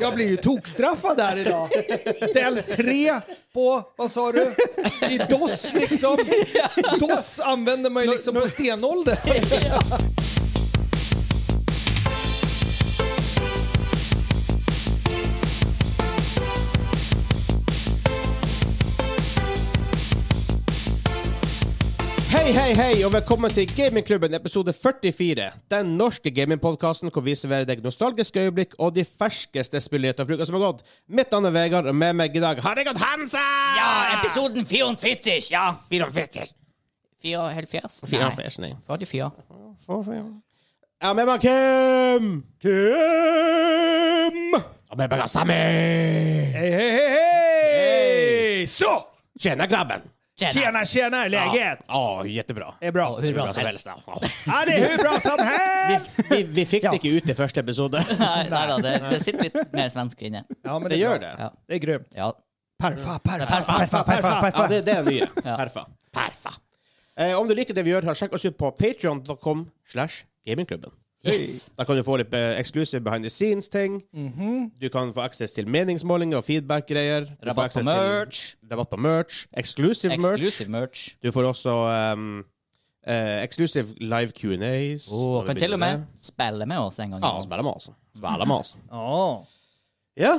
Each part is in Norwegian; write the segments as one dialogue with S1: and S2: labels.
S1: Jag blir ju tokstraffad här idag. Del 3 på, vad sa du? I DOS liksom. DOS använder man ju liksom på stenålder.
S2: Hei, hei, hei, og velkommen til Gamingklubben episode 44. Den norske gamingpodkasten hvor vi serverer deg nostalgiske øyeblikk og de ferskeste spillnyhetene fra uka som har gått. Mitt navn er Vegard, og med meg i dag har jeg hatt Hansa!
S3: Ja, episoden 44. Ja.
S2: 44.
S3: 74? Nei.
S2: 44, nei.
S3: 44.
S2: Ja, med meg Kim! Kim! Og med meg har Sammy!
S1: Hej, hej, hej, hej! Så!
S2: Tjena, grabben!
S1: Tjena, tjena, hur är läget?
S2: Ja, jättebra.
S1: Det är bra.
S3: Ja, hur bra som helst.
S2: helst. ja.
S1: Ja, det är hur bra som helst!
S2: Vi, vi fikk det ikke ut i første episode.
S3: Nei, nei da, det, det sitter litt mer svensk inne.
S1: Ja, men
S2: Det
S1: är
S2: gjør
S1: bra.
S2: det.
S3: Ja.
S1: Det är grymt.
S3: Ja.
S1: Perfa, perfa,
S3: Perfa,
S1: perfa, perfa,
S2: Ja,
S1: perfa.
S2: det, det er nye. Perfa. Perfa. Eh, om du liker det vi gjør, her, sjekk oss ut på patreon.com slash gamingklubben.
S3: Yes.
S2: Da kan du få litt eh, exclusive behind the scenes-ting. Du kan få access til meningsmålinger og feedback-greier. Du får
S3: Mhm. Rabatt på
S2: access til
S3: merch.
S2: Rabatt på merch. Exclusive, merch.
S3: Exclusive merch.
S2: Du får også um, eh, exclusive live Q&As.
S3: Og kan til og med spille med oss en gang. i
S2: Ja,
S3: måneden.
S2: spille med oss. Spille med oss.
S1: Ja.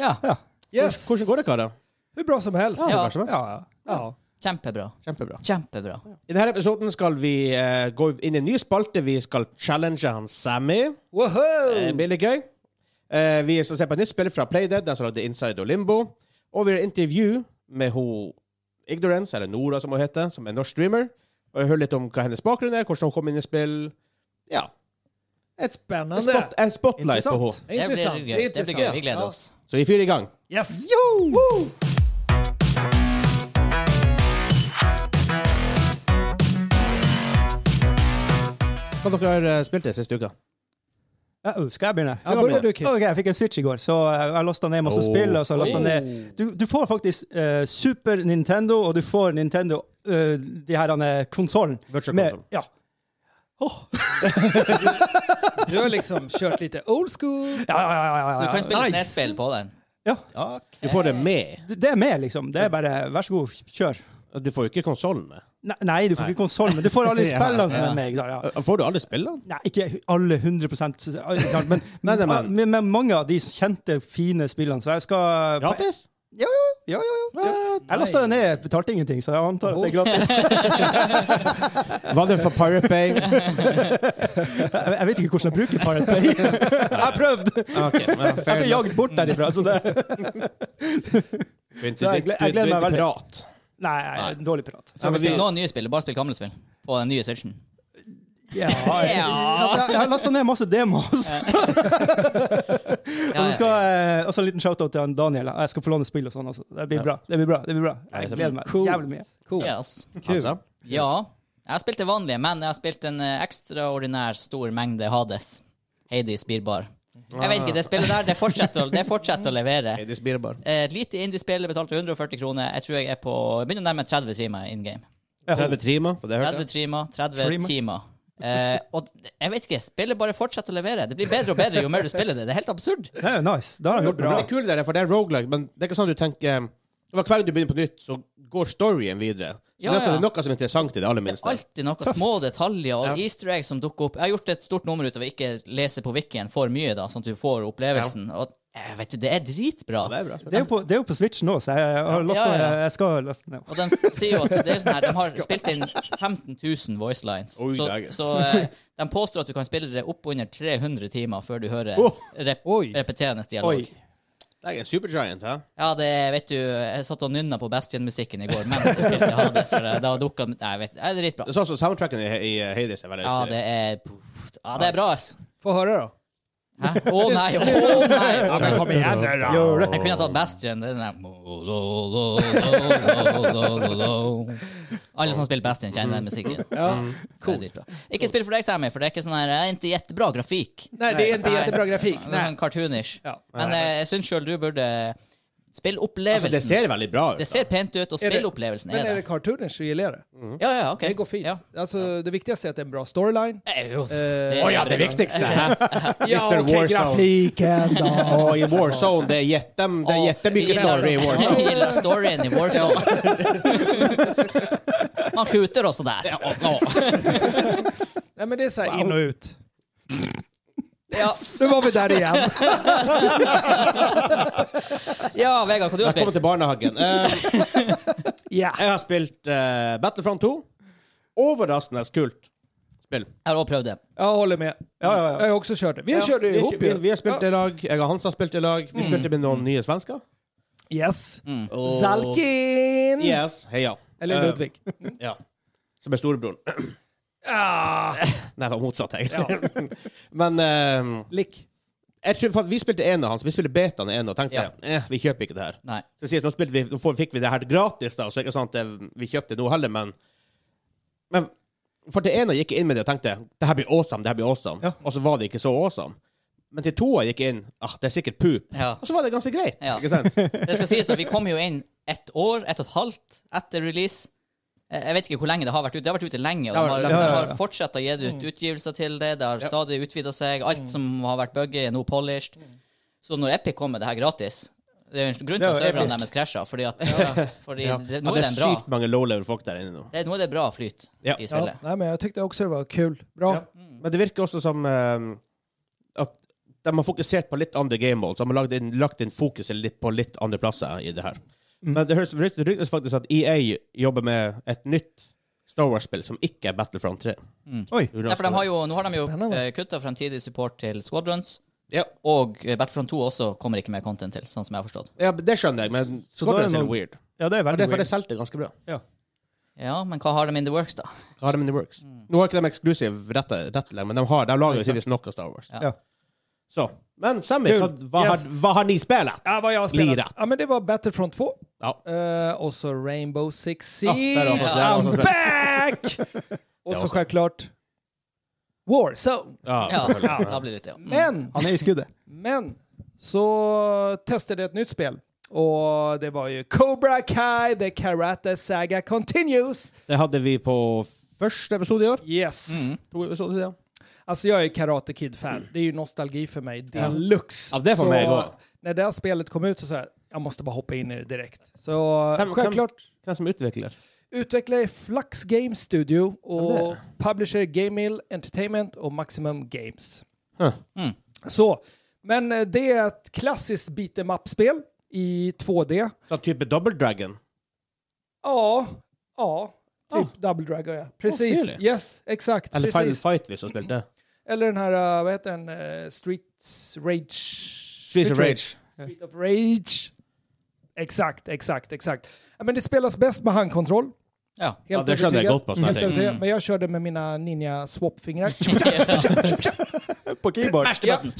S2: Ja.
S3: Ja,
S1: Yes.
S2: Hvordan går det, karer?
S1: Hur bra som helst.
S3: Ja.
S2: Vær så god.
S1: Ja. ja.
S3: kjempebra.
S2: Kjempebra.
S3: Kjempebra.
S2: I denne episoden skal vi eh, gå inn i en ny spalte. Vi skal challenge han Sammy.
S4: Mm.
S2: Det
S1: Woho!
S2: blir litt gøy. Eh, vi skal se på et nytt spill fra Playdead, den som lagde Inside og Limbo. Og vi har intervju med ho Ignorance, eller Nora som hun heter, som er norsk streamer. Og jeg hører litt om hva hennes bakgrunn er, hvordan hun kom inn i spill. Ja. En,
S1: Spännande.
S2: spot, en spotlight på
S4: Interessant.
S2: henne.
S1: Det är
S3: Det blir
S1: intressant.
S3: gøy.
S1: Det är
S3: Det blir
S1: intressant.
S3: gøy. Vi gleder
S1: Ja.
S3: oss.
S2: Så vi fyrer i gang.
S1: Yes! Woo!
S2: Hva dere har dere eh, spilt det siste uka?
S4: Ja, uh, skal jeg begynne?
S1: Ja, bør du, Kim.
S4: Ok, Jeg fikk en Switch i går, så eh, jeg lasta ned masse
S2: Oh.
S4: spill. Og så lastet jeg ned. Du, du får faktisk eh, Super Nintendo, og du får Nintendo eh, de her konsollen.
S2: Virtual console.
S4: Ja.
S1: Du har liksom kört lite old school.
S4: Ja, ja, ja, ja,
S3: Så du
S4: ja,
S3: kan
S4: ja.
S3: spille
S1: Nice.
S3: snespill på den.
S4: Ja.
S3: Ok.
S2: Du får det med.
S4: Det, det er med, liksom. Det er bare vær så god, kjør.
S2: Du får jo ikke konsollen med.
S4: Nei, nei du får ikke konsoll, men du får alle
S2: Ja,
S4: spillene som
S3: ja.
S4: er med. Ikke sant? Ja.
S2: Eh, Får du alle spillene?
S4: Nei, ikke alle 100 ikke sant? men,
S2: Nei, nei, men-
S4: men, men mange av de kjente, fine spillene. Så jeg skal
S2: Gratis?
S4: Ja, ja, ja. ja, ja. Jeg lasta det ned, jeg betalte ingenting, så jeg antar at det er gratis.
S2: Var det for Pirate Bay?
S4: Jeg, jeg vet ikke hvordan jeg bruker Pirate Bay. Jeg har prøvd!
S2: Ok, ja,
S4: Jeg
S2: fair
S4: ble
S2: enough.
S4: jagd bort derifra. Så det
S2: Du er ikke-
S4: Så jeg
S2: du- du
S4: gle- jeg
S2: er
S4: gleder
S2: ikke
S4: meg veldig.
S2: pirat.
S4: Nei, jeg er en dårlig pirat.
S3: Så
S2: men vi-
S3: vi spiller noen nye spill. Bare spill gamle spill. På den nye Switchen.
S4: Ja, jeg, jeg, jeg har lasta ned masse demos.
S3: Ja,
S4: Og så skal
S3: ja.
S4: jeg- og så en liten shout-out til han Daniel. Jeg skal få låne spill og sånn. Også. Det blir bra. Det blir bra. det blir bra Jeg gleder meg jævlig mye.
S1: Cool.
S3: Yes.
S2: Altså.
S3: Ja. Jeg har spilt det vanlige, men jeg har spilt en eh, ekstraordinær stor mengde Hades. Hades Birbar. Jeg vet ikke, det spillet der, det fortsetter, å- det fortsetter å levere. Eh,
S2: Hey, this beer bar.
S3: Et lite indie-spill, jeg betalte 140 kroner. Jeg tror jeg er på jeg begynner å nærme 30 timer in game.
S2: 30 timer, for det hørte
S3: 30
S2: jeg.
S3: timer, 30
S4: Streamer.
S3: timer. Eh, og d- jeg vet ikke, spillet bare fortsetter å levere. Det blir bedre og bedre jo mer du spiller det. Det er helt absurd.
S4: Det er jo nice. Da har han gjort det
S2: Men
S4: bra.
S2: Det er kult, det der, for det er roguelike, men det er ikke sånn du tenker um, det var Hver gang du begynner på nytt, så går storyen videre. Så
S3: Ja,
S2: det er
S3: ja.
S2: noe- noe som er interessant i det aller minste.
S3: Alltid noen små detaljer og easter egg som dukker opp. Jeg har gjort et stort nummer ut av å ikke lese på wikien for mye, da, sånn at du får opplevelsen. Og eh, vet du, det er dritbra.
S2: Ja, det er bra.
S4: Det er jo på, det er jo på Switch nå, så jeg, har lastet,
S3: Ja, ja, ja.
S4: jeg skal laste ned.
S3: Og de s- sier jo at det er sånn her, de har spilt inn 15 000 voice lines.
S2: Oi,
S3: så
S2: dægen.
S3: så eh, de påstår at du kan spille det opp under 300 timer før du hører
S4: Oh.
S3: rep
S1: Oi.
S3: repeterende dialog.
S4: Oi.
S2: Det er en supergiant, hæ?
S3: Ja, det vet du, jeg satt og nynna på Bastion-musikken i går mens jeg spilte Hades, for eh, da dukka Nei, jeg vet det er dritbra.
S2: Det er sånn som soundtracken i, i eh, Hades er veldig
S3: Ja, det er Ja, det er bra, ass.
S1: Få höra då.
S3: Hæ? Å nei, å nei!
S1: Kom igen nu då.
S4: Gjør det.
S3: Jeg kunne ha tatt Bastion. Det er den der Alle som spiller Bastion, kjenner den musikken.
S1: Ja.
S2: Mm.
S3: Det er dritbra. Ikke spill for deg, Sammy, for det er ikke sånn her, det er ikke jättebra grafikk.
S1: Nej, det är inte
S3: Nej.
S1: jättebra grafik.
S3: Det er
S1: Nej.
S3: sånn cartoonish.
S1: Ja.
S3: Men eh, jeg syns sjøl du burde Spillopplevelsen.
S2: Altså, det ser veldig bra ut.
S3: det ser pent ut,
S1: Er
S3: og
S1: det-
S3: spillopplevelsen
S1: Men
S3: er
S1: är det
S3: der.
S1: cartooners så gillar jag det.
S3: Ja, ja, ok.
S1: Det går fint.
S3: Ja.
S1: Alltså, det viktigaste är att det är en bra storyline.
S3: Eh, jo,
S2: Å ja, det viktigste! Hæ?
S1: Ja,
S2: Mr.
S1: okej,
S2: Warzone.
S1: grafiken då.
S2: Å, i Warzone, det er jättem, det er jättemycket
S3: gillar-
S2: story i Warzone.
S3: Jeg gillar storyen i Warzone. Man skjuter også der.
S2: Ja, ja.
S1: Nej, men det är så här in och ut.
S3: Ja,
S1: Nu var vi där igen.
S3: ja Vegard, hva du har
S2: Velkommen
S3: spilt?
S2: til barnehagen. Eh,
S1: Ja.
S2: jeg har spilt eh, Battlefront 2. Overraskende kult spill.
S3: Jeg har også prøvd det.
S1: Jag håller med.
S4: Ja, ja, ja.
S1: Jag har också kört det. Vi körde ju
S2: vi,
S1: ihop
S2: vi,
S1: ju.
S2: vi har spilt i lag. Jeg og Hans har spilt i lag.
S3: Mm.
S2: Vi spilte med noen nye svensker.
S1: Ja. Yes.
S2: Og-
S1: Zalkin!
S2: Yes, heia.
S1: Eller
S2: Eh,
S1: Ludvig.
S2: ja. Som er storebroren.
S1: Ah,
S2: Nei, det var motsatt, egentlig. Men eh,
S1: Lick.
S2: jeg tror for at vi spilte en av hans. Vi spilte betaen i en, og tenkte
S3: Ja.
S2: eh, vi kjøper ikke det her.
S3: Nei.
S2: Så sies, nå, spilte vi, nå får- fikk vi det her gratis, da, så er det ikke sant det, vi kjøpte noe heller, men Men for til ene gikk jeg inn med det og tenkte det her blir awesome, det her blir awesome,
S4: Ja.
S2: og så var det ikke så awesome. Men til toa gikk jeg inn ah, det er sikkert poop,
S3: Ja.
S2: og så var det ganske greit.
S3: Ja.
S2: ikke sant?
S3: Det skal sies at vi kom jo inn et år, et og et halvt etter release. Eh, Jeg vet ikke hvor lenge det har vært ute. Det har vært ute lenge, og
S1: Ja,
S3: de har,
S1: ja,
S3: de
S4: ja, ja.
S3: har fortsatt å gi ut utgivelser til det. Det har stadig utvida seg. Alt som har vært bugget, er nå polished. Så når Epic kom med det her gratis Det er jo en grunn til
S4: Det
S3: at
S4: er jo
S3: serverne
S4: episk.
S3: deres krasja, fordi at fordi
S2: Ja.
S3: det,
S2: Ja,
S3: nå
S2: det
S3: er
S2: er
S3: den bra.
S2: sykt mange low-level folk der inne nå.
S3: Det, nå er det bra flyt
S2: Ja.
S3: i
S1: Ja,
S3: spillet.
S1: nej, men jag tyckte också det var kul. Bra.
S2: Ja.
S3: Mm.
S2: Men det virker også som eh, at de har fokusert på litt andre game modes. De har lagt inn, lagt inn fokuset litt på litt andre plasser i det her.
S4: Mm.
S2: Men det høres det ryktes faktisk at EA jobber med et nytt Star Wars-spill som ikke er Battlefront 3.
S4: Oi.
S3: Ja, for de har jo, nå har de jo
S1: Spennende.
S3: uh, kutta fremtidig support til Squadrons.
S2: Ja.
S3: Og eh, Battlefront 2 også kommer ikke mer content til, sånn som jeg har forstått.
S2: Ja, det skjønner jeg, men
S4: Så
S2: Squadron
S4: da er
S2: er
S4: det
S2: litt
S4: noen-
S2: weird.
S4: Ja, det
S2: Ja, det
S4: er veldig
S2: er for det
S4: weird.
S2: solgte ganske bra.
S4: Ja.
S3: Ja, men hva har de in the works, da?
S2: Hva har de in the works?
S3: Mm.
S2: Nå har ikke de eksklusiv rett rett lenger, men de, har, de lager jo tydeligvis nok av Star Wars.
S3: Ja.
S4: Ja.
S2: Så. Men Sammy, hva, hva,
S4: Yes.
S2: har, hva har ni spilt?
S1: Ja, vad jag har spelat.
S2: Lirat.
S1: Ja, men det var Battlefront 2.
S2: Ja.
S1: Eh, och så Rainbow Six
S2: Ja, där
S1: Siege.
S2: har vi- där har vi-
S1: I'm back! och så
S2: också.
S1: självklart Warzone.
S3: Ja,
S2: selvfølgelig.
S3: da blir det litt, ja. Mm.
S1: Men,
S4: Han er i skuddet.
S1: men så testade jag ett nytt spel. Och det var ju Cobra Kai, The Karate Saga Continues.
S2: Det hadde vi på første episode i år.
S1: Yes. Altså,
S2: To episoder siden.
S1: Alltså jag är Karate Kid-fan. Det är ju nostalgi för mig deluxe.
S2: Ja, det får
S1: så
S2: mig gå.
S1: när det här spelet kom ut så sa jag, jag måste bara hoppa in i det direkt. Så
S2: Kan- kan-
S1: självklart
S2: Hvem som utvikler?
S1: Utvikler Flux Game Studio og
S2: Ja, det er det.
S1: publisher Gamill Entertainment og Maximum Games.
S2: Huh.
S3: Mm.
S1: Så, men eh, det er et klassiskt beat em up-spel i 2D.
S2: Sånn type Double Dragon?
S1: Ja, ja. Typ Double Dragon, ja. Precis.
S2: Ah. trevligt.
S1: yes, exakt.
S2: Eller Final
S1: precis.
S2: Fight, hvis du har spilt det?
S1: Eller den här, eh, vad heter den? eh, Streets Rage.
S2: Streets of Rage.
S1: Street of Rage. Exakt, exakt, exakt. Ja, Men det spelas bäst med handkontroll.
S3: Ja.
S2: Ja, det skjønner jeg
S1: övertygad.
S2: godt på. sånne
S1: Helt
S2: ting.
S1: övertygad. Men jag körde med mina ninja swap-fingrar.
S4: På keyboard.
S3: Mash the buttons.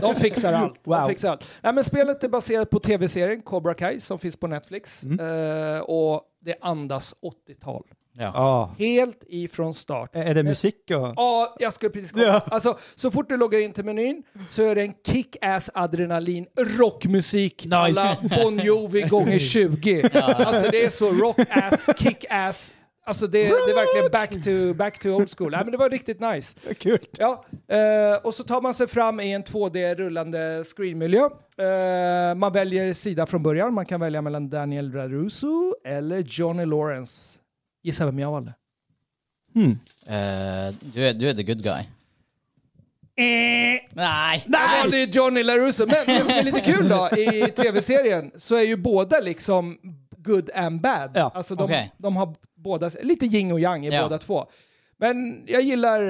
S1: De fixar allt.
S4: Wow.
S1: De fixar allt. Nej, men spelet är baserat på tv-serien Cobra Kai som finns på Netflix.
S2: Mm.
S1: Eh, och det andas 80-tal.
S4: Ah.
S1: Helt ifrån start.
S4: Er det musikk og
S1: Ja, jag skulle precis komma.
S4: Ja.
S1: Alltså, så fort du loggar in till menyn så är det en kick-ass adrenalin rockmusik.
S4: Nice.
S1: Alla Bon Jovi gånger 20. Alltså det är så rock-ass, kick-ass. Alltså det, det är verkligen back to, back to old school. Nej, men det var riktigt nice.
S4: Kult.
S1: Ja, eh, och så tar man sig fram i en 2D-rullande screenmiljö. Eh, man väljer sida från början. Man kan välja mellan Daniel Raruso eller Johnny Lawrence. Gissa vem jag valde?
S3: Eh, du, er, du er the good guy.
S2: Eh.
S3: Nei!
S1: Jag valde ju Johnny LaRusso, men det som är lite kul då i tv-serien så är ju båda liksom good and bad.
S4: Ja,
S1: Alltså de,
S3: okej.
S1: de har båda, lite yin och yang i
S3: Ja.
S1: båda två. Men jag gillar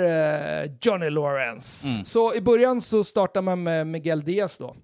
S1: eh, Johnny Lawrence.
S3: Mm.
S1: Så i början så startar man med Miguel Diaz då.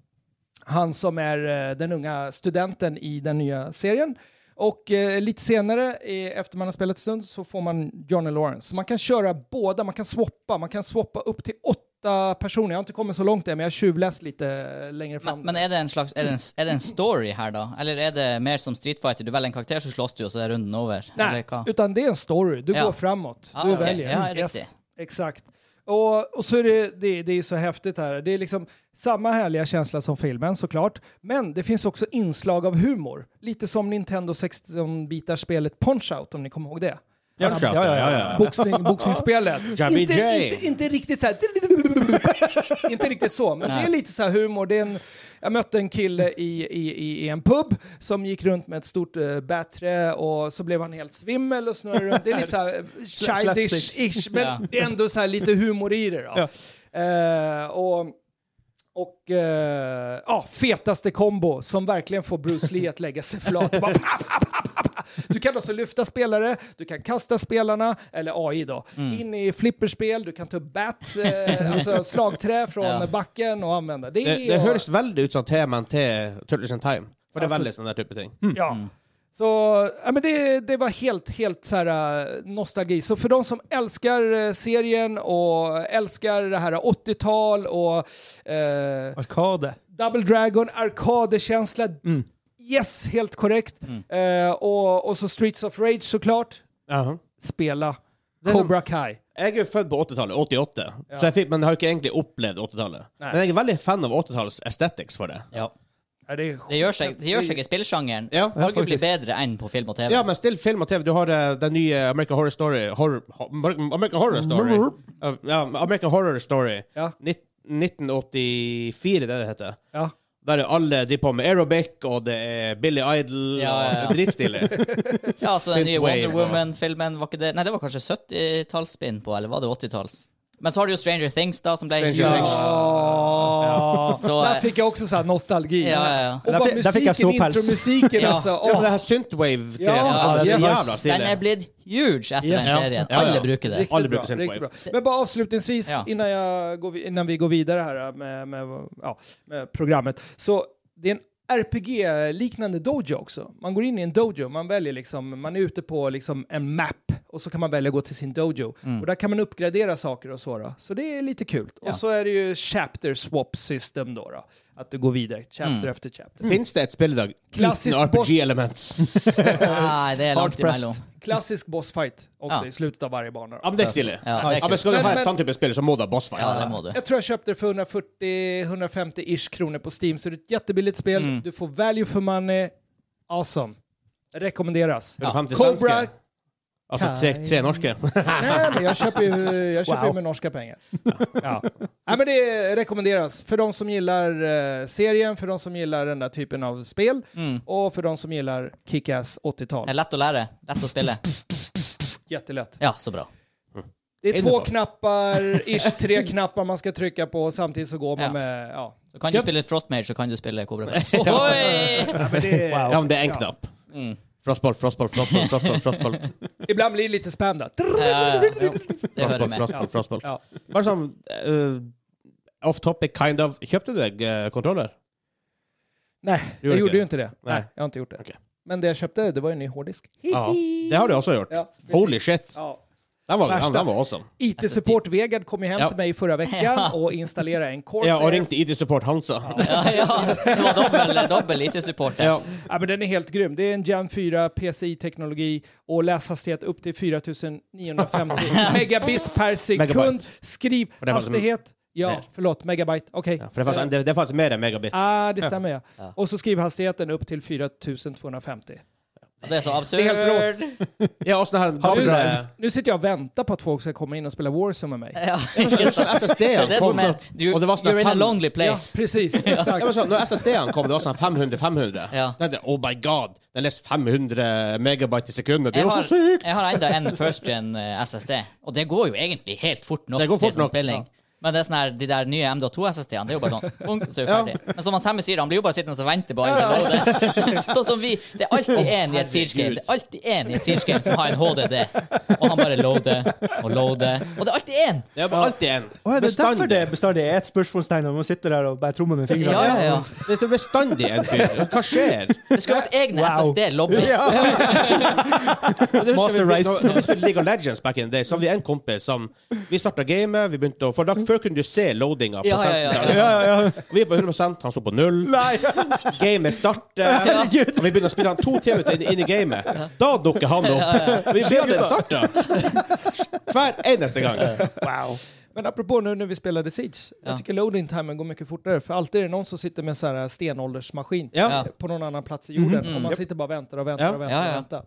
S1: Han som är eh, den unga studenten i den nya serien. Och eh, lite senare, eh, efter man har spelat en stund, så får man Johnny Lawrence. Så man kan köra båda, man kan swappa, man kan swappa upp till åtta personer. Jag har inte kommit så långt än, men jag har tjuvläst lite eh, längre fram.
S3: Men, men er det en slags er det en, er det en story her, da? Eller er det mer som Street Fighter? Du velger en karakter, så slåss du, og så er runden over?
S1: Nej,
S3: Eller hva?
S1: utan det är en story. Du
S3: Ja.
S1: går framåt.
S3: Ah,
S1: du
S3: okej.
S1: väljer.
S3: Ja, riktigt.
S1: Yes, exakt. Och, och så är det, det, det är så häftigt här. Det är liksom samma härliga känsla som filmen såklart, men det finns också inslag av humor. Lite som Nintendo 16-bitarspelet Punch-Out om ni kommer ihåg det.
S2: Ja, ja, ja, ja, ja.
S1: Boxning, boxningsspelet.
S2: Jabby
S1: inte,
S2: J.
S1: inte, inte riktigt så här. inte riktigt så, men det är lite så här humor. Det är en, jag mötte en kille i, i, i, i en pub som gick runt med ett stort uh, bättre och så blev han helt svimmel och snurrade runt. Det är lite så här eh, childish-ish, men
S3: Ja.
S1: det är ändå så här lite humor i det då. Eh, och och eh, ja, fetaste kombo som verkligen får Bruce Lee att lägga sig flat. Bara, pa, pa, pa, pa, pa. Du kan alltså lyfta spelare, du kan kasta spelarna, eller AI då, in i flipperspel, du kan ta upp bat, eh, alltså slagträ från
S3: Ja.
S1: backen och använda det.
S2: Det, det
S1: och,
S2: høres veldig ut som temaen til Turtles in Time. For det er
S1: Altså-
S2: veldig sånn der type ting.
S1: Ja. Så ja, men det, det var helt, helt så här, eh, nostalgi. Så för de som älskar eh, serien och älskar det här 80-tal och eh,
S4: Arkade.
S1: Double Dragon, arkadekänsla. Yes, helt korrekt. Eh, och, og så Streets of Rage såklart.
S2: Jaha.
S1: Spela
S2: är som-
S1: Cobra Kai.
S2: Jeg er født på 80-tallet, 88, så jeg fikk, men har ikke egentlig opplevd 80-tallet. Men jeg er veldig fan av 80-tallets aesthetics for det.
S3: Ja.
S1: Ja, det, är sjukt.
S3: Det gjør seg, det gjør seg i spillsjangeren.
S2: Ja,
S3: Arguably bedre enn på film og TV.
S2: Ja, men still film og TV. Du har eh, den nye American Horror Story horror, ho- American Horror Story. Uh, ja, American Horror Story.
S1: Ja.
S2: Nitt- 1984, det er det heter.
S1: Ja.
S2: Der er alle de på med aerobic, og det er Billy Idol,
S3: Ja, ja, ja.
S2: og det er dritstilig.
S3: Ja, altså Den nye
S2: Synthwave,
S3: Wonder Woman-filmen var ikke det Nei, det var kanskje 70-tallsspinn på, eller var det 80-talls? Men så har du jo Stranger Things, da, som ble
S2: Stranger
S3: huge.
S2: Things.
S1: Ja.
S3: Så eh,
S1: Där fick jag också så här nostalgi.
S3: Ja, ja, ja.
S1: Och
S4: Där
S1: bara
S4: fick- där fick jag
S1: musiken,
S4: ståpäls.
S1: intromusiken
S3: Ja.
S1: alltså.
S2: Ja, men
S1: åh.
S2: det her synthwave
S1: Ja,
S2: det er så
S1: yes.
S2: jævla
S3: den er
S2: stilig.
S3: blitt huge etter
S1: Yes.
S3: den serien.
S2: Ja, ja.
S3: Alle bruker det.
S1: Riktigt
S2: Aldrig
S1: bra,
S2: brukar synthwave.
S1: riktigt bra. Men bara avslutningsvis,
S3: Ja.
S1: innan, jag går, vi- innan vi går vidare här eh, med, med, ja, med programmet. Så det är en RPG-liknande dojo också. Man går in i en dojo, man väljer liksom, man är ute på liksom en map och så kan man välja att gå till sin dojo. Och där kan man uppgradera saker och så. Då. Så det är lite kul.
S3: Mm. Ja.
S1: Och så är det ju chapter swap system då. då att du går vidare, chapter
S3: Mm.
S1: efter chapter.
S2: Fins det et spill i dag uten
S1: Klassisk boss-
S2: RPG-elements?
S3: Nei, det er langt
S4: Hard-pressed.
S3: imellom.
S1: Klassisk bossfight också
S3: Ja.
S1: i slutet av varje bana. då.
S2: Ja, men det er stilig.
S3: Ja,
S2: Ja,
S3: det er
S2: men skal du
S1: Men-
S2: ha et
S1: men-
S2: sånt type spill, så må du ha bossfight.
S3: Ja, det må du.
S1: Jag tror jag köpte det för 140-150-ish kronor på Steam, så det är ett jättebilligt spel. Du får value for money. Awesome. Rekommenderas.
S2: 150
S1: Cobra...
S2: svenske. Altså tre, tre norske.
S1: Nej, men jag köper ju jag köper ju
S4: Wow.
S1: med norska pengar. Ja. Nej, men det rekommenderas för de som gillar eh, serien, för de som gillar den där typen av spel och för de som gillar Kick-Ass 80-tal.
S3: Det er lett å lære. Lett å spille.
S1: Jättelätt.
S3: Ja, så bra.
S1: Det är
S2: Inne
S1: två
S2: på.
S1: knappar, ish tre knappar man ska trycka på och samtidigt så går man
S3: Ja.
S1: med... Ja.
S3: Så kan du spille Frostmage, så kan du spille Cobra Kai. Ohoi!
S1: Ja, men det,
S2: Ja, men det er en knapp.
S3: Mm.
S2: Frostball, frostball, frostball, frostball, frostball.
S1: Ibland blir det lite spam där.
S3: Ja, ja, ja. Det hører
S2: Frostball,
S3: med.
S2: frostball, frostball.
S1: Ja.
S2: Bare sånn eh, off topic, kind of. Kjøpte du deg eh, kontroller?
S1: Nej,
S2: gjorde
S1: jag gjorde
S2: inte
S1: ju
S2: det?
S1: inte det.
S2: Nej.
S1: Nej. jag har inte gjort det.
S2: Okej.
S1: Men det jag köpte, det var ju en ny hårddisk.
S2: Ja. Det har du også gjort.
S1: Ja.
S2: Holy shit.
S1: Ja.
S2: Den var,
S1: Värsta.
S2: den, den var awesome.
S1: IT-support Vegard kom ju hem
S2: Ja.
S1: till mig förra veckan och installerade en Corsair.
S2: Ja,
S1: Ja,
S2: og ringte IT Support Hansa.
S3: Ja, ja. Det var dobbel, dobbel IT-supporter.
S2: Ja.
S1: men den är helt grym. Det är en Gen 4 PCI-teknologi och läshastighet upp till 4950 megabit per sekund.
S2: Megabyte. det var som-
S1: Skrivhastighet. Ja,
S2: Nej.
S1: förlåt, megabyte. Okej.
S2: For det er faktisk, det, det er faktisk mer enn megabit.
S1: Ah, det stämmer ja. Och så skrivhastigheten upp till 4250.
S3: Det er så
S1: Det er
S3: absurd.
S1: helt
S2: Ja, og sånn her
S1: Nu,
S2: gamle
S1: nu sitter jag och väntar på att folk ska komma in och spela Warzone med mig.
S3: Ja.
S2: Sånn
S3: Det er
S2: SSD-en
S3: det som
S2: kom,
S3: er
S2: sånn-
S3: du-
S2: og det var sånn
S3: You're in a
S2: fem-
S3: lonely
S1: Ja,
S3: place.
S1: precis.
S2: Ja,
S1: Exakt.
S2: men sånn, når SSD-en kom, det var sånn 500-500.
S3: Ja.
S2: Den der, oh my god, den leser 500 megabyte i sekundet. Det er
S3: Jeg
S2: jo
S3: har,
S2: så sykt!
S3: jeg har enda en first gen eh, SSD, og det går jo egentlig helt fort nok.
S2: Det går fort
S3: til sånn
S2: nok,
S3: spilling. Men det er sånn her, de der nye MD2-SSD-ene, det er jo bare sånn bunk, så er vi ferdig. Men som han Sammy sier, han blir jo bare sittende og vente på HD. sånn som vi. Det er alltid en i et Siege Game Det er alltid en i et Siege Game som har en HDD, og han bare loader og loader. Og det er alltid en!
S2: Det er bare alltid en.
S4: Å, ja, det er derfor det bestandig er et spørsmålstegn når man sitter der og bare trommer med fingrene.
S3: Ja, ja, ja.
S2: Det er bestandig en fyr. Hva skjer?
S3: Det skulle vært egne
S4: Wow.
S3: SSD-lobbyer.
S2: Det husker
S4: Master
S2: vi,
S4: Race.
S2: Når, når vi spilte League of Legends back in the day, så hadde vi en kompis som Vi starta gamet, vi begynte å For da, før kunne du se loadinga.
S3: Ja, ja, ja, ja.
S2: Vi er på 100 han sto på null. Gamet starter, og vi begynner å spille han to timer inn, inn i gamet. Da dukker han opp. Vi blir den starta. Hver eneste gang.
S4: Wow.
S1: Men apropå nu när vi spelade Siege,
S3: Ja.
S1: jag tycker loading-timern går mycket fortare, för alltid är det någon som sitter med så här stenåldersmaskin
S2: Ja.
S1: på någon annan plats i jorden,
S3: Mhm.
S1: och man
S2: Japp.
S1: sitter bara och väntar och väntar
S2: Ja.
S1: och väntar.
S3: Ja, ja.
S1: Och väntar.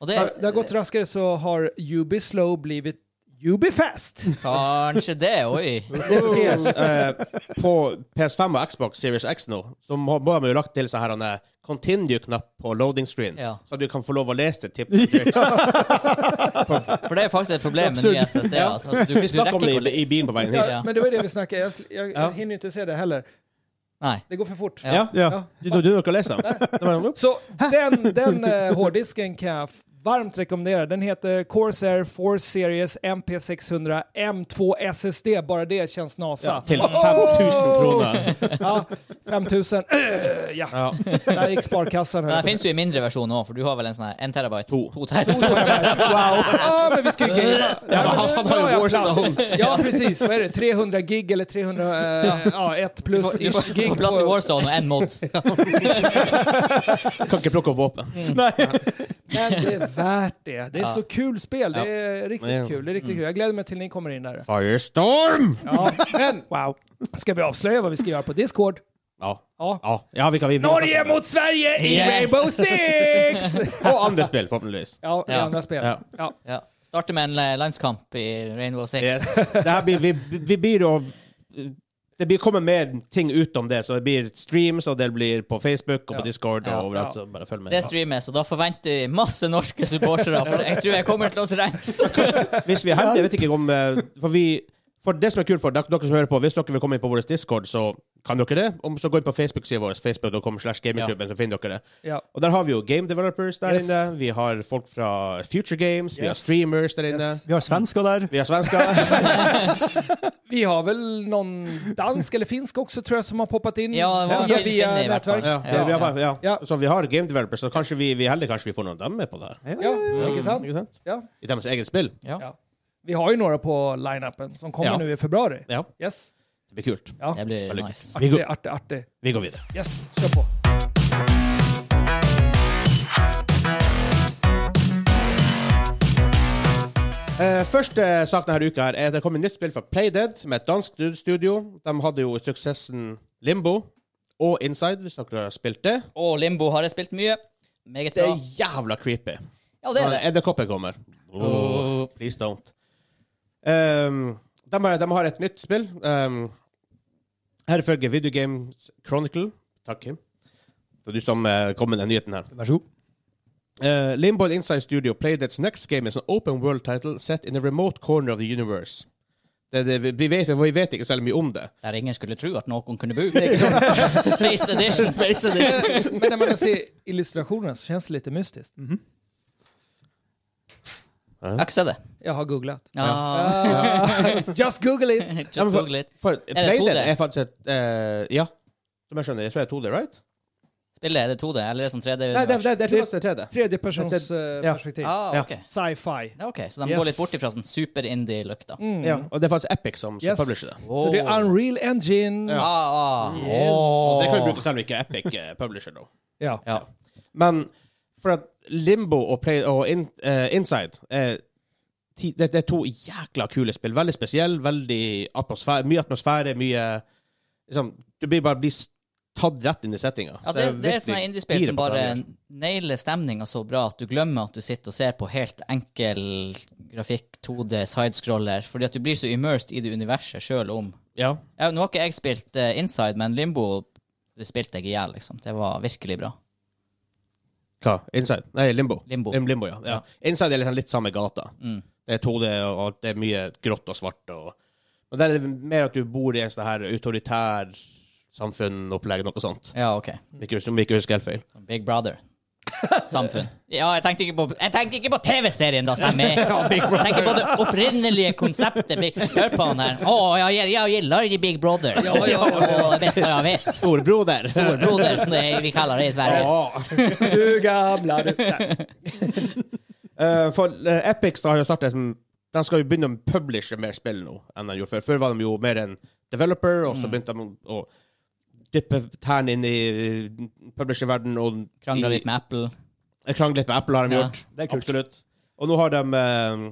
S3: Og det,
S1: Har det har gått raskare så har Ubi Slow blivit Ubi Fast.
S3: Kanskje det, oi.
S2: Det som sies eh, på PS5 og Xbox Series X nå, så må må man jo lagt til sånn her en continue-knapp på loading screen,
S3: Ja.
S2: så du kan få lov å lese det. Vi
S3: For det er faktisk et problem med nye SSD-er. at, Altså, du, du
S2: snakket
S3: rekker
S2: om det
S3: ikke å
S2: i,
S3: le-
S2: i bilen på veien
S1: Ja,
S2: hit.
S3: Ja.
S1: Men det var det vi snackade, jag, sl- jeg
S2: Ja.
S1: hinner ju inte se det heller.
S3: Nei.
S1: Det går för fort.
S3: Ja.
S2: Ja.
S4: Ja.
S1: Ja.
S2: Du, du, du orker å lese dem? Det var en-
S1: Så den, den eh, hårddisken kan jag f- varmt rekommendera. Den heter Corsair 4 Series MP600 M2 SSD. Bara det känns NASA.
S2: Ja, til 5000 kroner.
S1: Ja, 5000. Eh, ja.
S2: Ja.
S1: Där gick sparkassan.
S3: Men
S1: Här.
S3: det fins jo i mindre versjon òg, for du har vel en sånn her 1 terabyte?
S2: To.
S3: terabyte.
S1: Ja, men vi ska ju gamea. Ja, men
S3: han
S1: nu
S3: har ju
S1: jag
S3: Warzone.
S1: plats. Ja, precis. Vad är det? 300 gig eller 300... eh, ja, 1
S3: Du
S1: plus
S3: får, du får,
S1: ish
S3: du
S1: gig.
S3: får plass til
S1: på-
S3: Warzone og én mod.
S2: Kan ikke plukke opp våpen.
S1: Men det är värt det. Det är så kul spel. Det är
S2: Ja.
S1: riktigt kul. Det är riktigt kul. Jag gläder mig till ni kommer in där.
S2: Firestorm!
S1: Ja, men wow. Ska vi avslöja vad vi ska göra på Discord?
S2: Ja.
S1: Ja.
S2: ja. ja vi kan, vi, vi
S1: Norge mot Sverige i
S3: Yes.
S1: Rainbow Six!
S2: Og andre spill, forhåpentligvis.
S1: Ja, i
S3: Ja.
S1: andra spel.
S2: Ja.
S1: Ja.
S3: Ja. Starter med en eh, landskamp i Rainbow Six.
S2: Yes. Det her blir, vi, vi blir jo Det blir kommer mer ting utom det, så det blir streams, og det blir på Facebook og på
S1: Ja.
S2: Discord
S3: Ja.
S2: og overalt.
S1: Ja.
S2: Så bare følg med.
S3: Det streames, og da forventer vi masse norske supportere. For jeg tror jeg kommer til å trengs.
S2: Hvis vi er heldige, jeg vet ikke om eh, For vi for det som er kult for dere, dere som hører på, hvis dere vil komme inn på vår Discord, så kan dere det. Om så gå inn på Facebook-sida vår, facebook.com slash gamingklubben, så finner dere det.
S1: Ja.
S2: Og der har vi jo game developers der
S1: Yes.
S2: inne. Vi har folk fra Future Games, vi har
S1: Yes.
S2: streamers der inne.
S1: Yes.
S4: Vi har svensker der.
S2: Vi har svensker.
S1: Vi har väl någon dansk eller finsk också tror jag som har poppat in
S3: Ja, det var
S1: via,
S3: faktiskt
S1: via
S3: finne i vart fall.
S1: nätverk.
S2: ja,
S3: Ja.
S2: vi har, ja.
S1: Ja.
S2: Så vi har game developers, så kanskje vi, vi er heldige kanskje vi får noen av dem med på det her.
S1: Ja, inte sant?
S2: Ikke sant?
S1: Ja.
S2: I deres eget spill.
S1: Ja. Vi har ju några på line-upen som kommer
S2: Ja.
S1: nu i februari.
S2: Ja,
S1: Yes.
S2: det blir kult.
S1: Ja.
S3: Det blir
S2: Veldig
S3: nice.
S2: kult. Vi
S1: Det
S2: går,
S1: är artig, artig.
S2: vi går videre.
S1: Yes, kör på.
S2: Eh, første sak denne uka her er at det kom et nytt spill fra Playdead, som er et dansk stud- studio. De hadde jo suksessen Limbo og Inside, hvis dere har spilt det.
S3: Og Limbo har jeg spilt mye. Meget
S2: Det
S3: bra.
S2: er jævla creepy.
S3: Ja, det er
S2: Når
S3: det.
S2: edderkoppen kommer.
S3: Oh.
S2: Please don't. Um, de, har, de har et nytt spill. Um, her følger Video Games Chronicle. Takk, Kim. Det er du som eh, kom med den nyheten her.
S4: Vær så god.
S2: Uh, Limbo and Inside Studio played its next game as an open world title set in a remote corner of the universe. Det, det, vi, vi vet, vi vet ikke særlig mye om det.
S3: Der ingen skulle tro at noen kunne bo. Space Edition. Space Edition.
S1: Men när man ser illustrationerna så känns det lite mystiskt.
S3: Jeg har ikke sett det.
S1: Jag har googlat.
S3: Ja.
S1: Just google it!
S3: Just
S2: Ja, men
S3: google it.
S2: For Playdead
S3: 2D?
S2: er faktisk et eh, Ja, som jeg skjønner. Jeg tror det er 2D, right?
S3: Spillet er det 2D, eller er det sånn 3D?
S2: Nei, det, det, det, tror jeg faktisk det er 3D.
S1: Tredjepersons eh,
S2: ja.
S1: perspektiv.
S3: Ah,
S2: Ja.
S3: ok.
S1: Sci-fi.
S3: Ja, ok. Så de
S1: Yes.
S3: går litt bort ifra sånn super-indie-lukta.
S2: Ja, og det er faktisk Epic som, som
S1: Yes.
S2: publisher det.
S1: Så det er Unreal Engine.
S2: Ja.
S1: Ja.
S3: Ah, ah.
S1: Yes.
S2: Og det kan vi
S3: Åh.
S2: bruke selv om ikke Epic eh, publisher, da.
S3: Ja.
S2: Men for at Limbo og, Play, og in, eh, Inside eh, ti, det, det er to jækla kule spill. Veldig spesielle, veldig atmosfære, mye atmosfære, mye liksom, Du blir bare blir s- tatt rett inn i settinga.
S3: Ja,
S2: Så
S3: det,
S2: jeg
S3: det er et
S2: virkelig
S3: sånt indiespill
S2: girer
S3: som
S2: på
S3: bare
S2: det her.
S3: nailer stemninga så bra at du glemmer at du sitter og ser på helt enkel grafikk, 2D, sidescroller, fordi at du blir så immersed i det universet sjøl om
S2: Ja.
S3: ja, Nå har ikke jeg spilt eh, Inside, men Limbo det spilte jeg i hjel, liksom. Det var virkelig bra.
S2: Hva? Inside? Nei, Limbo.
S3: Limbo. Mm.
S2: Lim- Limbo ja. ja. Inside er liksom litt samme gata. Det er 2D, og alt- det er mye grått og svart. Og, men der er det mer at du bor i en sånn her autoritær samfunn-opplegg, noe sånt.
S3: Ja, OK.
S2: Ikke, som ikke husker helt feil.
S3: Big Brother-samfunn. Ja, jeg tenkte ikke på, jeg tenkte ikke på TV-serien, da, stemmer jeg. Jeg tenker på det opprinnelige konseptet. Big- Hør på han her. Å, jeg, jeg gillar de Big Brother. Ja, ja, Det beste jeg vet.
S2: Storbroder!
S3: Storbroder, som det, vi kaller det i Sverige.
S1: Du gamla du. Nej.
S2: Eh, for eh, Epic har jo startet som De skal jo begynne å publishe mer spill nå enn de gjorde før. Før var de jo mer en developer,
S3: Mm.
S2: og så begynte de å dyppe tærne inn i publisher-verdenen og
S3: Krangla
S2: i-
S3: litt med Apple.
S2: Krangle litt med Apple har de
S3: Ja,
S2: gjort.
S4: det er kult.
S2: Absolutt. Og nå har de eh,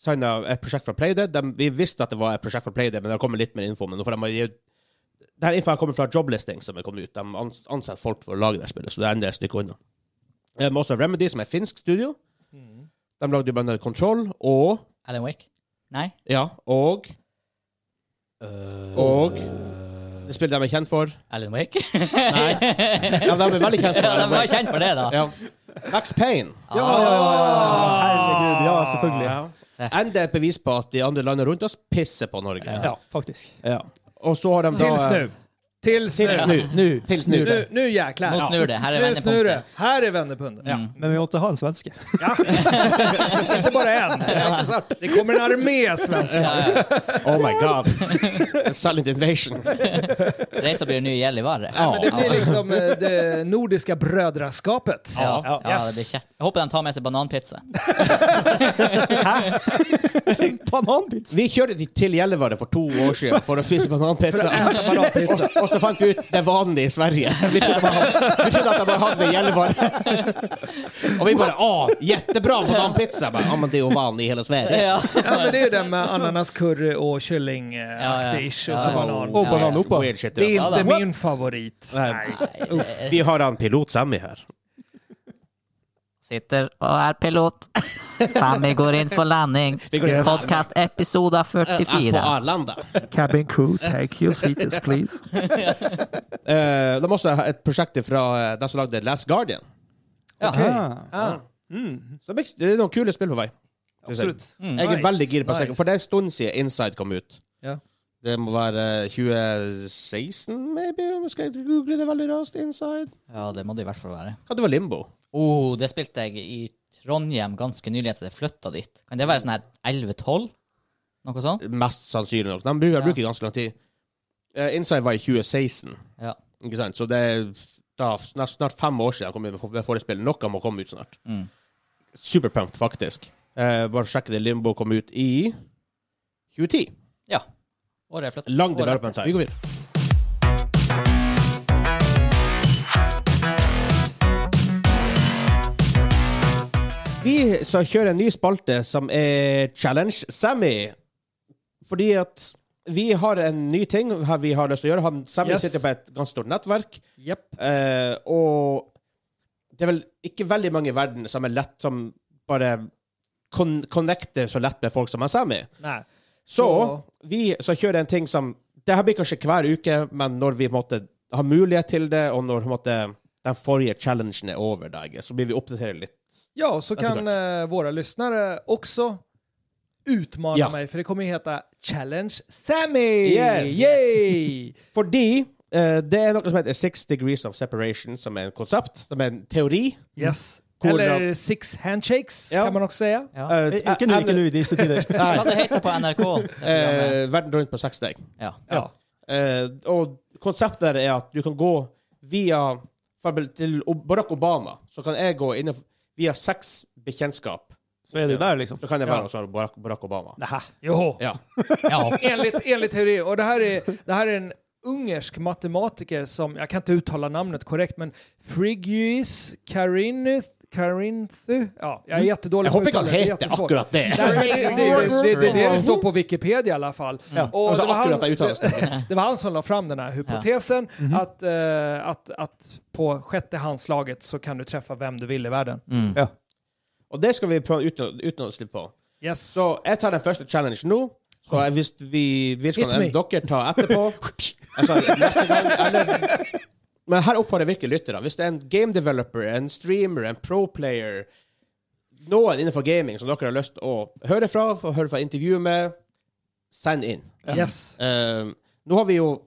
S2: signa et prosjekt fra Playdead. De, vi visste at det var et prosjekt fra Playdead, men det har kommet litt mer info. Men nå får de gi Denne infoen kommer fra joblisting som er kommet ut. De ans- ansetter folk for å lage det spillet, så det er enda et stykke unna. De har også Remedy, som er et finsk studio. De lagde jo blant annet Control og
S3: Alan Wake? Nei?
S2: Ja, og
S3: Eh.
S2: Og Det spillet de er kjent for.
S3: Alan Wake?
S2: Nei. Ja, de er veldig kjent for.
S3: ja, de
S2: Alan
S3: var
S2: Wake.
S3: kjent for det, da.
S2: Ja. Max Payne.
S4: Herregud, Ah. ja, selvfølgelig.
S2: Ja. Enda et bevis på at de andre landene rundt oss pisser på Norge.
S4: Ja, faktisk.
S2: Ja. Og så har de da eh,
S1: Til snu. Til snu.
S2: Til snu. Til snu.
S1: Nu, nu jäklar.
S3: Nå snur det. Her är
S1: Nu snur det.
S3: vändpunkten.
S1: Här är vändpunkten.
S4: Men vi måtte ha en svenske.
S1: Inte bara en. Det kommer en armé svenskar.
S3: Ja, ja.
S2: Oh my god. Silent invasion.
S3: Reisa blir ny Gällivare.
S2: Ja.
S1: Det blir liksom eh, det nordiska brödraskapet.
S3: Ja, ja, det
S1: Yes.
S3: blir kjekt. Jeg håper de tar med seg bananpizza.
S4: Bananpizza!
S2: Vi kjørte til- til Gjellivare for to år siden for å spise bananpizza. og, og så fant vi ut det er vanlig i Sverige. Vi trodde bare, vi trodde at de bare hadde det i Gjellivare. Og vi bare Å, jättebra bananpizza! Bare, ja, men det er jo vanlig i hele Sverige.
S3: Ja.
S1: Ja, men det är ju den med ananas, curry och kyllingaktig
S3: Ja,
S1: och
S3: ja.
S1: så banan.
S4: Og banan oppå.
S2: Weird shit,
S1: Det
S2: ja.
S1: är
S3: Ja,
S1: inte
S3: da.
S1: min favorit.
S2: Nej.
S1: Nej.
S2: Vi har en pilot Sammy her.
S5: Sitter og er pilot. Fammi går inn for landing.
S2: Vi går inn for-
S5: Podcast episode
S2: På
S5: 44.
S2: Arlanda.
S1: Cabin crew, take your seats please.
S2: Eh, de har også et prosjekt fra eh, de som lagde Last Guardian.
S4: Ah,
S2: Så det blir- det er noen kule spill på vei.
S4: absolutt.
S2: Jeg er
S1: Nice,
S2: veldig gira på
S1: nice.
S2: second, for det er en stund siden Inside kom ut.
S1: Ja.
S2: Det må være eh, 2016, maybe? Om jeg skal google det veldig raskt. Inside.
S3: ja, det må det i hvert fall være.
S2: Hva det var Limbo?
S3: Oh, det spilte jeg i Trondheim ganske nylig etter at jeg flytta dit. Kan det være sånn her 11-12? Noe sånt?
S2: Mest sannsynlig nok. De bruker,
S3: Ja.
S2: bruker ganske lang tid. Eh, Inside var i 2016,
S3: Ja.
S2: ikke sant? så det er da, snart, snart fem år siden de kom ut med- med forespillet. Noe må komme ut snart.
S3: Mm.
S2: Superpumped, faktisk. Eh, bare sjekke det. Limbo kom ut i 2010.
S3: ja. Året jeg flytta.
S2: Lang development time. Vi går videre. Vi skal kjøre en ny spalte som er Challenge Sammy. Fordi at vi har en ny ting her vi har lyst til å gjøre. Han, Sammy
S1: Yes.
S2: sitter på et ganske stort nettverk.
S1: Yep.
S2: Eh, og det er vel ikke veldig mange i verden som er lett som bare kon connecter så lett med folk som er Sammy.
S1: Nej.
S2: Så
S1: Så-
S2: vi skal kjøre en ting som Det her blir kanskje hver uke, men når vi på en måte, har mulighet til det, og når på en måte, den forrige challengen er over, da, jeg, så blir vi oppdatert litt.
S1: Ja, så
S2: Jättebra.
S1: kan eh, våra lyssnare också utmana
S2: Ja.
S1: mig, för det kommer ju heta Challenge Sammy!
S2: Yes.
S1: Yay!
S2: Fordi eh, det er noe som heter Six Degrees of Separation, som er en konsept, som er en teori.
S1: Yes.
S2: Cool,
S1: Eller Six Handshakes,
S2: Ja.
S1: kan man också säga.
S3: Ja.
S2: Eh,
S4: Ikke nå, ikke nå i disse tider.
S3: Hva det heter på NRK? det programmet?
S2: eh, verden rundt på seks steg.
S3: Ja.
S1: Ja.
S2: Eh, og konseptet der er at du kan gå via for eksempel Til O- Barack Obama så kan jeg gå innenfor, via seks bekjentskap.
S4: Så er du der, liksom.
S2: Så kan jeg være hos Barack, Barack Obama.
S4: Nei.
S1: Jo.
S2: Ja.
S3: ja.
S1: Enligt, enligt teori. Och det här, är, det här är en ungersk matematiker som, jag kan inte uttala namnet korrekt, men Frigyus Karinth Karinthy? Ja, jag är jättedålig
S2: Jeg håper
S1: på
S2: ikke
S1: uttal,
S2: Mm. han
S1: det är
S2: heter
S1: jättesvårt.
S2: akkurat det.
S1: Nej, men det, det, det, det, det är det det står på Wikipedia i alla fall. Och
S2: Altså,
S1: det var han-
S2: akkurat jeg uttaler det. Mhm.
S1: Det var han som la fram den här hypotesen att, eh, att, att på sjätte handslaget så kan du träffa vem du vill i världen.
S3: Mm.
S4: Ja.
S2: Og det skal vi prøve uten, uten å slippe på.
S1: Yes.
S2: Så jeg tar den første challenge nå. Så jeg- hvis vi vil, skal
S1: Hit me.
S2: dere ta etterpå. Altså, neste gang, eller, men her oppfordrer jeg virkelig lyttere. Hvis det er en game developer, en streamer, en pro player, noen innenfor gaming som dere har lyst til å høre fra, få høre fra intervju med, send inn.
S1: yes.
S2: Eh, nå har vi jo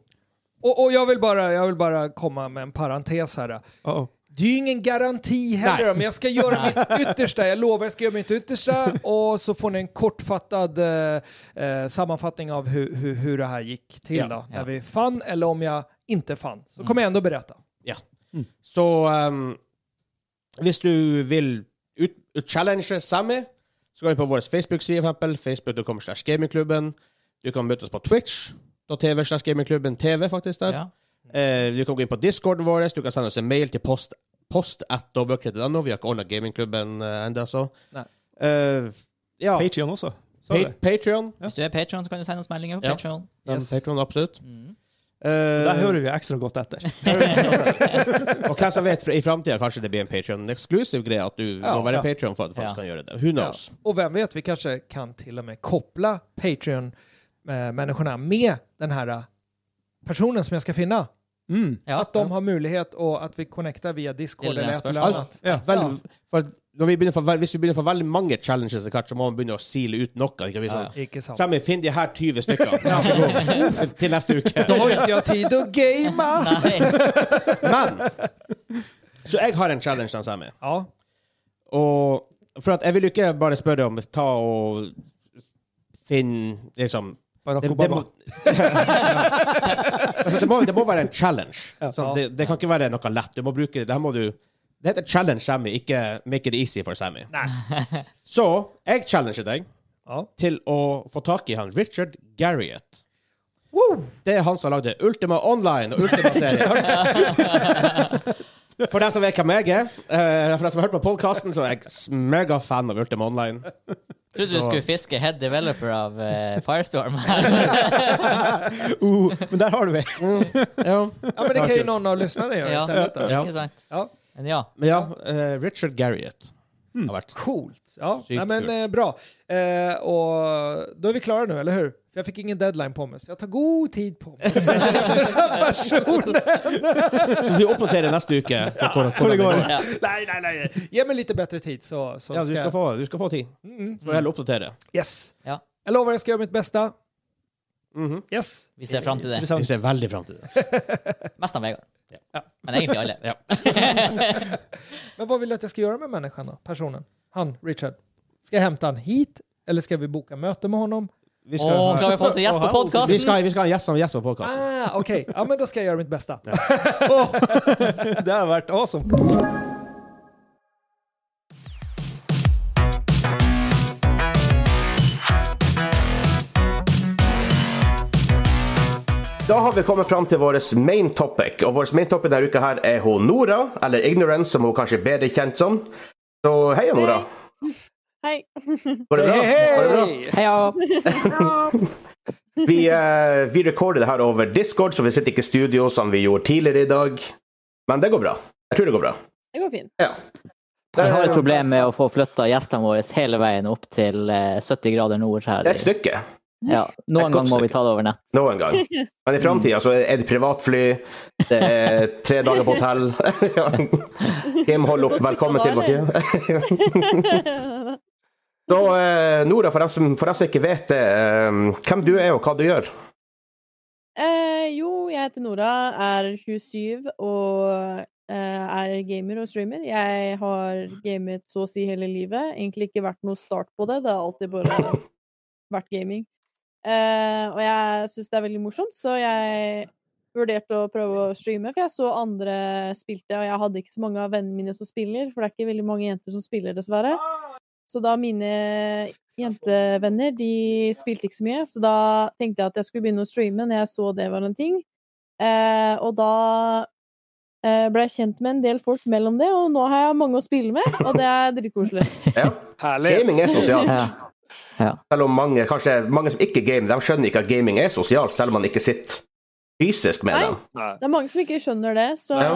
S1: Och, och jag, vill bara, jag vill bara komma med en parentes här.
S4: Uh -oh.
S1: Det är ju ingen garanti
S2: Nej.
S1: heller, men jag ska göra mitt yttersta. Jag lovar, jag ska göra mitt yttersta. Och så får ni en kortfattad eh, eh, sammanfattning av hur, hur, hur det här gick till.
S2: Ja, Mm.
S1: då. När vi fann eller om jag inte fann. Så kommer jag ändå berätta.
S2: Ja. Så um, hvis du vil ut, ut challenge Sammy, så går du på vår Facebook-side, for eksempel. Facebook.com slash gamingklubben. Du kan møte oss på Twitch. TV slash gamingklubben TV, faktisk. der.
S3: Ja.
S2: Eh, du kan gå inn på discorden vår. Du kan sende oss en mail til post, post at dobbeltkredit.no. Vi har ikke ordna gamingklubben eh, ennå, så.
S1: Nei.
S2: Eh, ja.
S4: Patreon også. Så
S2: Pa
S4: det.
S2: Patreon.
S6: Hvis du er Patreon, så kan du sende oss meldinger på
S2: Ja.
S6: Patreon.
S4: Yes.
S2: Patreon, absolutt.
S3: Mm.
S4: Der
S2: Eh,
S4: hører vi ekstra godt etter.
S2: og hvem som vet, for i framtida kanskje det blir en Patreon-eksklusiv greie at du må være
S4: ja.
S2: Patreon for at du faktisk
S6: Ja.
S2: kan gjøre det. Who knows?
S1: Och vem vet, vi kanske kan till och med koppla Patreon-människorna med den här eh, personen som jag ska finna.
S4: Mm.
S6: Ja.
S1: Att de har möjlighet och att vi connectar via Discord
S6: Till
S1: eller
S6: den
S1: ett eller
S6: spörsmål.
S1: annat.
S4: Ja.
S2: Vel, for at når vi begynner for, hvis vi begynner å få veldig mange challenges, etter hvert, så må man begynne å sile ut noe. Ikke? Vi sånn,
S1: Icke sant.
S2: Sammy, finn de her 20 stykker Vær så god. til neste uke.
S1: Då har ju inte jag tid att gamea!
S6: Nei.
S2: Men Så jeg har en challenge, da, Sammy.
S1: Ja,
S2: Og for at jeg vil jo ikke bare spørre om ta og finne liksom
S4: Barack
S2: det, det,
S4: Obama.
S2: må, altså, det, må, det må være en challenge. Sånn, det, det kan ikke være noe lett. Du må bruke det. Det, her må du, det heter challenge Sammy, ikke make it easy for Sammy.
S1: Nei.
S2: Så jeg challenger deg
S1: ja.
S2: til å få tak i han Richard Garriott. Det er han som lagde Ultima Online og Ultima Serie. For den som vet hvem jeg er, eh, for den som har hørt på podkasten, så er jeg megafan av Ultima Online.
S6: Trodde du skulle fiske head developer av eh, Firestorm.
S4: Uh, men der har du meg.
S2: Ja.
S1: ja, men det kan ju någon av lyssnarna göra
S6: ja.
S1: istället. då.
S6: Ikke sant?
S1: Ja.
S6: Men ja.
S2: Men ja, eh, Richard Garriott har vært
S1: Coolt. Ja,
S2: Sykt
S1: Nej, men
S2: kul.
S1: eh, bra. Eh, och då är vi klara nu, eller hur? Jag fick ingen deadline på mig, så jag tar god tid på mig. Så
S2: Så vi oppdaterer neste uke. På hvor,
S4: Hvor det går.
S6: ja.
S1: nej, nej, nej. Ge mig lite bättre tid så, så
S2: Ja, du
S1: ska
S2: skal
S1: jag...
S2: få, du skal få tid. Så får du heller oppdatere.
S1: Yes.
S6: Ja.
S1: Jag lovar, jag ska göra mitt bästa.
S2: Mhm.
S1: Yes.
S6: Vi ser fram til det.
S2: Vi
S4: Interessant.
S2: ser veldig fram til det.
S6: Mest av Vegard. Men egentlig alle.
S2: Ja.
S1: Men vad vill du att jag ska göra med människan då? Personen? Han, Richard? Ska jag hämta han hit? Eller ska vi boka möte med honom?
S2: Vi
S6: Å, klarer vi å få oss en gjest på
S2: vi
S6: podkasten?
S2: skal, vi skal ha en gjest som gjest på podkasten.
S1: Ah, okej. Ja, men då ska jag göra mitt bästa.
S4: Det har vært awesome.
S2: Da har vi kommet fram til vår main topic, og vår main topic denne uka her er hun Nora, eller Ignorance, som hun kanskje er bedre kjent som. Så hei, Nora.
S7: Hei.
S2: Går det bra? Går det bra?
S7: Ja.
S2: Vi, eh, vi recorder det her over Discord, så vi sitter ikke i studio som vi gjorde tidligere i dag. Men det går bra. Jeg tror det går bra.
S7: Det går fint.
S2: Ja.
S3: Vi har et problem med å få flytta gjestene våre hele veien opp til eh, 70 grader nord her.
S2: Det er et stykke.
S3: Ja,
S2: Et
S3: noen
S2: godt
S3: gang må vi
S2: stykke.
S3: ta det over nett.
S2: Noen gang. Men i framtida så er det privatfly, det er tre dager på hotell Ja. Kim, hold opp. Velkommen til vårt hjem. Så eh, Nora, for dem, som, for dem som ikke vet det, eh, hvem du er og hva du gjør?
S7: Eh, jo, jeg heter Nora, er 27 og eh, er gamer og streamer. Jeg har gamet så å si hele livet. Egentlig ikke vært noe start på det, det har alltid bare vært gaming. Eh, og jeg syns det er veldig morsomt, så jeg vurderte å prøve å streame, for jeg så andre spilte, og jeg hadde ikke så mange av vennene mine som spiller, for det er ikke veldig mange jenter som spiller, dessverre. Så da mine jentevenner de spilte ikke så mye, så da tenkte jeg at jeg skulle begynne å streame når jeg så det var en ting. Eh, og da eh, ble jeg kjent med en del folk mellom det, og nå har jeg mange å spille med, og det er dritkoselig.
S2: Ja. Gaming er sosialt.
S3: Ja. Ja.
S2: Selv om mange, kanskje mange som ikke gamer, de skjønner ikke at gaming er sosialt, selv om man ikke sitter fysisk med
S7: Nei.
S2: dem.
S7: Det er mange som ikke skjønner det, så
S2: Ja.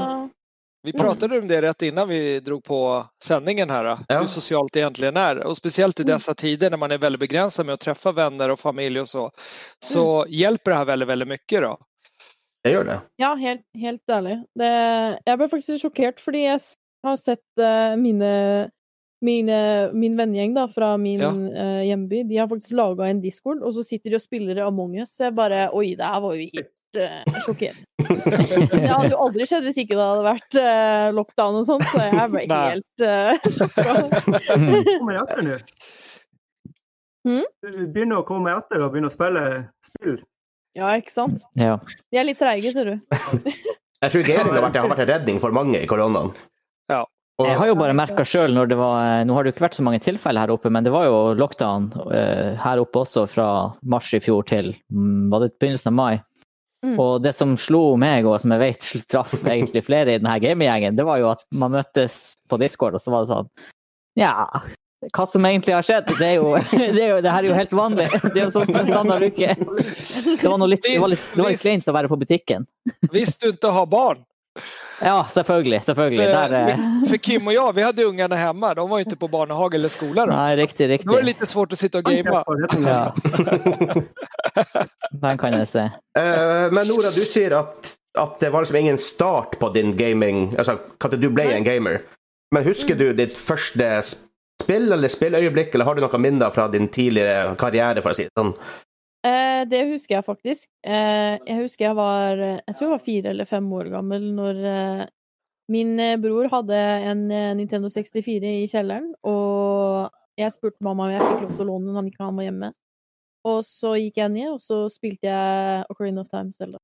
S8: Vi pratade om det rätt innan vi drog på sändningen här,
S2: Ja.
S8: hur socialt det egentligen är. Och speciellt i dessa tider när man är väldigt begränsad med att träffa vänner och familj och så, så hjälper det här väldigt, väldigt mycket. Då.
S2: Det gjør det.
S7: Ja, helt, helt ærlig. Det, jeg ble faktisk sjokkert, fordi jeg s- har sett eh, mine, mine Min vennegjeng da, fra min
S8: Ja.
S7: eh, hjemby. De har faktisk laga en discord, og så sitter de og spiller i Among us. Så jeg bare Oi, det her var jo helt eh, sjokkert. Det hadde jo aldri skjedd hvis ikke det hadde vært eh, lockdown og sånt, så jeg ble
S8: Nei.
S7: helt uh, sjokka.
S3: Mm.
S9: komme etter nå.
S4: Hmm?
S7: Mm?
S9: Du begynner å komme etter og begynne å spille spill.
S7: Ja, ikke sant?
S3: Ja.
S7: De er litt treige, ser du.
S2: Jeg tror gaming har vært, har vært en redning for mange i koronaen.
S8: Ja.
S2: Og,
S3: Jeg har jo bare merka sjøl når det var Nå har det jo ikke vært så mange tilfeller her oppe, men det var jo lockdown eh, her oppe også fra mars i fjor til mm, var det begynnelsen av mai.
S7: Mm.
S3: Og det som slo meg, og som jeg vet traff egentlig flere i denne gaminggjengen, det var jo at man møttes på Discord, og så var det sånn Ja, hva som egentlig har skjedd. Det, er jo, det, er jo, det her er jo helt vanlig. Det er jo sånn standard uke. Det var, noe litt, det var litt, det var litt kleint å være på butikken.
S1: Hvis du inte har barn.
S3: Ja, selvfølgelig. selvfølgelig.
S1: För,
S3: Der, eh,
S1: för Kim och jag, vi hade ungarna hemma. De var ju inte på barnehage eller skola då.
S3: nei, riktig,
S1: Då är det
S3: riktig.
S1: lite svårt att sitta och gamea.
S3: Ja. Den kan jeg se.
S2: Eh, men Nora, du sier at, at det var liksom ingen start på din gaming Altså når du ble en gamer. Men husker du ditt første sp- spill eller spilløyeblikk, eller har du noe minner fra din tidligere karriere, for å si det sånn?
S7: Eh, det husker jeg faktisk. Eh, jeg husker jeg var Jeg tror jeg var fire eller fem år gammel når eh, min eh, bror hadde en eh, Nintendo 64 i kjelleren, og jeg spurte mamma om jeg fikk lov til å låne den, han ikke han var hjemme. Og så gikk jeg ned, og så spilte jeg Ocarina of Time Zelda.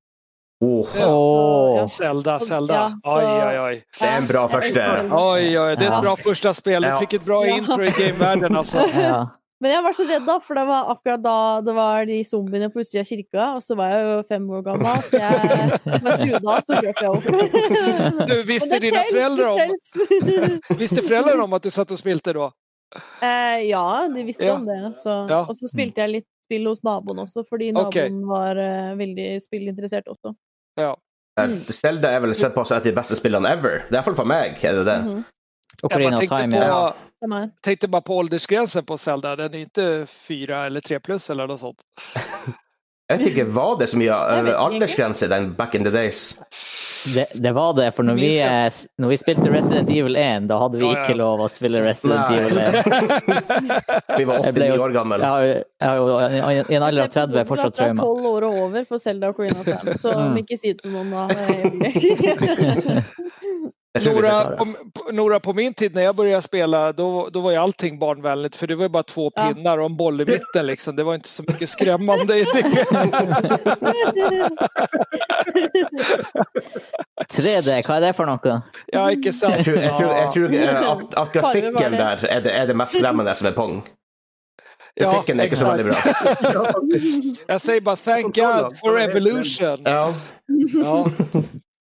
S2: Åh,
S3: Åh.
S1: Zelda, Zelda.
S7: Ja,
S1: Oj,
S7: så-
S1: oj, oj.
S2: det er en bra første
S1: Oj, oj, det är
S3: Ja.
S1: ett bra första spel. Du
S2: Ja.
S1: fick ett bra
S7: Ja.
S1: intro i gamevärlden alltså.
S3: Ja.
S7: Men jeg var så redd, da, for det var akkurat da det var de zombiene på utsida av kirka, og så var jeg jo fem år gammel, så jeg, når jeg skrudde av, så løp jeg opp.
S1: Du, visste dina föräldrar om,
S7: om
S1: visste föräldrar om att du satt och spilte då?
S7: Eh, ja, de visste
S1: Ja.
S7: om det. Så.
S1: Ja.
S7: Og så spilte jeg litt spill hos naboen også, fordi naboen
S1: Ok.
S7: var eh, veldig spillinteressert også.
S2: Selda eh, er vel sett på som et av de beste spillene ever. Det er iallfall for meg. er det det?
S7: Mhm,
S1: Jag bara
S3: Ocarina of
S1: tänkte
S3: Time, ja.
S1: på,
S7: som er.
S1: tänkte bara på åldersgränsen på Zelda. Den är ju inte fyra eller tre plus eller något sånt.
S2: Jeg vet ikke, var det så mye
S7: Jeg vet
S2: eh,
S7: ikke.
S2: aldersgrense den back in the days?
S3: Det, det var det, for når vi,
S1: Minns
S3: eh, s- når vi spilte Resident Evil 1, da hadde vi
S1: Ja, ja.
S3: ikke lov å spille Resident
S2: Nei.
S3: Evil 1.
S2: Vi var
S3: Jeg ble jo-
S2: 89 år gamle.
S3: Jeg har, jo- jeg har jo i en- i en alder av 30 fortsatt
S7: Det er
S3: traumer.
S7: tolv år og over for Selda og Corina Sam, så om ikke si det til noen da. eh, Julie.
S2: Jeg tror vi
S1: Nora,
S2: tar det.
S1: på, på- Nora, på min tid när jag började spela, då, då var ju allting barnvänligt för det var ju bara två
S7: Ja.
S1: pinnar och en boll i mitten liksom. Det var inte så mycket skrämmande i det.
S3: 3D, hva er det for noe?
S1: Ja, ikke
S2: Jeg
S1: sant?
S2: tror, jeg tror, jeg tror eh, at, at grafikken
S7: Farve var
S2: der er det, er det mest skremmende med Pong.
S1: Ja,
S2: Grafikken er ikke så
S1: exakt.
S2: veldig bra.
S1: Jag säger bara thank God for evolution.
S2: Ja.
S1: Ja.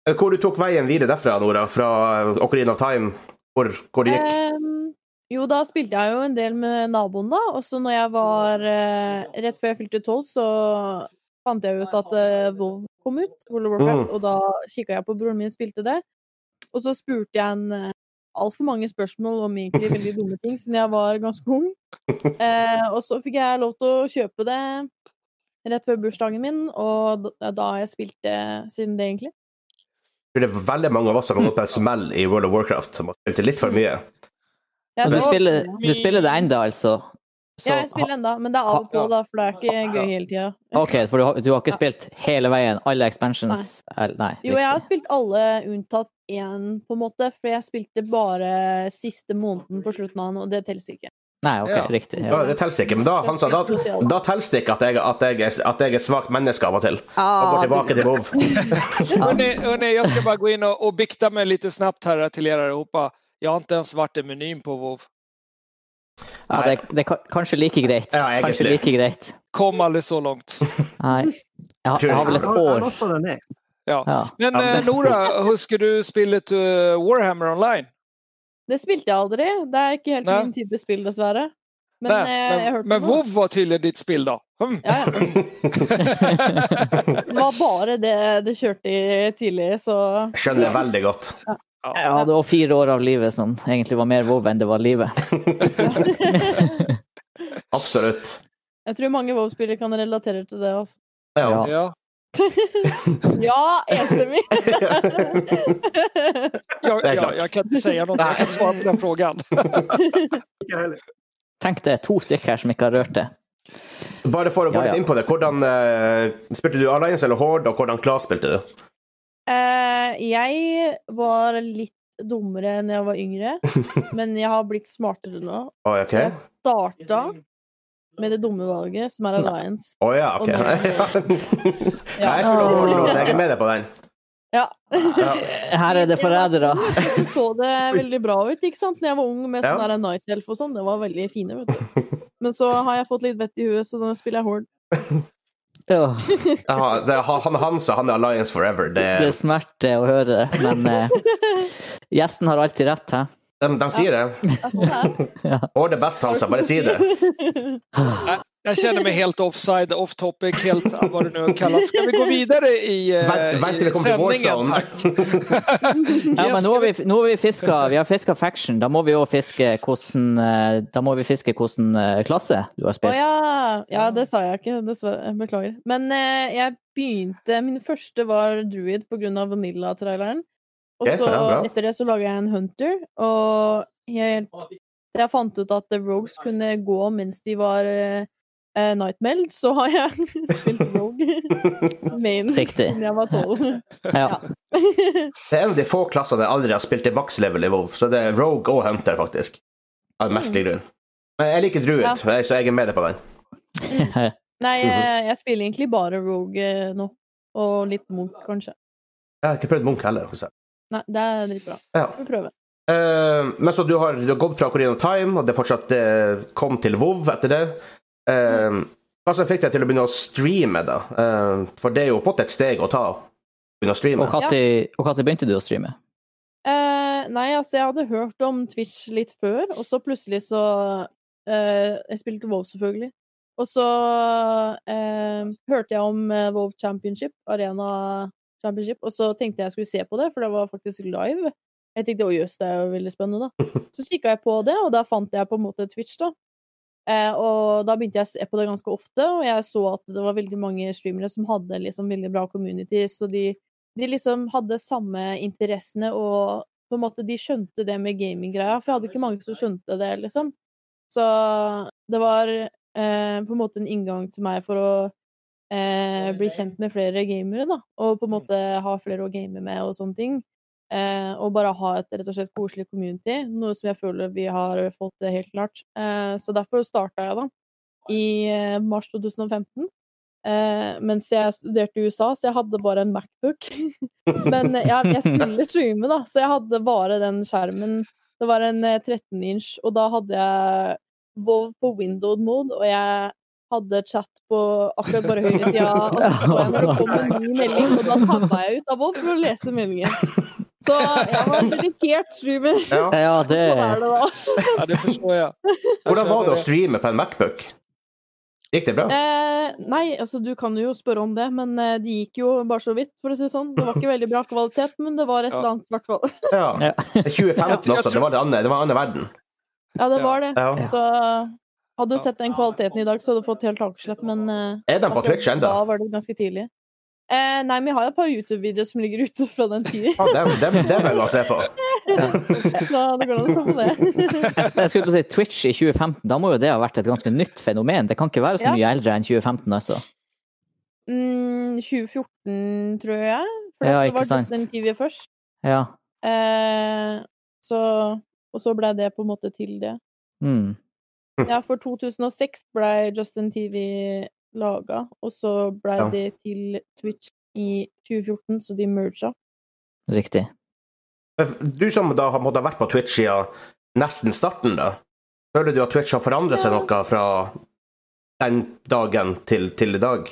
S2: Eh, Hvor du tok veien videre derfra, Nora? Fra eh, Ocarina of Time? Hvor, hvor det
S7: Eh.
S2: gikk?
S7: Em, jo, da spilte jeg jo en del med naboen, da. Og så når jeg var eh, Rett før jeg fylte tolv, så fant jeg ut at eh, WoW kom ut, World of Warcraft, og da kikka jeg på broren min spilte det. Og så spurte jeg en eh, altfor mange spørsmål om egentlig veldig dumme ting, siden jeg var ganske ung. Eh, og så fikk jeg lov til å kjøpe det rett før bursdagen min, og da- da har jeg spilt det siden det, egentlig.
S2: Jeg tror det er veldig mange av oss som har gått på en smell i World of Warcraft, som har spilt litt for mye.
S7: Jeg
S3: Og du
S7: spilte-
S3: spiller, du spiller det enda, altså? Så,
S7: ja, jeg spiller enda, men det er av og på, da, for det er ikke gøy hele tida.
S3: OK, for du har, du har ikke spilt hele veien? Alle expansions? Eller- Nei.
S7: Jo, jeg har
S3: riktig.
S7: spilt alle unntatt én, på en måte, for jeg spilte bare siste måneden på slutten av den, og det teller ikke.
S3: Nei,
S1: Ja.
S3: OK, riktig.
S2: Ja,
S3: Ja.
S2: det teller ikke. Men da, han sa, da, da teller det ikke at jeg, at, jeg, er- at jeg er et svakt menneske av og til.
S7: Ah.
S2: Og går tilbake til WoW.
S1: Hörrni, hörrni, jag ska bara gå in och, och bikta mig lite snabbt här till er allihopa. Jag har inte ens varit i menyn på WoW.
S3: Ja, det, det er ka- kanskje like greit.
S2: Ja,
S3: Kanskje
S2: egentlig.
S3: like greit.
S1: Kom aldrig så långt.
S3: Nei. Jeg har, jeg har vel et år.
S10: Lasta den ned.
S1: Ja.
S3: Ja.
S1: Men
S2: Ja, det-
S1: eh, Nora, husker du spillet eh, Warhammer online?
S7: Det spilte jeg aldri. Det er ikke helt
S1: Nei.
S7: min type spill, dessverre. Men
S1: Nej,
S7: eh, jeg hørte
S1: men
S7: om det.
S1: WoW var tydligen ditt spill då? Hmm.
S7: Ja, ja. Det var bare det det kjørte i tidlig, så
S2: Skjønner det veldig godt.
S3: Jeg hadde også fire år av livet som egentlig var mer vov enn det var livet.
S2: Absolutt.
S7: jeg tror mange WoW-spillere kan relatere til det. Altså.
S2: Ja.
S3: Ja.
S1: Ja.
S7: Ja, enstemmig!
S1: Ja,
S2: Det är
S1: ja,
S2: klart.
S1: jag kan inte säga något, jag kan inte svara på den frågan.
S10: Ikke heller.
S3: Tenk det, to stykker her som ikke har rørt det.
S2: Bare for å gå
S3: Ja, ja.
S2: litt inn på det, hvordan eh, spilte du Alliance eller Horde, og hvordan Class spilte du?
S7: Eh, jeg var litt dummere enn jeg var yngre, men jeg har blitt smartere nå.
S2: Å, ok.
S7: Så jeg starta med det dumme valget, som er Alliance.
S2: Å ja,
S7: Og
S2: ok.
S7: nå-
S2: Ja. Nei, jeg skulle ha Horde, så jeg er med deg på den.
S7: Ja.
S2: Ja.
S3: Her er det forrædere.
S7: Så så det veldig bra ut, ikke sant? Når jeg var ung med
S2: Ja.
S7: sånn der Night Elf og sånn. Det var veldig fine, vet du. Men så har jeg fått litt vett i huet, så nå spiller jeg Horde.
S3: Åh,
S2: Ja, det, han han Hansa, han er Alliance Forever. Det,
S3: Det smerter å høre, men eh, gjesten har alltid rett, hæ?
S2: De, de sier det.
S7: Det er sånn det er.
S2: Or the best, Hansa. Bare si det.
S11: Jag- Jag känner mig helt offside, off topic, helt
S1: eh,
S11: ah, vad det nu kallas. Ska vi gå vidare i, eh,
S2: Vent, vent til
S11: i
S2: det kommer til
S11: sändningen?
S2: Warzone.
S11: tack?
S3: Ja,
S11: Yes,
S3: men nå
S11: ska
S3: har vi, nå har vi fiska vi har fiska faction. Da må vi òg fiske hvordan eh, Da må vi fiske hvordan eh, klasse du har
S7: Å
S3: spilt.
S7: ja. ja, det sa jeg ikke, dessverre. Beklager. Men eh, jeg begynte Min første var Druid på grunn av Vanilla-traileren. Og
S2: Ja,
S7: så
S2: bra.
S7: etter det så laga jeg en Hunter, og helt Jeg fant ut at The Rogues kunne gå mens de var uh, Nightmeld, så har jeg spilt Rogue main
S3: Riktig.
S7: siden jeg var tolv.
S3: Ja.
S2: Det er en av de få klassene jeg aldri har spilt i makslevel i WoW, så det er Rogue og Hunter, faktisk. Av en merkelig grunn. Men jeg liker Druid,
S7: Ja.
S2: så jeg er med deg på den.
S7: Nei,
S2: Mhm.
S7: jeg, jeg spiller egentlig bare Rogue eh, nå. Og litt Munch, kanskje.
S2: Jeg har ikke prøvd Munch heller. hos jeg.
S7: Nei, det er dritbra.
S2: Ja.
S7: Vi prøver.
S2: Eh, men så du har, du har gått fra Ocarina of Time, og det fortsatt eh, kom til WoW etter det. Eh, Hva som fikk deg til å begynne å streame, da? Eh, for det er jo på en måte et steg å ta. Begynne å streame.
S3: Og når begynte du å streame?
S7: Eh, nei, altså, jeg hadde hørt om Twitch litt før, og så plutselig så eh, Jeg spilte WoW, selvfølgelig. Og så eh, hørte jeg om eh, WoW Championship, Arena Championship, og så tenkte jeg jeg skulle se på det, for det var faktisk live. Jeg tenkte å jøss, det er jo veldig spennende, da. Så kikka jeg på det, og da fant jeg på en måte Twitch, da. Eh, og da begynte jeg å se på det ganske ofte, og jeg så at det var veldig mange streamere som hadde liksom veldig bra communities, og de de liksom hadde samme interessene, og på en måte de skjønte det med gaminggreia, for jeg hadde ikke mange som skjønte det, liksom. Så det var eh, på en måte en inngang til meg for å eh, bli kjent med flere gamere, da, og på en måte ha flere å game med og sånne ting. Eh, og bare ha et rett og slett koselig community, noe som jeg føler vi har fått eh, helt klart. Eh, så derfor starta jeg, da, i eh, mars 2015. Eh, mens jeg studerte i USA, så jeg hadde bare en Macbook. Men eh, jeg, jeg skulle streame, da, så jeg hadde bare den skjermen. Det var en eh, 13 inch, og da hadde jeg Vov på windowed mode, og jeg hadde chat på akkurat bare høyresida. Og så så jeg når det kom en ny melding, og da tabba jeg ut av Vov for å lese meldingen. Så jeg var en dedikert streamer.
S2: Ja.
S3: Ja, det
S7: Sånn er det, da.
S11: Ja, det förstår jag. Jag
S2: Hvordan var
S11: känner
S2: det å streame på en Macbook? Gikk det bra?
S7: Eh, nei, altså du kan jo spørre om det, men eh, det gikk jo bare så vidt, for å si det sånn. Det var ikke veldig bra kvalitet, men det var et
S11: Ja.
S7: eller annet, i hvert fall.
S2: Ja.
S3: Ja.
S2: 2015 også, det var det andre, det var andre verden.
S7: Ja, det var det.
S2: Ja.
S7: Så hadde du sett den kvaliteten i dag, så hadde du fått helt akeslett, men eh,
S2: Er den på
S7: akkurat
S2: Twitch enda?
S7: Da var det ganske tidlig. Eh, nei, men jeg har et par YouTube-videoer som ligger ute fra den tida,
S2: Ja, dem, dem, dem er bra å se på.
S7: så det går an å se på det.
S3: Jeg skulle til å si Twitch i 2015, da må jo det ha vært et ganske nytt fenomen. Det kan ikke være så
S7: Ja.
S3: mye eldre enn 2015, altså.
S7: Mm, 2014, tror jeg. For
S3: Ja,
S7: det
S3: ikke
S7: var
S3: sant.
S7: Destiny TV først.
S3: Ja.
S7: Eh, så, og så ble det på en måte til det.
S3: Mm.
S7: Ja, for 2006 blei Justin TV laga, og så blei
S2: Ja.
S7: det til Twitch i 2014, så de merga.
S3: Riktig.
S2: Du som da har måttet ha vært på Twitch siden nesten starten, da. Føler du at Twitch har forandret seg noe fra den dagen til, til i dag?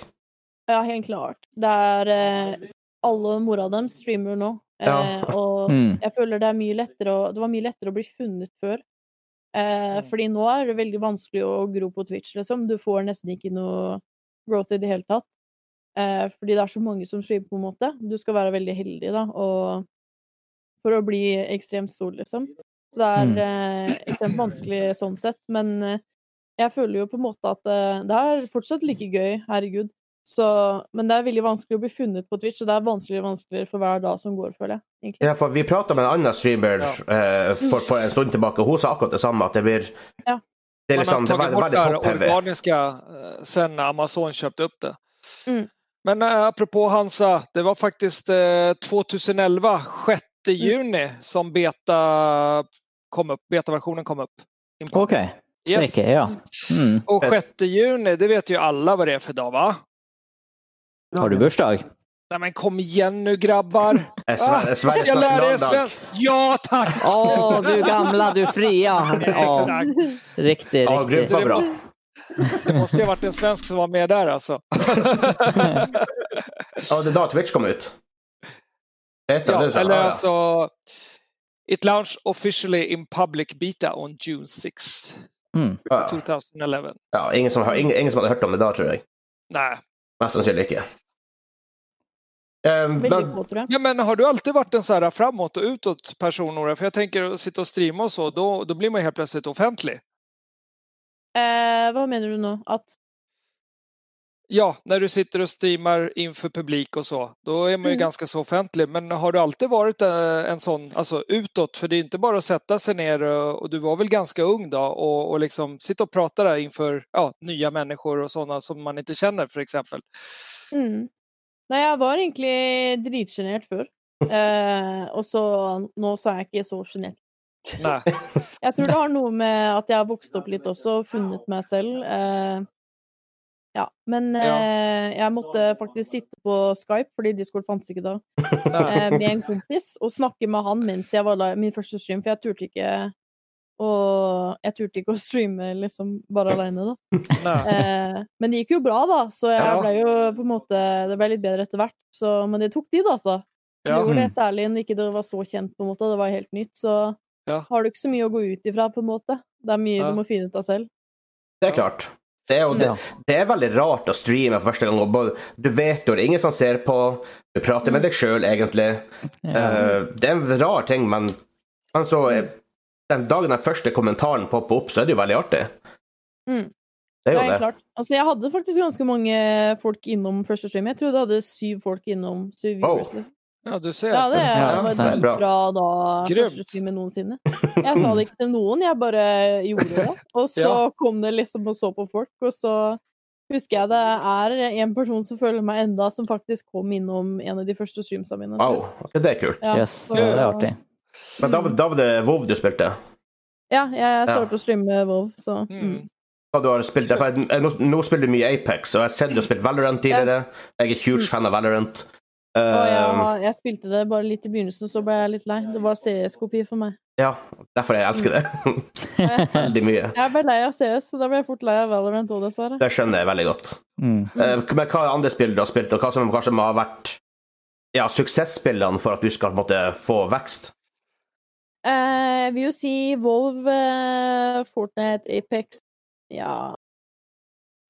S7: Ja, helt klart. Det er eh, Alle mora dem streamer nå,
S2: Ja.
S7: eh, og
S3: Mm.
S7: jeg føler det er mye lettere å, det var mye lettere å bli funnet før. Eh, fordi nå er det veldig vanskelig å gro på Twitch, liksom. Du får nesten ikke noe growth i det hele tatt. Eh, fordi det er så mange som streamer, på en måte. Du skal være veldig heldig, da, og for å bli ekstremt stor, liksom. Så det er
S3: Mm.
S7: eh, ekstremt vanskelig sånn sett, men eh, jeg føler jo på en måte at eh, det er fortsatt like gøy, herregud. Så, men det er veldig vanskelig å bli funnet på Twitch, og det er vanskeligere og vanskeligere for hver dag som går, føler jeg. egentlig.
S2: Ja, for vi pratet med en annen streamer eh, for, for en stund tilbake, og hun sa akkurat det samme, at det blir
S7: Ja.
S2: Det er
S11: Man
S2: liksom
S11: har
S2: det er
S11: tagit
S2: veldig,
S11: bort det
S2: veldig
S11: här
S2: topp-heavy.
S11: organiska eh, sen när Amazon köpte upp det.
S7: Mm.
S11: Men eh, apropå Hansa, det var faktiskt eh, 2011, 6 juni, som beta kom upp, betaversionen kom upp. Import.
S3: OK.
S11: Yes.
S3: Snake, ja. Mm.
S11: Och 6 juni, det vet ju alla vad det är för dag va?
S3: Har du bursdag?
S11: Nej men kom igen nu grabbar!
S2: Eh, Sverre-
S11: Ah,
S2: Sverre
S11: jag lär
S2: snakker
S11: er
S2: landdag.
S11: svenska! Ja tack!
S3: Å, du gamla, du fria! Å,
S11: Exakt.
S3: riktig,
S2: Ja,
S3: riktig.
S2: grymt var bra.
S11: Det måste ju ha varit en svensk som var med där alltså.
S2: Ja, det er da Twitch kom ut. Etter,
S11: Ja,
S2: det, sa-
S11: eller
S1: altså,
S2: ah, ja.
S11: alltså,
S1: It launched officially in public beta on June 6,
S3: Mm.
S2: Ah, Ja.
S1: 2011.
S2: Ja, ingen, som, har- ingen, ingen som hadde hørt om det da, tror jeg.
S1: Nej.
S2: Mest sannsynlig ikke. Eh,
S7: Veldig
S2: men,
S7: få, tror jeg.
S1: Ja, men har du alltid varit en så här framåt och utåt person, Nora? För jag tänker att sitta och streama och så, då, då blir man ju helt plötsligt offentlig.
S7: Eh, hva mener du nå? At
S1: Ja, när du sitter och streamar inför publik och så, då är man ju
S7: Mm.
S1: ganska så offentlig. Men har du alltid varit eh, en sån, alltså utåt, för det är inte bara att sätta sig ner och, och du var väl ganska ung då och, och liksom sitta och prata där inför ja, nya människor och sådana som man inte känner för exempel.
S7: Mm. Nei, jeg var egentlig dritsjenert før. Eh, og så nå så er jeg ikke så sjenert.
S1: Nej.
S7: Jeg tror det har noe med at jeg har vokst opp litt også, og funnet meg selv. Eh, ja. Men eh, jeg måtte faktisk sitte på Skype, fordi Discord fantes ikke da,
S1: Nej.
S7: eh, med en kompis, og snakke med han mens jeg var live, min første stream, for jeg turte ikke å, jeg turte ikke å streame liksom bare aleine, da.
S1: Nej.
S7: Eh, men det gikk jo bra, da, så jeg
S1: Ja.
S7: ble jo på en måte Det ble litt bedre etter hvert, så, men det tok tid, altså. Det
S1: Ja.
S7: Gjorde det,
S2: Mm.
S7: særlig når ikke det var så kjent, på en måte, det var helt nytt, så
S1: Ja.
S7: har du ikke så mye å gå ut ifra, på en måte. Det er mye
S1: Ja.
S7: du må finne ut av selv.
S2: det er klart. Det er,
S7: Sånn,
S2: jo, det,
S3: Ja.
S2: det er veldig rart å streame for første gang. og bare- Du vet jo det er ingen som ser på, du prater
S7: Mm.
S2: med deg sjøl, egentlig. Eh, det er en rar ting, men, men så eh, Den dagen den første kommentaren popper opp, så er det jo veldig artig. Det
S7: Mm.
S2: er jo
S7: Det er
S2: det.
S7: helt klart. Altså, jeg hadde faktisk ganske mange folk innom første stream. Jeg trodde jeg hadde syv folk innom. Syv
S2: Wow.
S7: viewers, liksom.
S1: Ja, du ser.
S7: Ja, det
S3: Ja,
S7: var
S3: så det
S2: er bra.
S7: dritbra da
S1: Grymt.
S7: første streamen noensinne. Jeg sa det ikke til noen, jeg bare gjorde det. Og så
S1: Ja.
S7: kom det liksom og så på folk, og så husker jeg det er en person som følger meg enda, som faktisk kom innom en av de første streamsa mine.
S2: Wow, ok, det er kult.
S7: Ja,
S3: Yes,
S7: så-
S3: det er artig.
S2: Men da, da var det WoW du spilte?
S7: Ja, jeg startet å streame WoW, så mm.
S1: Mm.
S2: Hva du har spilt? For jeg, jeg, nå, nå spiller du mye Apex, og jeg har sett du har spilt Valorant tidligere. Jeg er huge fan av Valorant.
S7: Og jeg,
S3: Um.
S2: Eh,
S7: har- jeg spilte det bare litt i begynnelsen, så ble jeg litt lei. Det var CS-kopi for meg.
S2: ja, derfor jeg elsker det. Veldig mye.
S7: Jeg ble lei av CS, så da ble jeg fort lei av Valorant òg, dessverre.
S2: Det skjønner jeg veldig godt.
S3: Mm.
S2: Eh, men hva andre spill du har spilt, og hva som kanskje må ha vært ja, suksessspillene for at du skal på en måte, få vekst?
S7: Eh, jeg vil jo si Vov, eh, Fortnite, Apex Ja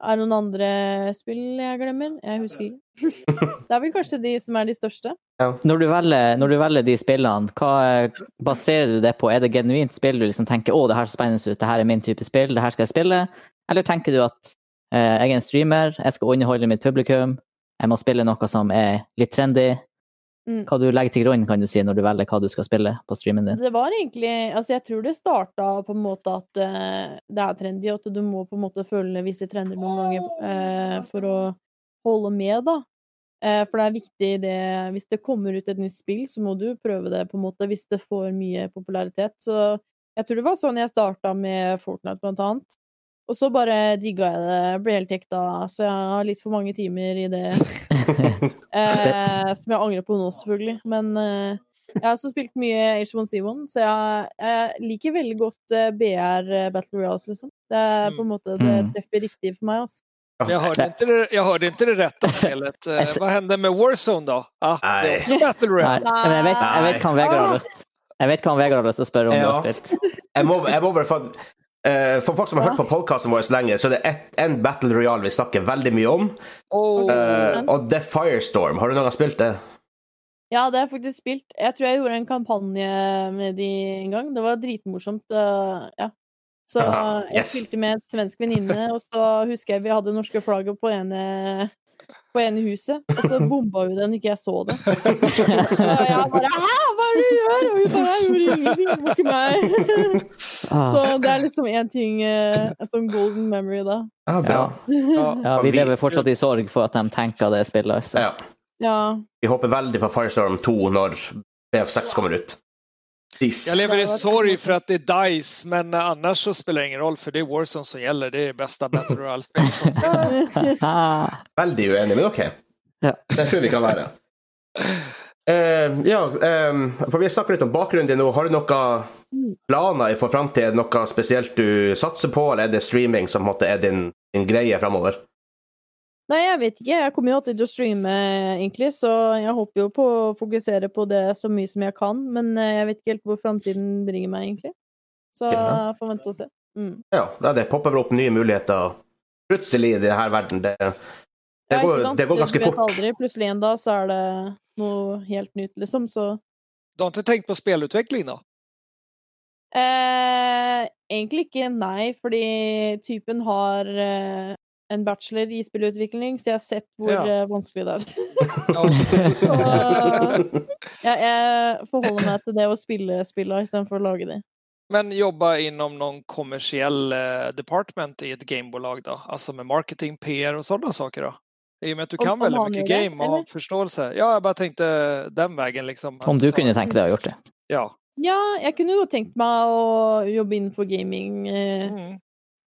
S7: Er det noen andre spill jeg glemmer? Jeg husker ikke. det er vel kanskje de som er de største.
S3: Når du, velger, når du velger de spillene, hva eh, baserer du det på? Er det genuint spill du liksom tenker å, det her ser spennende ut, det her er min type spill, det her skal jeg spille? Eller tenker du at eh, jeg er en streamer, jeg skal underholde mitt publikum, jeg må spille noe som er litt trendy?
S7: Mm.
S3: Hva du legger til grunn, kan du si, når du velger hva du skal spille på streamen din?
S7: Det var egentlig Altså, jeg tror det starta på en måte at eh, det er trendy, og at du må på en måte følge visse trender noen ganger eh, for å holde med, da. Eh, for det er viktig det Hvis det kommer ut et nytt spill, så må du prøve det, på en måte, hvis det får mye popularitet. Så jeg tror det var sånn jeg starta med Fortnite, blant annet. Og så bare digga jeg det, ble helt hekta, så jeg har litt for mange timer i det. eh, som jeg angrer på nå, selvfølgelig. Men eh, jeg har også spilt mye H1C1, så jeg, jeg liker veldig godt eh, BR eh, Battle Royals, liksom. Det er på en måte Det
S3: Mm.
S7: treffer riktig for meg, altså.
S1: Jag hörde, inte det, jag hörde inte det rätta spelet. Eh, Vad hände med Warzone då? Ah, det är
S2: Nej.
S1: också Battle
S3: Nei,
S1: Royale.
S3: men jeg vet, jeg vet hva han Vegard har lyst Jeg vet hva han Vegard har lyst til å spørre om du har
S2: Ja.
S3: spilt.
S2: Jeg må, jeg må bare få eh, For folk som har hørt på podkasten vår så lenge, så er det ett- en Battle Royale vi snakker veldig mye om,
S1: Oh,
S2: eh, og det er Firestorm. Har du noen gang spilt det?
S7: Ja, det har jeg faktisk spilt. Jeg tror jeg gjorde en kampanje med de en gang. Det var dritmorsomt. øh, ja. Så
S2: Ah,
S7: jeg
S2: yes.
S7: spilte med en svensk venninne, og så husker jeg vi hadde norske flagget på ene på ene huset, og så bomba hun den, ikke jeg så det. Og jeg bare 'hæ, hva er det du gjør?' Og hun bare 'jeg gjorde ingenting, det var ikke meg'.
S3: Ah,
S7: Så det er liksom én ting, eh, en sånn golden memory da.
S2: Ja,
S3: ja.
S1: ja.
S3: ja, vi lever fortsatt i sorg for at de tenker det spillet.
S2: Ja.
S3: Altså.
S7: Ja.
S2: Vi håper veldig på Firestorm 2 når BF6 kommer ut. Please.
S1: Jag lever i sorg för att det är DICE, men eh, annars så spelar det ingen roll för det är Warzone som gäller. Det är det bästa Battle Royale-spelet som finns.
S3: Ah,
S2: Veldig uenig, men OK.
S3: Ja.
S2: Det tror jeg vi kan være. Eh, ja, eh, for vi snakker litt om bakgrunnen din nå. Har du noen planer for framtiden? Noe spesielt du satser på, eller er det streaming som på en måte er din, din greie framover?
S7: Nei, jeg vet ikke. Jeg kommer jo alltid til å streame, egentlig, så jeg håper jo på å fokusere på det så mye som jeg kan, men eh, jeg vet ikke helt hvor framtiden bringer meg, egentlig. Så
S2: Ja.
S7: jeg får vente og se. Mm.
S2: Ja, da det popper vel opp nye muligheter plutselig i denne verden. Det, det,
S7: Ja, ikke
S2: går,
S7: sant?
S2: det går ganske
S7: Du vet
S2: fort.
S7: aldri. Plutselig en dag så er det noe helt nytt, liksom, så
S11: Du har ikke tenkt på spillutvikling, da?
S7: Eh, egentlig ikke, nei, fordi typen har eh, en bachelor i spillutvikling, så jeg har sett hvor
S11: Ja.
S7: eh, vanskelig det er.
S11: Ja.
S7: Så jeg, jeg forholder meg til det å spille spilla istedenfor å lage de.
S11: Men jobba inom noen kommersiell eh, department i et gamebolag, da? Altså med marketing, PR og sånne saker, da? I og med at du
S7: Om-
S11: kan
S7: om
S11: veldig
S7: han
S11: mye
S7: gjør det,
S11: game og har
S7: eller?
S11: forståelse. Ja, jeg bare tenkte den veien, liksom.
S3: Om du kunne tenke deg å ha gjort det.
S11: Ja.
S7: Ja, jeg kunne jo tenkt meg å jobbe innenfor gaming eh,
S11: Mm,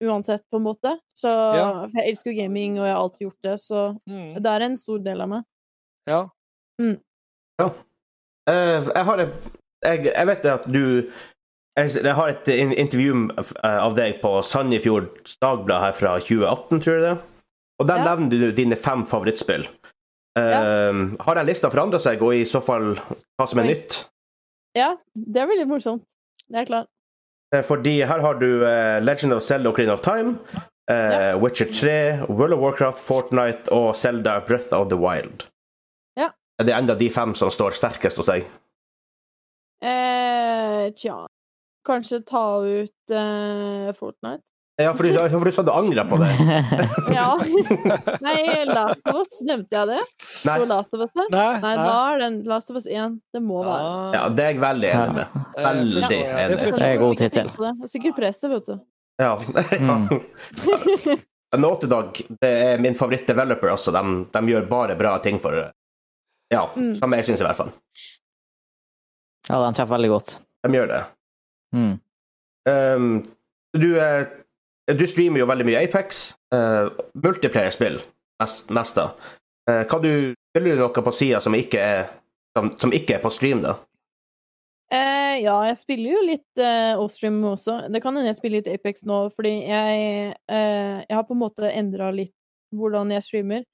S7: uansett, på en måte. Så
S11: Ja.
S7: for Jeg elsker jo gaming, og jeg har alltid gjort det, så
S11: mm,
S7: det er en stor del av meg.
S11: ja.
S2: Eh, jeg har et jeg, jeg vet at du jeg, jeg har et in- intervju av- eh, av deg på Sandefjord Dagblad her fra 2018, tror jeg det. er. Og der
S7: Ja.
S2: nevner du dine fem favorittspill. Eh, Har den lista forandra seg, og i så fall hva som er
S7: Oi.
S2: nytt?
S7: Ja, det er veldig morsomt. Jeg er klar.
S2: Eh, Fordi her har du eh, Legend of Zelda Ocarina of Time, eh,
S7: Ja.
S2: Witcher 3, World of Warcraft, Fortnite og Zelda Breath of the Wild.
S7: Ja.
S2: Er Det er enda de fem som står sterkest hos deg.
S7: Eh, tja Kanskje ta ut eh, Fortnite?
S2: Ja, for du, ja, for du sa du angra på det.
S7: Ja. Nei, Last of Us, nevnte jeg det?
S2: Nei.
S7: Nei, Last of Us her?
S11: Nei,
S7: Nei, da er den Last of Us 1. Det må være.
S2: Ja, det er jeg veldig enig med.
S11: eh,
S2: veldig enig.
S11: enig.
S3: Det er god tittel.
S7: Tenk på Det Det er sikkert presset, vet du.
S2: Ja.
S3: Mm.
S2: Nåtedag det er min favoritt-developer, altså. De, de gjør bare bra ting for Ja,
S7: Mm.
S2: som jeg syns, i hvert fall.
S3: Ja, den treffer veldig godt.
S2: De gjør det.
S3: Mm.
S2: Um, du, eh, du streamer jo veldig mye Apex. Uh, Multiplayer-spill, mest, mest da. Eh, hva du, spiller du noe på sida som, ikke er- som, som ikke er på stream, da?
S7: Eh, ja, jeg spiller jo litt eh, offstream også. Det kan hende jeg spiller litt Apex nå, fordi jeg, eh, jeg har på en måte endra litt hvordan jeg streamer.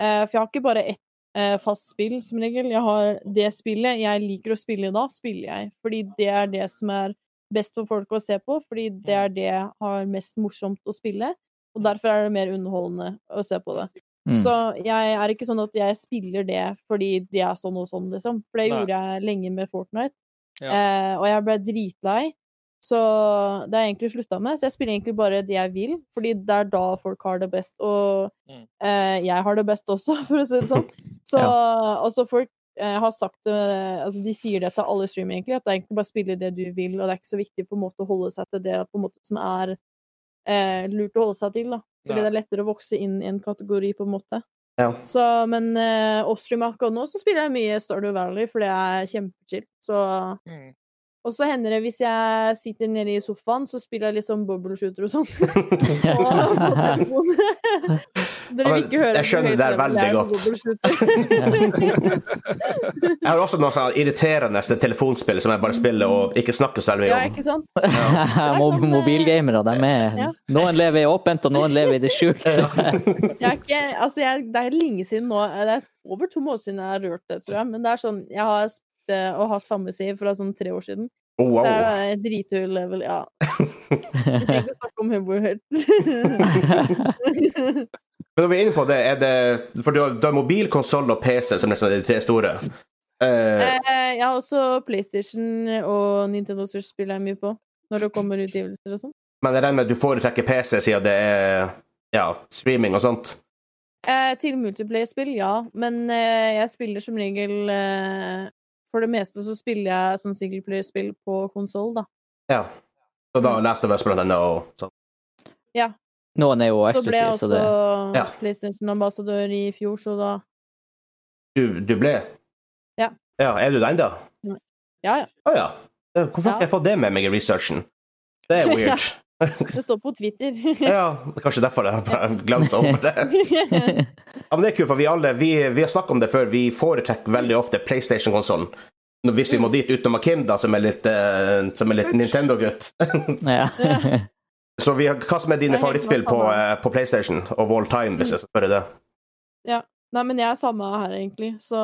S7: Eh, for jeg har ikke bare ett eh, fast spill, som regel. Jeg har det spillet jeg liker å spille da, spiller jeg. Fordi det er det som er best for folk å se på, fordi det er det jeg har mest morsomt å spille. Og derfor er det mer underholdende å se på det.
S3: Mm.
S7: Så jeg er ikke sånn at jeg spiller det fordi de er sånn og sånn, liksom. For det
S11: Nei.
S7: gjorde jeg lenge med Fortnite.
S11: Ja.
S7: Eh, og jeg ble dritlei. Så det har jeg egentlig slutta med. Så jeg spiller egentlig bare det jeg vil, fordi det er da folk har det best. Og
S11: Mm.
S7: eh, jeg har det best også, for å si det sånn. Så også folk eh, har sagt det Altså, de sier det til alle streamere, egentlig, at det er egentlig bare å spille det du vil, og det er ikke så viktig på en måte å holde seg til det på en måte som er eh, lurt å holde seg til, da. Fordi
S11: Nei.
S7: det er lettere å vokse inn i en kategori, på en måte.
S2: Ja.
S7: Så, men eh, offstream akkurat nå så spiller jeg mye Stardew Valley, for det er kjempechill. Så
S11: Mm.
S7: Og så hender det hvis jeg sitter nede i sofaen, så spiller jeg liksom bubble shooter og sånn. Og på telefonen. Dere vil ikke høre
S2: Jeg skjønner det der veldig godt. Jeg har også noe sånn irriterende telefonspill som jeg bare spiller og ikke snakker så veldig
S7: Ja,
S2: mye om.
S7: ikke sant?
S3: Mob mobilgamere, de er
S7: eh, Ja.
S3: Noen lever i åpent, og noen lever i det skjulte.
S7: Jeg er ikke, altså jeg, det er lenge siden nå. eh, Det er over to måneder siden jeg har rørt det, tror jeg. Men det er sånn, jeg har spilt det og har samme side fra sånn tre år siden.
S2: Oh, wow.
S7: Så er det drithøy level, ja. Vi trenger ikke å snakke om humor høyt.
S2: Men når vi er inne på det, er det For du har, du har mobil, konsoll og PC som nesten er de tre store. Eh,
S7: Eh, jeg har også PlayStation og Nintendo Switch spiller jeg mye på. Når det kommer utgivelser og sånn.
S2: men jeg regner med at du foretrekker PC siden det er ja, streaming og sånt.
S7: Eh, til multiplayer-spill, ja. Men eh, jeg spiller som regel eh, For det meste så spiller jeg sånn singleplayer-spill på konsoll, da.
S2: Ja. Så da leste du blant annet og sånn.
S3: Noen er jo
S7: Så ble jeg
S3: eksklusive, så
S7: også
S3: det
S2: Ja.
S7: PlayStation-ambassadør i fjor, så da
S2: Du, du ble?
S7: Ja.
S2: ja. Er du den, da?
S7: Ja, ja.
S2: Å ja. Eh, Hvorfor har ikke jeg fått det med meg i researchen? Det er weird.
S7: Det står på Twitter.
S2: ja, det er kanskje derfor jeg bare glansa over det. Ja, men det er kult, for vi alle vi, vi har snakket om det før. Vi foretrekker veldig ofte PlayStation-konsollen. Hvis vi må dit utenom Kim, da, som er litt, eh, som er litt Nintendo-gutt.
S3: ja.
S2: Så vi har, hva som er dine
S7: Jeg er helt
S2: favorittspill på,
S7: med på
S2: eh, på PlayStation of all time, hvis jeg skal spørre det?
S7: Ja. Nei, men jeg er samme her, egentlig. Så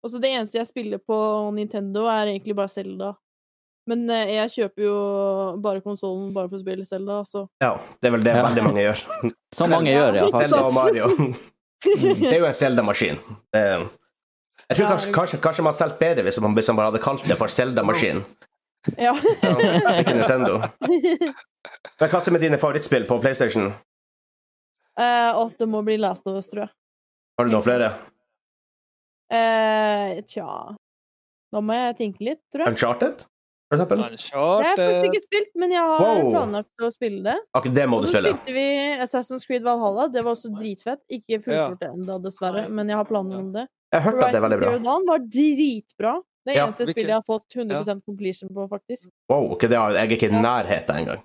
S7: Og så det eneste jeg spiller på Nintendo, er egentlig bare Zelda. Men eh, jeg kjøper jo bare konsollen bare for å spille Zelda, så
S2: Ja, det er vel det
S3: Ja.
S2: veldig mange gjør.
S3: Som mange gjør, ja. faktisk.
S7: sånn
S2: Zelda og Mario. Det er jo en Zelda-maskin. Eh, Jeg tror
S7: Ja,
S2: kanskje, kanskje, kanskje man har solgt bedre hvis man, hvis man bare hadde kalt det for Zelda-maskin.
S7: Ja.
S2: Ja, ikke Nintendo. Men hva som er dine favorittspill på PlayStation?
S7: Eh, og det må bli Last of Us, tror jeg.
S2: Har du noen flere?
S7: Eh, tja Da må jeg tenke litt, tror jeg.
S2: Uncharted, for eksempel?
S7: Det har jeg faktisk
S11: Uncharted.
S7: ikke spilt, men jeg har
S2: Wow.
S7: planlagt å spille det.
S2: Akkurat det må
S7: Og
S2: du
S7: så
S2: spille.
S7: spilte vi Assassin's Creed Valhalla. Det var også dritfett. Ikke fullført det ennå, dessverre, men jeg har planer om det.
S2: Jeg har hørt at det er
S7: Horizon
S2: veldig bra.
S7: Zero Dawn var dritbra. Det
S2: Ja,
S7: eneste
S11: hvilken-
S7: spillet jeg har fått 100 completion på, faktisk.
S2: Wow, ikke det, har- jeg er ikke i
S7: Ja.
S2: nærheten engang.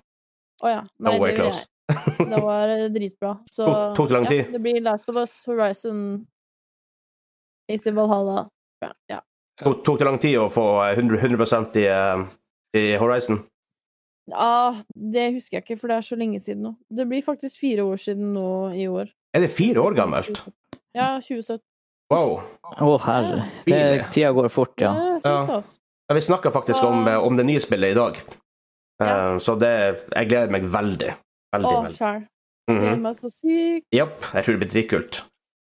S7: Å ja.
S2: No
S7: Nei,
S2: way
S7: det,
S2: close.
S7: det var eh, dritbra. Så
S2: Tok- tok det lang
S7: ja,
S2: tid?
S7: det blir Last of Us, Horizon, AC Valhalla. Ja, Ja.
S2: Tok, tok det lang tid å få eh, 100, 100 i, eh, i Horizon?
S7: Ah, det husker jeg ikke, for det er så lenge siden nå. Det blir faktisk fire år siden nå i år.
S2: Er det fire år gammelt?
S7: Ja, 2017.
S2: Wow.
S3: Å, herre. Det- Tida går fort, ja.
S7: Ja,
S2: Ja.
S7: sykt, ass.
S2: Ja, Vi snakka faktisk om, eh, om det nye spillet i dag, Eh,
S7: Ah. Ja.
S2: så det, jeg gleder meg veldig. Veldig.
S7: Å,
S2: veldig.
S7: sjæl. Gleder
S2: Mhm.
S7: meg så sykt.
S2: Japp, jeg tror det blir dritkult.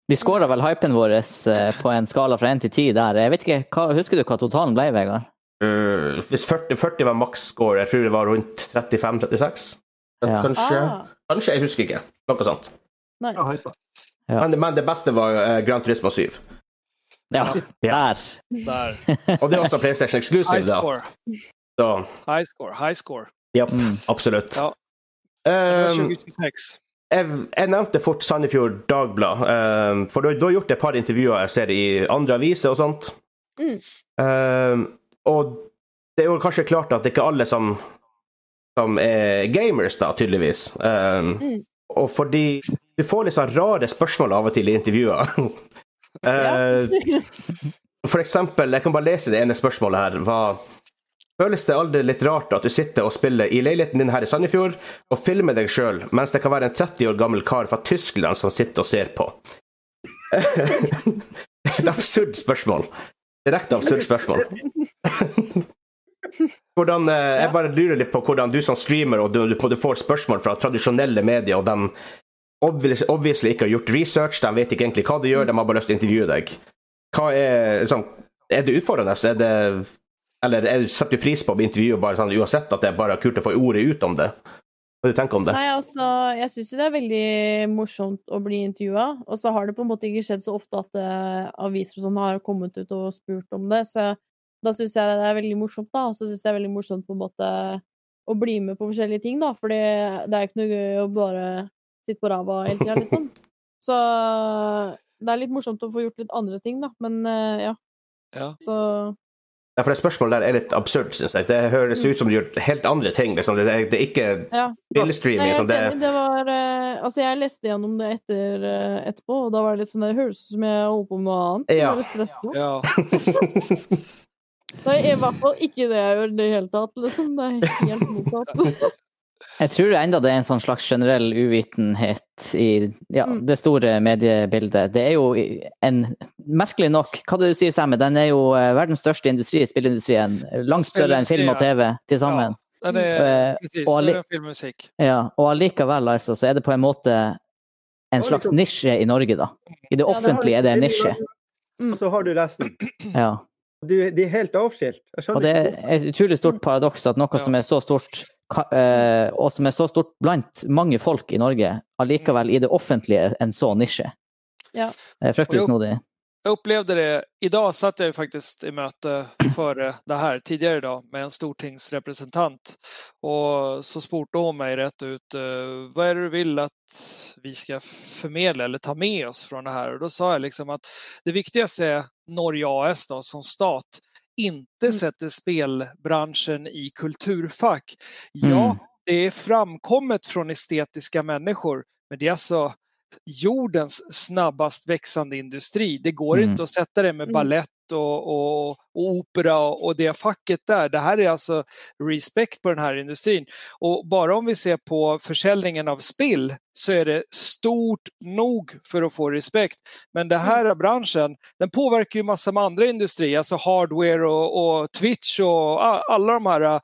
S3: Vi scora vel hypen vår eh, på en skala fra 1 til 10 der. Jeg vet ikke, hva, Husker du hva totalen ble, Vegard?
S2: Eh, hvis 40, 40 var maks score, jeg tror det var rundt 35-36?
S3: Ja.
S2: Kanskje?
S7: Ah,
S2: Kanskje, jeg husker ikke. Noe sånt.
S12: Jeg har
S7: nice.
S12: hypa.
S3: Ja.
S2: Men, men det beste var uh, Grand Turismo 7.
S3: Ja,
S2: Ja.
S3: der.
S11: Der.
S2: Og det er også PlayStation Exclusive,
S11: High
S2: da.
S11: score.
S2: Så
S11: High score. High score.
S2: ja,
S3: Mm.
S2: absolutt.
S11: Ja. Det var
S2: Eh,
S11: 2026.
S2: jeg, jeg nevnte fort Sandefjord Dagblad, eh, for du, du har gjort et par intervjuer jeg ser i andre aviser og sånt.
S7: Mm.
S2: Eh, og det er jo kanskje klart at det ikke er alle som, som er gamers, da, tydeligvis. Eh,
S7: Mm.
S2: Og fordi du får litt sånn rare spørsmål av og til i intervjuer. Eh, For eksempel, jeg kan bare lese det ene spørsmålet her. Hva Føles det aldri litt rart at du sitter og spiller i leiligheten din her i Sandefjord, og filmer deg sjøl, mens det kan være en 30 år gammel kar fra Tyskland som sitter og ser på? Et absurd spørsmål. Direkte absurd spørsmål. Hvordan, eh, jeg bare lurer litt på hvordan du som streamer og du, du, du får spørsmål fra tradisjonelle medier, og de obviously, obviously ikke har gjort research, de vet ikke egentlig hva du gjør, de har bare lyst til å intervjue deg. Hva er, liksom, er det utfordrende? Er det, eller er, setter du pris på å bli intervjuet bare sånn, uansett at det er bare kult å få ordet ut om det? Hva du tenker om det?
S7: Nei, altså, jeg syns jo det er veldig morsomt å bli intervjua, og så har det på en måte ikke skjedd så ofte at eh, aviser og sånn har kommet ut og spurt om det, så da syns jeg det er veldig morsomt, da. Og så syns jeg det er veldig morsomt på en måte å bli med på forskjellige ting, da, for det er jo ikke noe gøy å bare sitte på ræva hele tida, liksom. Så det er litt morsomt å få gjort litt andre ting, da, men eh, ja.
S11: Ja.
S7: Så
S2: Ja, for det spørsmålet der er litt absurd, syns jeg. Det høres ut som du gjør helt andre ting. Liksom. Det, er, det er ikke
S7: Ja. Nei,
S2: billedstreaming.
S7: jeg
S2: Liksom. Det,
S7: er enig, det var eh, Altså, jeg leste gjennom det etter, eh, etterpå, og da var det litt sånn Det høres ut som jeg holder på med noe annet.
S2: Ja.
S7: Det var litt stress nå.
S11: Ja.
S7: Nei, i hvert fall ikke det jeg gjør i det hele tatt, liksom. Det er helt motsatt.
S3: Jeg tror enda det er en sånn slags generell uvitenhet i ja,
S7: Mm.
S3: det store mediebildet. Det er jo en Merkelig nok, hva det du sier, Samme, den er jo eh, verdens største industri, spillindustrien. Langt større enn film og TV til sammen.
S11: Den er
S3: Eh,
S11: precis,
S3: och
S11: det
S3: alle-
S11: är filmmusik.
S3: Ja, og allikevel altså, så er det på en måte en
S12: Ja,
S3: slags
S12: liksom.
S3: nisje i Norge, da. I det
S7: det har
S3: offentlige er det en nisje.
S7: Mm.
S4: Og så har du resten.
S3: Ja.
S4: Du, de er helt avskilt. Jeg
S3: Og
S4: skjønner
S3: det er
S4: ikke hvorfor.
S3: et utrolig stort paradoks at noe
S11: Ja.
S3: som er så stort, ka- eh, og som er så stort blant mange folk i Norge, allikevel i det offentlige en så nisje.
S7: Ja.
S3: Det er fryktelig
S11: Og jo-
S3: snodig.
S11: Jag upplevde det, idag satt jag ju faktiskt i möte före det här tidigare idag med en stortingsrepresentant och så spurte hon mig rätt ut, eh, vad är det du vill att vi ska förmedla eller ta med oss från det här? Och då sa jag liksom att det viktigaste är Norge AS då, som stat inte sätter spelbranschen i kulturfack. Ja,
S3: Mm.
S11: det är framkommet från estetiska människor, men det är alltså jordens snabbast växande industri. Det går
S3: Mm.
S11: inte att sätta det med
S7: Mm.
S11: ballett
S1: balett och, och, och opera och, och det facket där. Det här är alltså respekt på den här industrin. Och bara om vi ser på försäljningen av spill så är det stort nog för att få respekt. Men den här branschen, den påverkar ju massor med andra industrier, alltså hardware och, och Twitch och a- alla de här eh,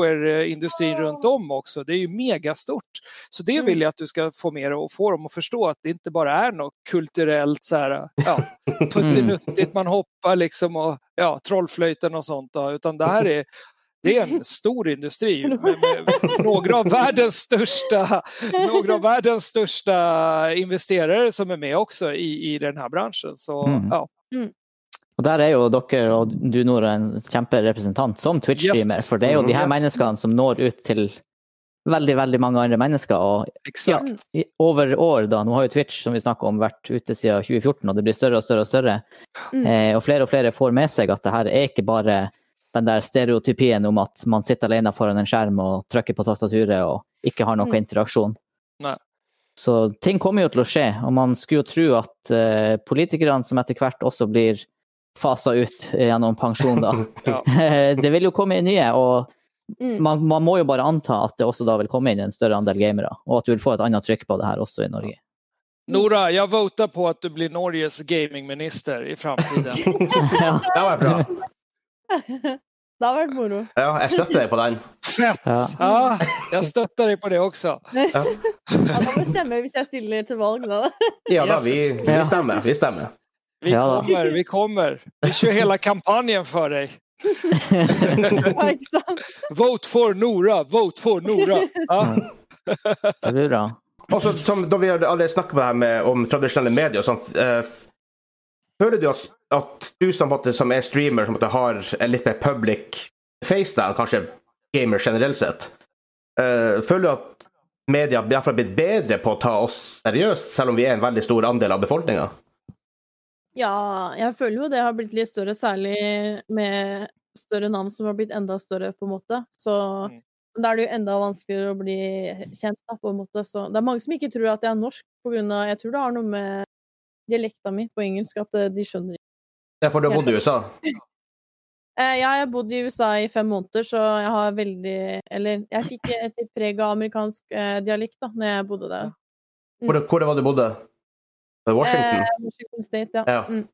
S1: softwareindustrin runt om också. Det är ju megastort. Så det
S3: Mm.
S1: vill jag att du ska få med dig och få dem att förstå att det inte bara är något kulturellt så här, ja,
S3: Mm.
S1: puttinuttigt, man hoppar liksom och ja, trollflöjten och sånt, då, utan det här är det är en stor industri med, med några av världens största, några av världens största investerare som är med också i, i den här branschen. Så,
S3: Mm.
S1: ja.
S3: Og der er jo dere og du, Nora, en kjemperepresentant som Twitch-streamer.
S1: Yes.
S3: For det er jo de her
S1: Yes.
S3: menneskene som når ut til veldig, veldig mange andre mennesker. Og
S1: Exakt.
S3: i- over år, da. Nå har jo Twitch, som vi snakker om, vært ute siden 2014, og det blir større og større og større.
S7: Mm.
S3: Eh, og flere og flere får med seg at det her er ikke bare den der stereotypien om at man sitter alene foran en skjerm og trykker på tastaturet og ikke har noe
S7: Mm.
S3: interaksjon.
S1: Nei.
S3: Så ting kommer jo til å skje, og man skulle jo tro at eh, politikerne som etter hvert også blir fasa ut eh, gjennom pensjon, da.
S1: Ja.
S3: det vil jo komme inn nye, og
S7: Mm.
S3: man, man må jo bare anta at det også da vil komme inn en større andel gamere, og at du vil få et annet trykk på det her også i Norge.
S1: Nora, jag votar på att du blir Norges gamingminister i framtiden.
S3: ja.
S2: Det var bra.
S7: Det har vært moro.
S2: Ja, jeg støtter deg på den.
S3: Ja.
S1: Ja, jag stöttar dig på det också.
S7: Ja, da må jeg stemme hvis jeg stiller til valg, da.
S2: Ja da,
S1: Yes.
S2: vi, vi stemmer. Vi stemmer.
S1: Vi
S3: Ja då.
S1: kommer, vi kommer. Vi kör hela kampanjen för dig.
S7: Ja, ikke sant?
S1: Vote for Nora, vote for Nora. Ja,
S3: Det blir bra.
S2: Og så, som da vi har allerede snakket om det her med, om tradisjonelle medier og sånt, eh, føler du at, at du som, på en måte, som er streamer, som på en måte, har en litt mer public face da, kanskje gamer generelt sett, eh, føler du at media i hvert fall har blitt bedre på å ta oss seriøst, selv om vi er en veldig stor andel av befolkninga?
S7: Ja, jeg føler jo det har blitt litt større, særlig med større navn som har blitt enda større, på en måte. Så
S1: Mm.
S7: da er det jo enda vanskeligere å bli kjent, da, på en måte. Så det er mange som ikke tror at jeg er norsk, på grunn av Jeg tror det har noe med dialekta mi på engelsk, at eh, de skjønner ikke.
S2: Derfor du har bodd i USA?
S7: Eh, ja, jeg har bodd i USA i fem måneder, så jeg har veldig Eller jeg fikk et litt preg av amerikansk eh, dialekt da når jeg bodde der.
S2: Hvor, hvor var det du bodde? Washington?
S7: Eh, Washington State, ja.
S2: Ja.
S7: Mm.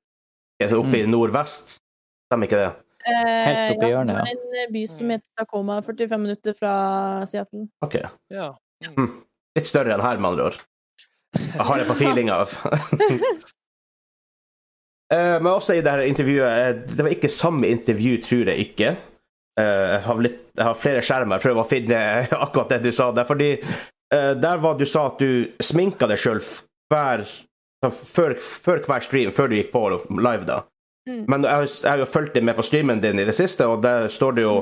S2: Eh, Oppe i nordvest? Stemmer ikke det?
S7: Eh,
S3: Helt oppi
S7: ja,
S3: hjørnet,
S7: Det var en eh, by som heter Tacoma, 45 minutter fra Seattle.
S2: OK.
S1: ja.
S2: Litt større enn her, med andre ord. Jeg har det på feeling av. Eh, Men også i det her intervjuet eh, Det var ikke samme intervju, tror jeg ikke. Eh, Jeg har, litt, jeg har flere skjermer, jeg prøver å finne akkurat det du sa der. Fordi eh, der var du sa at du sminka deg sjøl hver sånn, før, før hver stream, før du gikk på live, da.
S7: Mm.
S2: Men jeg har- jeg har jo fulgt deg med på streamen din i det siste, og der står det jo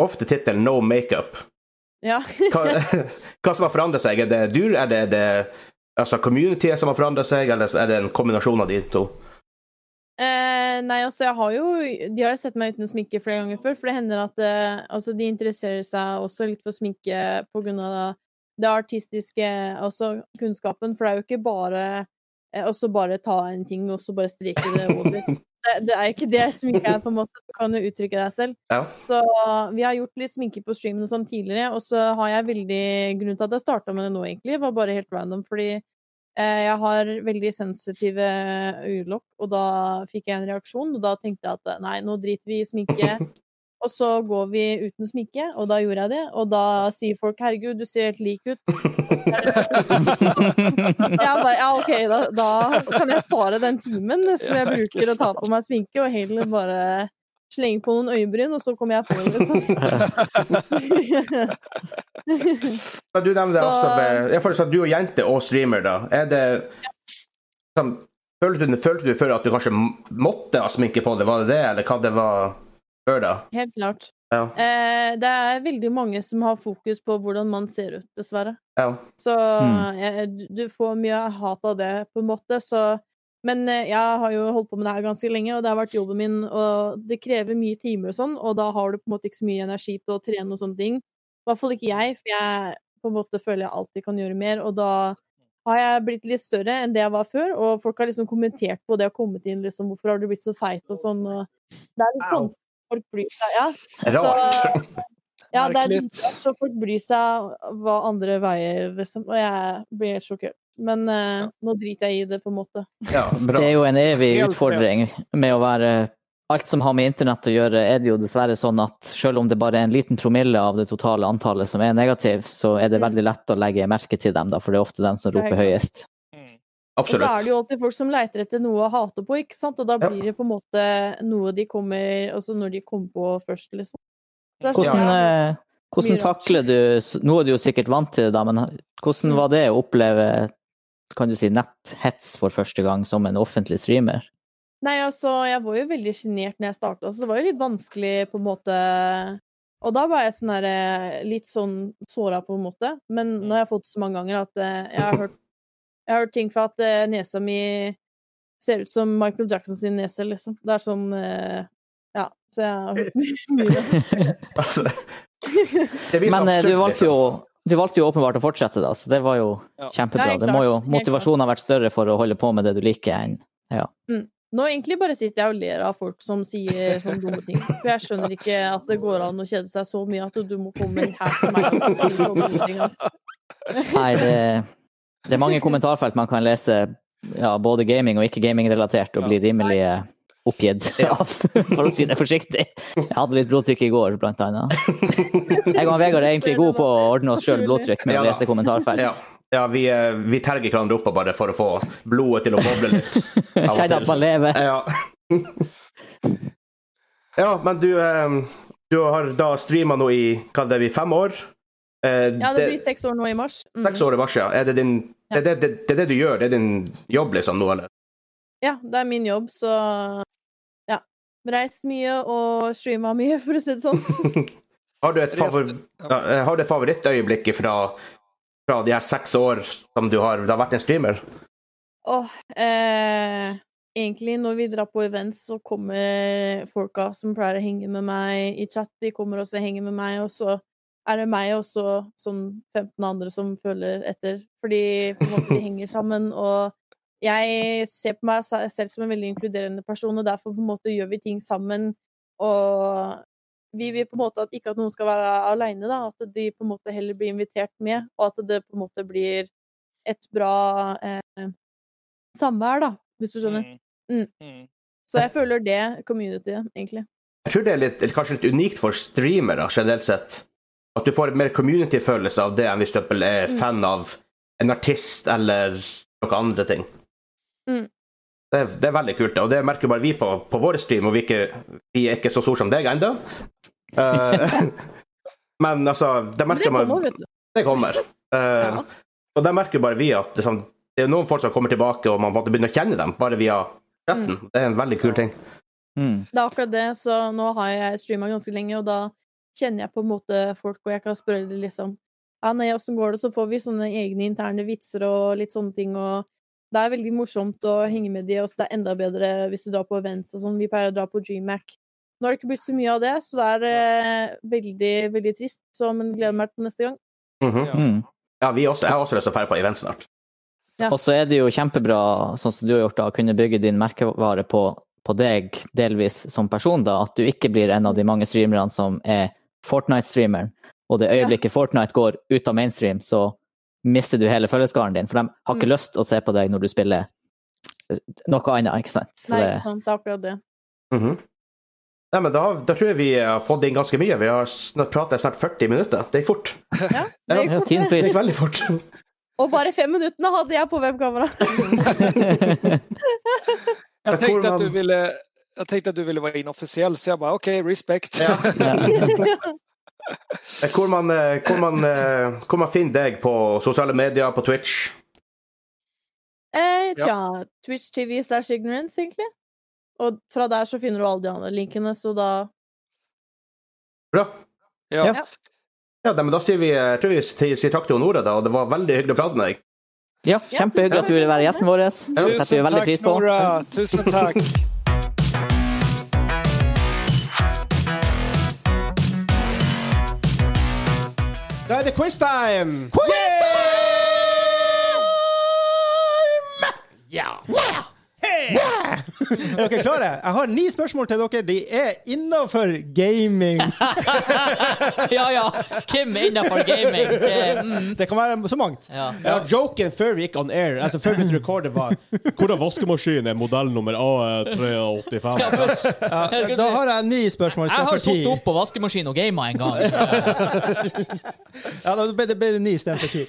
S2: ofte tittelen 'No makeup'.
S7: Ja.
S2: Hva, hva som har forandret seg? Er det du, er det, er det altså communityet som har forandret seg, eller er det en kombinasjon av de to?
S7: Eh, nei, altså, jeg har jo De har jo sett meg uten sminke flere ganger før, for det hender at eh, altså, de interesserer seg også litt for sminke på grunn av det artistiske, altså kunnskapen, for det er jo ikke bare eh, også bare ta en ting og så bare streke det over. Det, det er jo ikke det sminke er, på en måte. Du kan jo uttrykke deg selv.
S2: Ja.
S7: Så vi har gjort litt sminke på streamen og sånn tidligere, og så har jeg veldig Grunnen til at jeg starta med det nå, egentlig, var bare helt random, fordi Eh, Jeg har veldig sensitive eh, øyelokk, og da fikk jeg en reaksjon. Og da tenkte jeg at eh, nei, nå driter vi i sminke, og så går vi uten sminke. Og da gjorde jeg det, og da sier folk 'herregud, du ser helt lik ut'. Og så er det- Jeg bare ja, ok, da, da kan jeg spare den timen som jeg bruker å ta på meg sminke, og heller bare slenge på noen øyebryn, og så kommer jeg på det, liksom.
S2: Men du nevner det
S7: Så-
S2: også med jeg føler sånn at Du er jente og streamer, da. Er det sånn, følte, du, følte du før at du kanskje måtte ha sminke på deg? Var det det, eller hva det var før da?
S7: Helt klart.
S2: Ja.
S7: Eh, det er veldig mange som har fokus på hvordan man ser ut, dessverre.
S2: ja.
S7: Så
S3: Mm.
S7: eh, du- du får mye hat av det, på en måte. Så, men eh, jeg har jo holdt på med det her ganske lenge, og det har vært jobben min, og det krever mye timer og sånn, og da har du på en måte ikke så mye energi til å trene og sånne ting. I hvert fall ikke jeg, for jeg på en måte føler jeg alltid kan gjøre mer, og da har jeg blitt litt større enn det jeg var før, og folk har liksom kommentert på det og kommet inn liksom 'Hvorfor har du blitt så feit?' og sånn. Og det er litt sånn folk bryr seg. Ja.
S2: Rart.
S7: ja, det er
S11: Merkelig.
S7: litt rart, så folk bryr seg hva andre veier, liksom. Og jeg blir helt sjokkert. Men eh, nå driter jeg i det, på en måte.
S2: Ja, bra.
S3: Det er jo en evig
S11: Helt
S3: utfordring med å være Alt som har med internett å gjøre, er det jo dessverre sånn at selv om det bare er en liten promille av det totale antallet som er negativ, så er det
S7: Mm.
S3: veldig lett å legge merke til dem, da, for det er ofte dem som
S7: Det er
S3: roper
S7: helt
S3: høyest.
S7: Og så er det
S2: Absolutt.
S7: jo alltid folk som leiter etter noe å hate på, ikke sant? Og da
S2: Ja.
S7: blir det på en måte noe de kommer Altså når de kommer på først, liksom. Det er sånn
S3: Hvordan,
S7: jeg-
S3: eh, hvordan
S7: Mye rart.
S3: takler du s- Nå er du jo sikkert vant til det, da, men ha-
S7: Mm.
S3: hvordan var det å oppleve kan du si, netthets for første gang som en offentlig streamer?
S7: Nei, altså, jeg var jo veldig sjenert når jeg starta, så det var jo litt vanskelig, på en måte. Og da var jeg sånn her, eh, litt sånn såra, på en måte. Men nå har jeg fått det så mange ganger at eh, jeg har hørt, jeg har hørt ting fra at eh, nesa mi ser ut som Michael Jackson sin nese, liksom. Det er sånn eh, Ja. Så jeg har hørt mye.
S2: Altså, det blir så
S3: Men eh, du
S2: absurd,
S3: valgte
S2: liksom.
S3: jo du valgte jo åpenbart å fortsette, da, så det var jo
S11: Ja.
S3: kjempebra.
S7: Ja, helt
S3: Det må jo,
S7: klart. Helt
S3: motivasjonen har vært større for å holde på med det du liker, enn
S7: Nå egentlig bare sitter jeg og ler av folk som sier sånne dumme ting. For jeg skjønner ikke at det går an å kjede seg så mye at du må komme her til meg og si sånne dumme ting. ass.
S3: Nei, det, det er mange kommentarfelt man kan lese, ja, både gaming og ikke gaming-relatert, og bli rimelig eh, oppgitt av, for å si det forsiktig. Jeg hadde litt blodtrykk i går, blant annet. Jeg og Vegard er egentlig gode på å ordne oss sjøl blodtrykk med
S2: Ja
S3: å
S2: da.
S3: lese kommentarfelt.
S2: Ja, ja vi, eh, vi terger hverandre opp bare for å få blodet til å boble litt. av og
S3: Kjenner
S2: til.
S3: at man lever.
S2: Ja. ja, men du, eh, du har da streama nå i hva det blir, fem år? Eh,
S7: Ja, det blir seks år nå i mars. Mm.
S2: seks år i mars, ja. Er det, din, det, det, det, det er det du gjør? Det er din jobb, liksom, nå, eller?
S7: Ja, det er min jobb, så ja. Reist mye og streama mye, for å si det sånn.
S2: Har du et, favor, ja,
S1: Mm.
S2: eh, har du et favorittøyeblikk fra, fra de her seks år som du har, du har vært en streamer?
S7: Åh, eh, egentlig når vi drar på events, så kommer folka som pleier å henge med meg i chat, de kommer også og henger med meg, og så er det meg og så sånn 15 andre som følger etter, fordi på en måte vi henger sammen, og jeg ser på meg se- selv som en veldig inkluderende person, og derfor på en måte gjør vi ting sammen, og vi vil på en måte at ikke at noen skal være alene, da, at de på en måte heller blir invitert med, og at det på en måte blir et bra eh, samvær, da, hvis du skjønner. Mm.
S11: Mm.
S7: Så jeg føler det communityet, egentlig.
S2: Jeg tror det er litt, eller kanskje litt unikt for streamere generelt sett. At du får en mer community-følelse av det enn hvis du for eksempel
S7: Mm.
S2: er fan av en artist eller noen andre ting.
S7: Mm.
S2: Det, er, det er veldig kult, det, og det merker jo bare vi på, på vår stream, og vi, ikke, vi er ikke så store som deg ennå. men altså, det
S7: Men det
S2: merker man
S7: kommer, vet du.
S2: det kommer. Eh,
S7: Ja.
S2: Og der merker bare vi at liksom, det er noen folk som kommer tilbake, og man på en måte begynner å kjenne dem bare via chatten. Det er en veldig kul ting.
S3: Mm.
S7: Det er akkurat det, så nå har jeg streama ganske lenge, og da kjenner jeg på en måte folk, og jeg kan spørre dem liksom Ja, nei, åssen går det? Så får vi sånne egne interne vitser og litt sånne ting, og det er veldig morsomt å henge med de, og så det er enda bedre hvis du drar på events og sånn. Vi pleier å dra på GMAC. Nå har det ikke blitt så mye av det, så det er eh, veldig, veldig trist, så men gleder meg til neste gang.
S2: Mhm.
S11: Ja.
S3: Mm.
S2: Ja, vi også, jeg har også lyst til å dra på event snart.
S7: Ja.
S3: Og så er det jo kjempebra, sånn som du har gjort, da, å kunne bygge din merkevare på, på deg delvis som person, da, at du ikke blir en av de mange streamerne som er Fortnite-streameren, og det øyeblikket Fortnite går ut av mainstream, så mister du hele følgeskaren din, for de har ikke
S7: Mm.
S3: lyst å se på deg når du spiller eh, noe annet, ikke sant? Så
S7: Nei,
S3: det,
S7: ikke sant. Det er akkurat det.
S2: Mhm. Nei, men da, da tror jeg vi har fått inn ganske mye. Vi har snart, pratet snart 40 minutter. Det gikk fort. Eh,
S7: Ja,
S2: Ja,
S7: det gikk
S3: ja,
S7: fort,
S3: tiden
S7: det.
S2: Det
S3: flyr.
S2: gikk veldig fort.
S7: Og bare fem minuttene hadde jeg på webkamera.
S11: Jeg
S2: Jeg tror
S11: tenkte at du
S2: man-
S11: ville jeg tenkte at du ville være inoffisiell, så jeg bare OK, respekt.
S2: Eh, Hvor man, eh, hvor man, eh, hvor man finner deg på sosiale medier, på Twitch.
S7: Eh, tja, Twitch TV slash ignorance, egentlig. Og fra der så finner du alle de andre linkene, så da
S2: Bra.
S11: Ja.
S3: Ja.
S2: Ja, nei, men da sier vi, eh, jeg tror vi sier sier takk til Nora, da, og det var veldig hyggelig å prate med deg.
S3: Ja, kjempehyggelig at du ville være gjesten vår. Det setter vi
S11: Tusen
S3: veldig
S11: takk,
S3: pris på.
S11: Nora. Tusen takk.
S13: Da er det quiz time!
S1: Quiz time!
S4: Er dere klare? Jeg har ni spørsmål til dere. De er innafor gaming.
S14: Ja, ja. Hvem er innenfor gaming? Det, mm.
S4: Det kan være så mangt.
S14: ja.
S13: Ja, joken før vi gikk on air, altså før vi rekordet var Hvordan vaskemaskin er modell nummer A385?
S4: Da har jeg ni spørsmål
S14: Jeg har
S4: istedenfor ti.
S14: sittet opp på vaskemaskin og gama en gang.
S4: Ja, da ble det, ble det ni istedenfor ti.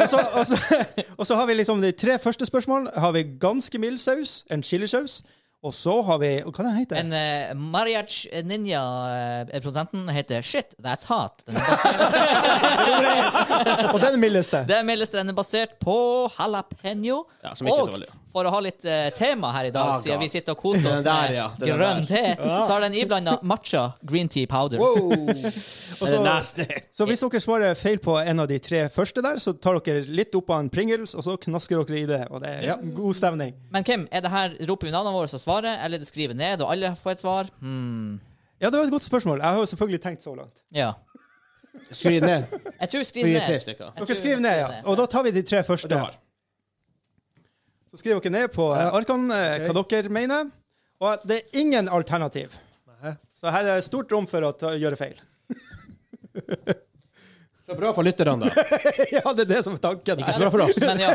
S4: Og så- Og så- og så har vi liksom de tre første spørsmål. Har vi ganske mild saus, en chilisaus. Og så har vi Hva den heter
S14: En
S4: den?
S14: uh, Mariach Ninja-produsenten eh, heter Shit, That's Hot. Den er basert,
S4: Og den mildeste.
S14: det meldes den er basert på jalapeño.
S13: Ja, som ikke er så
S14: og
S13: veldig.
S14: for å ha litt eh, tema her i dag,
S13: Ah,
S14: siden
S13: god.
S14: vi sitter og koser oss
S13: Den der, ja.
S14: med
S13: Den
S14: grønn te, så har den iblanda matcha green tea powder.
S4: Og så- Så hvis dere svarer feil på en av de tre første der, så tar dere litt opp av en Pringles, og så knasker dere i det. Og det er god stemning.
S14: Men hvem? Er det her, Roper vi navnene våre og svarer, eller det skriver ned, og alle får et svar? Hmm.
S4: Ja, det var et godt spørsmål. Jeg har jo selvfølgelig tenkt så langt.
S14: Ja.
S13: Skriv ned.
S14: Jeg tror
S13: Vi
S14: vi skriver
S13: er tre
S14: ned.
S13: stykker.
S14: Jeg
S4: Dere
S14: tror
S4: skriver
S14: vi
S4: ned,
S14: skriver
S4: ja. Og da tar vi de tre første. Så skriver dere ned på eh, arkene eh, hva dere mener. Og det er ingen alternativ. Så her er stort rom for å ta, gjøre feil.
S13: Det er bra for lytterne, da.
S4: ja, det er det som er tanken.
S13: Ikke så bra for oss.
S14: Men, ja.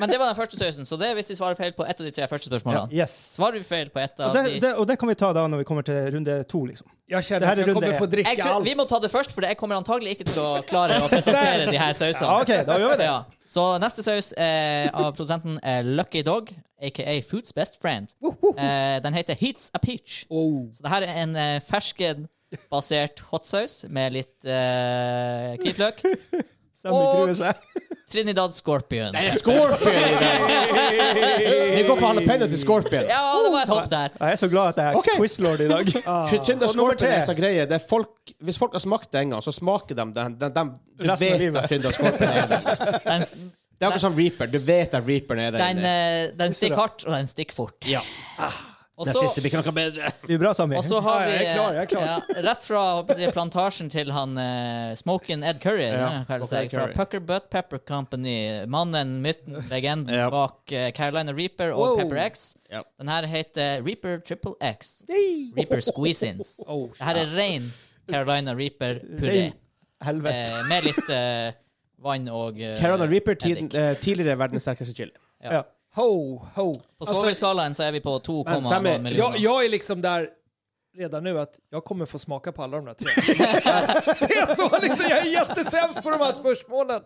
S14: Men det var den første sausen, så det er hvis vi svarer feil på ett av de tre første spørsmålene.
S4: Yes.
S14: Svarer vi feil på ett av
S4: Og det,
S14: de
S4: det, og det kan vi ta da når vi kommer til runde to, liksom.
S1: Jeg
S4: Det her
S1: kjenner
S4: er
S1: at jeg
S4: runde
S1: kommer
S4: én.
S1: få drikke
S14: jeg tror,
S1: alt.
S14: Vi må ta det først, for jeg kommer antagelig ikke til å klare å presentere de her sausene.
S4: Ja, ok, da gjør vi det.
S14: Ja. Så neste saus eh, av produsenten er Lucky Dog, aka Foods Best Friend. Eh, den heter Heats a Peach.
S1: Oh.
S14: Så det her er en eh, ferskenbasert hotsaus med litt eh, hvitløk.
S4: Sammy
S14: Og-
S4: gruer seg.
S14: Trinidad Scorpion.
S13: Det er Scorpion i dag! Vi går for jalapeño til Scorpion.
S14: Ja, det var et hopp der.
S4: Jeg er så glad at jeg er
S13: Ok.
S4: quizlord i dag. Og
S13: Kjønn
S4: nummer
S13: Ah. Scorpion er en
S4: tre.
S13: sånn greie. Det er folk, hvis folk har smakt det en gang, så smaker de den. den, den du
S4: Resten av
S13: vet
S4: livet.
S13: at Kjønn Scorpion er den.
S14: Den,
S13: Det er akkurat som Reaper. Du vet at Reaper er
S14: den,
S13: den.
S14: eh, den stikker hardt, og den stikker fort.
S13: Ja.
S14: Og
S13: Ah. Den
S14: så-
S13: siste blir ikke noe bedre.
S4: Det blir bra, Sammy.
S14: Og så har
S1: Ja,
S14: vi eh,
S1: ja, jeg er klar, jeg er klar.
S14: ja, rett fra håper jeg å si, plantasjen til han uh, Smokin' Ed Curry, ja,
S13: Smokin'
S14: kalles det,
S13: Ed
S14: fra
S13: Curry.
S14: Pucker Butt Pepper Company. Mannen, myten, legenden
S13: Ja.
S14: bak eh, Carolina Reaper og Pepper X.
S13: Ja.
S14: Den her heter Reaper Triple X. Reaper Squeezins.
S1: Oh,
S14: Det her er ren Carolina Reaper-puré
S4: Rein Helvete.
S14: eh, med litt eh, vann og eh,
S13: Carolina Reaper, tid,
S14: eddik.
S13: eh, tidligere verdens sterkeste chili.
S4: Ja.
S1: ho, ho.
S14: På
S1: Alltså,
S14: svovelskalaen så er vi på 2,0
S13: Men Sammy,
S1: jag,
S14: millioner.
S1: jag är liksom där redan nu att jag kommer få smaka på alla de där tre. det är så liksom, jag är jättesämst på de här spörsmålen.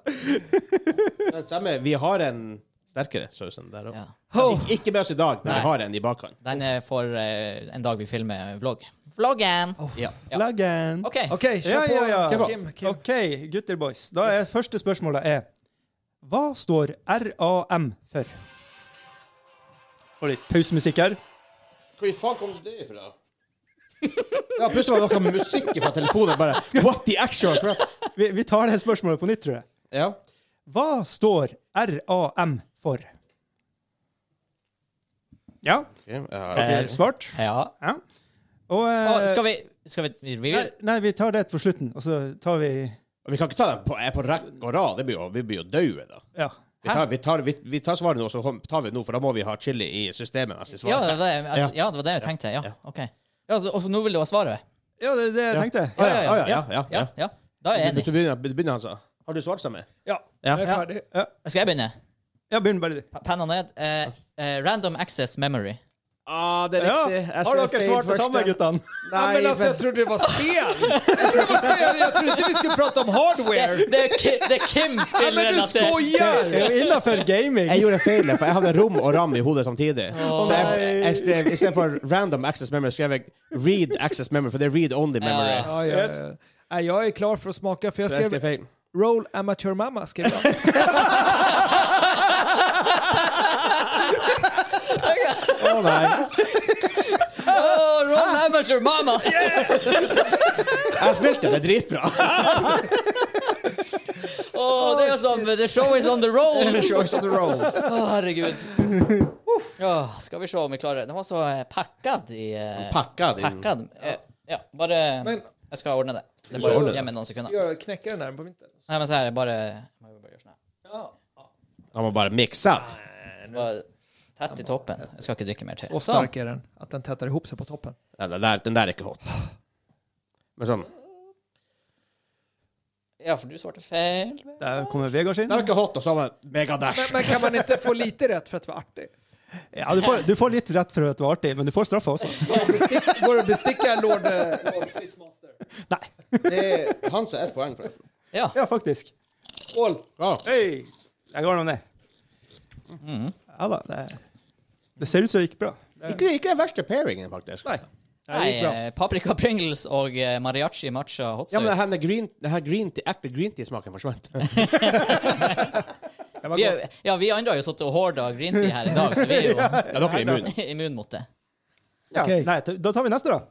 S13: Den samme, vi har en sterkere saus enn der òg.
S14: Ja.
S1: Oh.
S13: Ikke med oss i dag, men
S14: Nei.
S13: vi har en i bakhånd.
S14: Den er for eh, en dag vi filmer vlogg. Vloggen! Ja. Ja.
S4: Laggen.
S14: OK.
S1: Okej, kör
S4: Ja,
S1: på.
S4: ja, ja.
S1: Kim, Kim, Kim.
S4: OK, gutter boys. Da er første spørsmålet er Hva står RAM for? Får litt pausemusikk her.
S13: Hvor i faen kom det ifra? Ja, plutselig var det noe musikk fra telefonen. Bare What the actual crap?
S4: Vi, vi tar det spørsmålet på nytt, tror jeg.
S13: Ja.
S4: Hva står RAM for? Ja,
S13: Okay,
S4: det
S13: ja.
S4: er svart.
S14: Ja.
S4: Ja. Og
S14: Og
S4: eh,
S14: skal vi, skal vi, vi
S4: nei,
S14: vil,
S4: nei, vi tar det på slutten, og så tar vi
S13: Vi kan ikke ta den på, eh, på rekke og rad. Det blir jo, vi blir jo døde, da.
S4: Ja.
S13: Vi tar, vi, tar, vi, vi tar svaret nå, så hom- tar vi det nå, for da må vi ha chili i systemet. mens vi
S14: ja, det
S13: svarer.
S14: var det,
S13: Ja.
S14: ja, det var det jeg tenkte. Ja,
S13: Ja.
S14: ok. Ja, så, og så nå vil du ha svaret?
S4: Ja, det er det jeg tenkte.
S13: Ja, ja, ja, ja, ja, ja.
S14: ja. Da er jeg
S13: Du,
S14: enig.
S13: du begynner, du begynner, altså. Har du svart sammen?
S1: Ja,
S13: Ja.
S1: jag är färdig.
S14: Skal jeg begynne?
S4: Ja, begynn bare du.
S14: Pa- Penna ned. Eh, eh, random access memory.
S13: Ah, det er
S4: Ja.
S13: riktig. Jeg
S4: Har
S13: ser
S4: dere
S13: feil
S4: svart det
S13: første.
S4: samme, guttene? altså,
S1: Ja,
S13: Nei,
S1: men alltså,
S13: men-
S1: jag trodde det var spel! Jag trodde, det var spel. jag trodde inte vi skulle prata om
S14: Det,
S1: hardware!
S14: det, er Ki- det er Kim
S1: Ja,
S14: spiller
S1: men du
S14: relatert.
S4: Det
S1: skojar!
S4: er jo innafor gaming.
S13: Jeg gjorde en feil, for jeg hadde rom og ram i hodet samtidig. Så jeg, jeg skrev, i stedet for random access memory, skrev jeg read access memory, for det er read only memory.
S14: Ja,
S1: Ja, ja,
S4: Yes.
S1: ja. Nej, jag är klar för att smaka, för jag
S13: Så jeg
S1: skrev
S13: skrev feil.
S1: Roll Amateur Mama skrev jag.
S13: Å nei.
S14: Oh, Ron Amateur Mama!
S13: Jeg spilte det dritbra.
S14: Åh, det er jo som The show is on the roll!
S13: Show us on the roll.
S14: Å, herregud. Åh, skal vi se om vi klarer det. Den var så eh, pakket i eh,
S13: Pakka din.
S14: Pakket. Eh, ja, bare
S1: Men-
S14: Jeg skal ordne det. Det er
S13: skal ordne
S14: bare
S13: det.
S14: hjemme noen sekunder.
S1: Jag knäcker den där på mitten.
S14: Nei, men så her, jeg bare, jeg må bare gjøre sånn her.
S13: Han må bare mikse.
S14: Bare Tett i toppen. Jeg skal ikke drikke mer te.
S1: Så
S14: Sånn.
S1: stark är den, att den tätar ihop sig på toppen.
S13: Nei, den der, den der er ikke hot. Men sånn
S14: Ja, for du svarte feil.
S4: Der kommer Vegard sin.
S13: Den er ikke hot, og så har man
S1: Men,
S13: megadash.
S1: men kan man inte få lite rätt för att vara artig?
S4: Ja, du, får, du får litt rett for at det var artig, men du får straffa også.
S1: Går det bestick- Går det att besticka Lord... eh, Lord Quizmaster?
S13: Det er han som er ett poeng, forresten.
S14: Ja.
S4: Ja, faktisk.
S1: Skål!
S13: Ja.
S4: Hei! Jeg går nå ned. Mm. Ja da. Det, det ser ut som det gikk bra.
S13: Ikke, ikke den verste pairingen, faktisk.
S4: Nei.
S14: Nei, eh, paprika pringles og eh, mariachi matcha hot
S13: Ja, men
S14: sauce.
S13: denne green, denne green tea, ekte green tea-smaken forsvant.
S14: vi, er- ja, vi andre har jo sittet og horda green tea her i dag, så vi er jo
S13: Ja, dere er immune.
S14: immune mot det.
S4: Ja.
S1: Ok.
S4: Nei, t- da tar vi neste, da.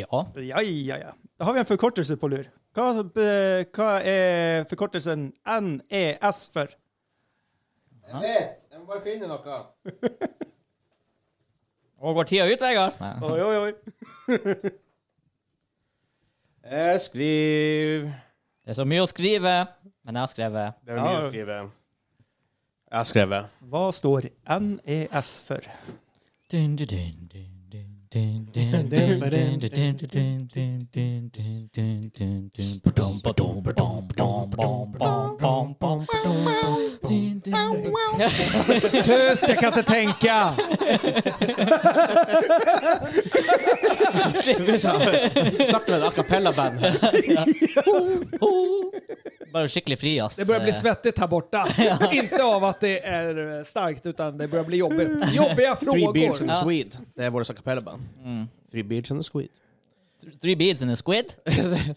S14: Ja.
S4: Ja, ja, ja. Da har vi en forkortelse på lur. Hva, eh, hva er forkortelsen NES for?
S13: Jeg vet. Jeg må bare finne noe.
S14: Og går tida ut, Vegard? Nei.
S4: Oi, oi, oi.
S13: Jeg skriver
S14: Det er så mye å skrive, men jeg har skrevet
S13: Det er mye å skrive. Jeg har skrevet.
S4: Hva står NES for?
S14: dun, dun, dun, dun, dun, dun, dun, dun, dun, dun, dun, dun, dun, dun, dun, dun, dun. Badum, badum, badum, badum, badum, badum, badum, badum, badum, dun, dun.
S1: Tyst, jag kan inte tänka!
S13: Snakk med et acapella-band.
S14: oh. Bare skikkelig eh, fri, ass.
S1: Det börjar bli svettigt här borta. Inte av att det är eh, starkt, utan det börjar bli jobbigt. Jobbiga
S13: Three Beards and
S1: frågor.
S13: a Swede. Det er vårt acapella-band.
S14: Mm.
S13: Three Beards and a Swede.
S14: Three beads in a squid?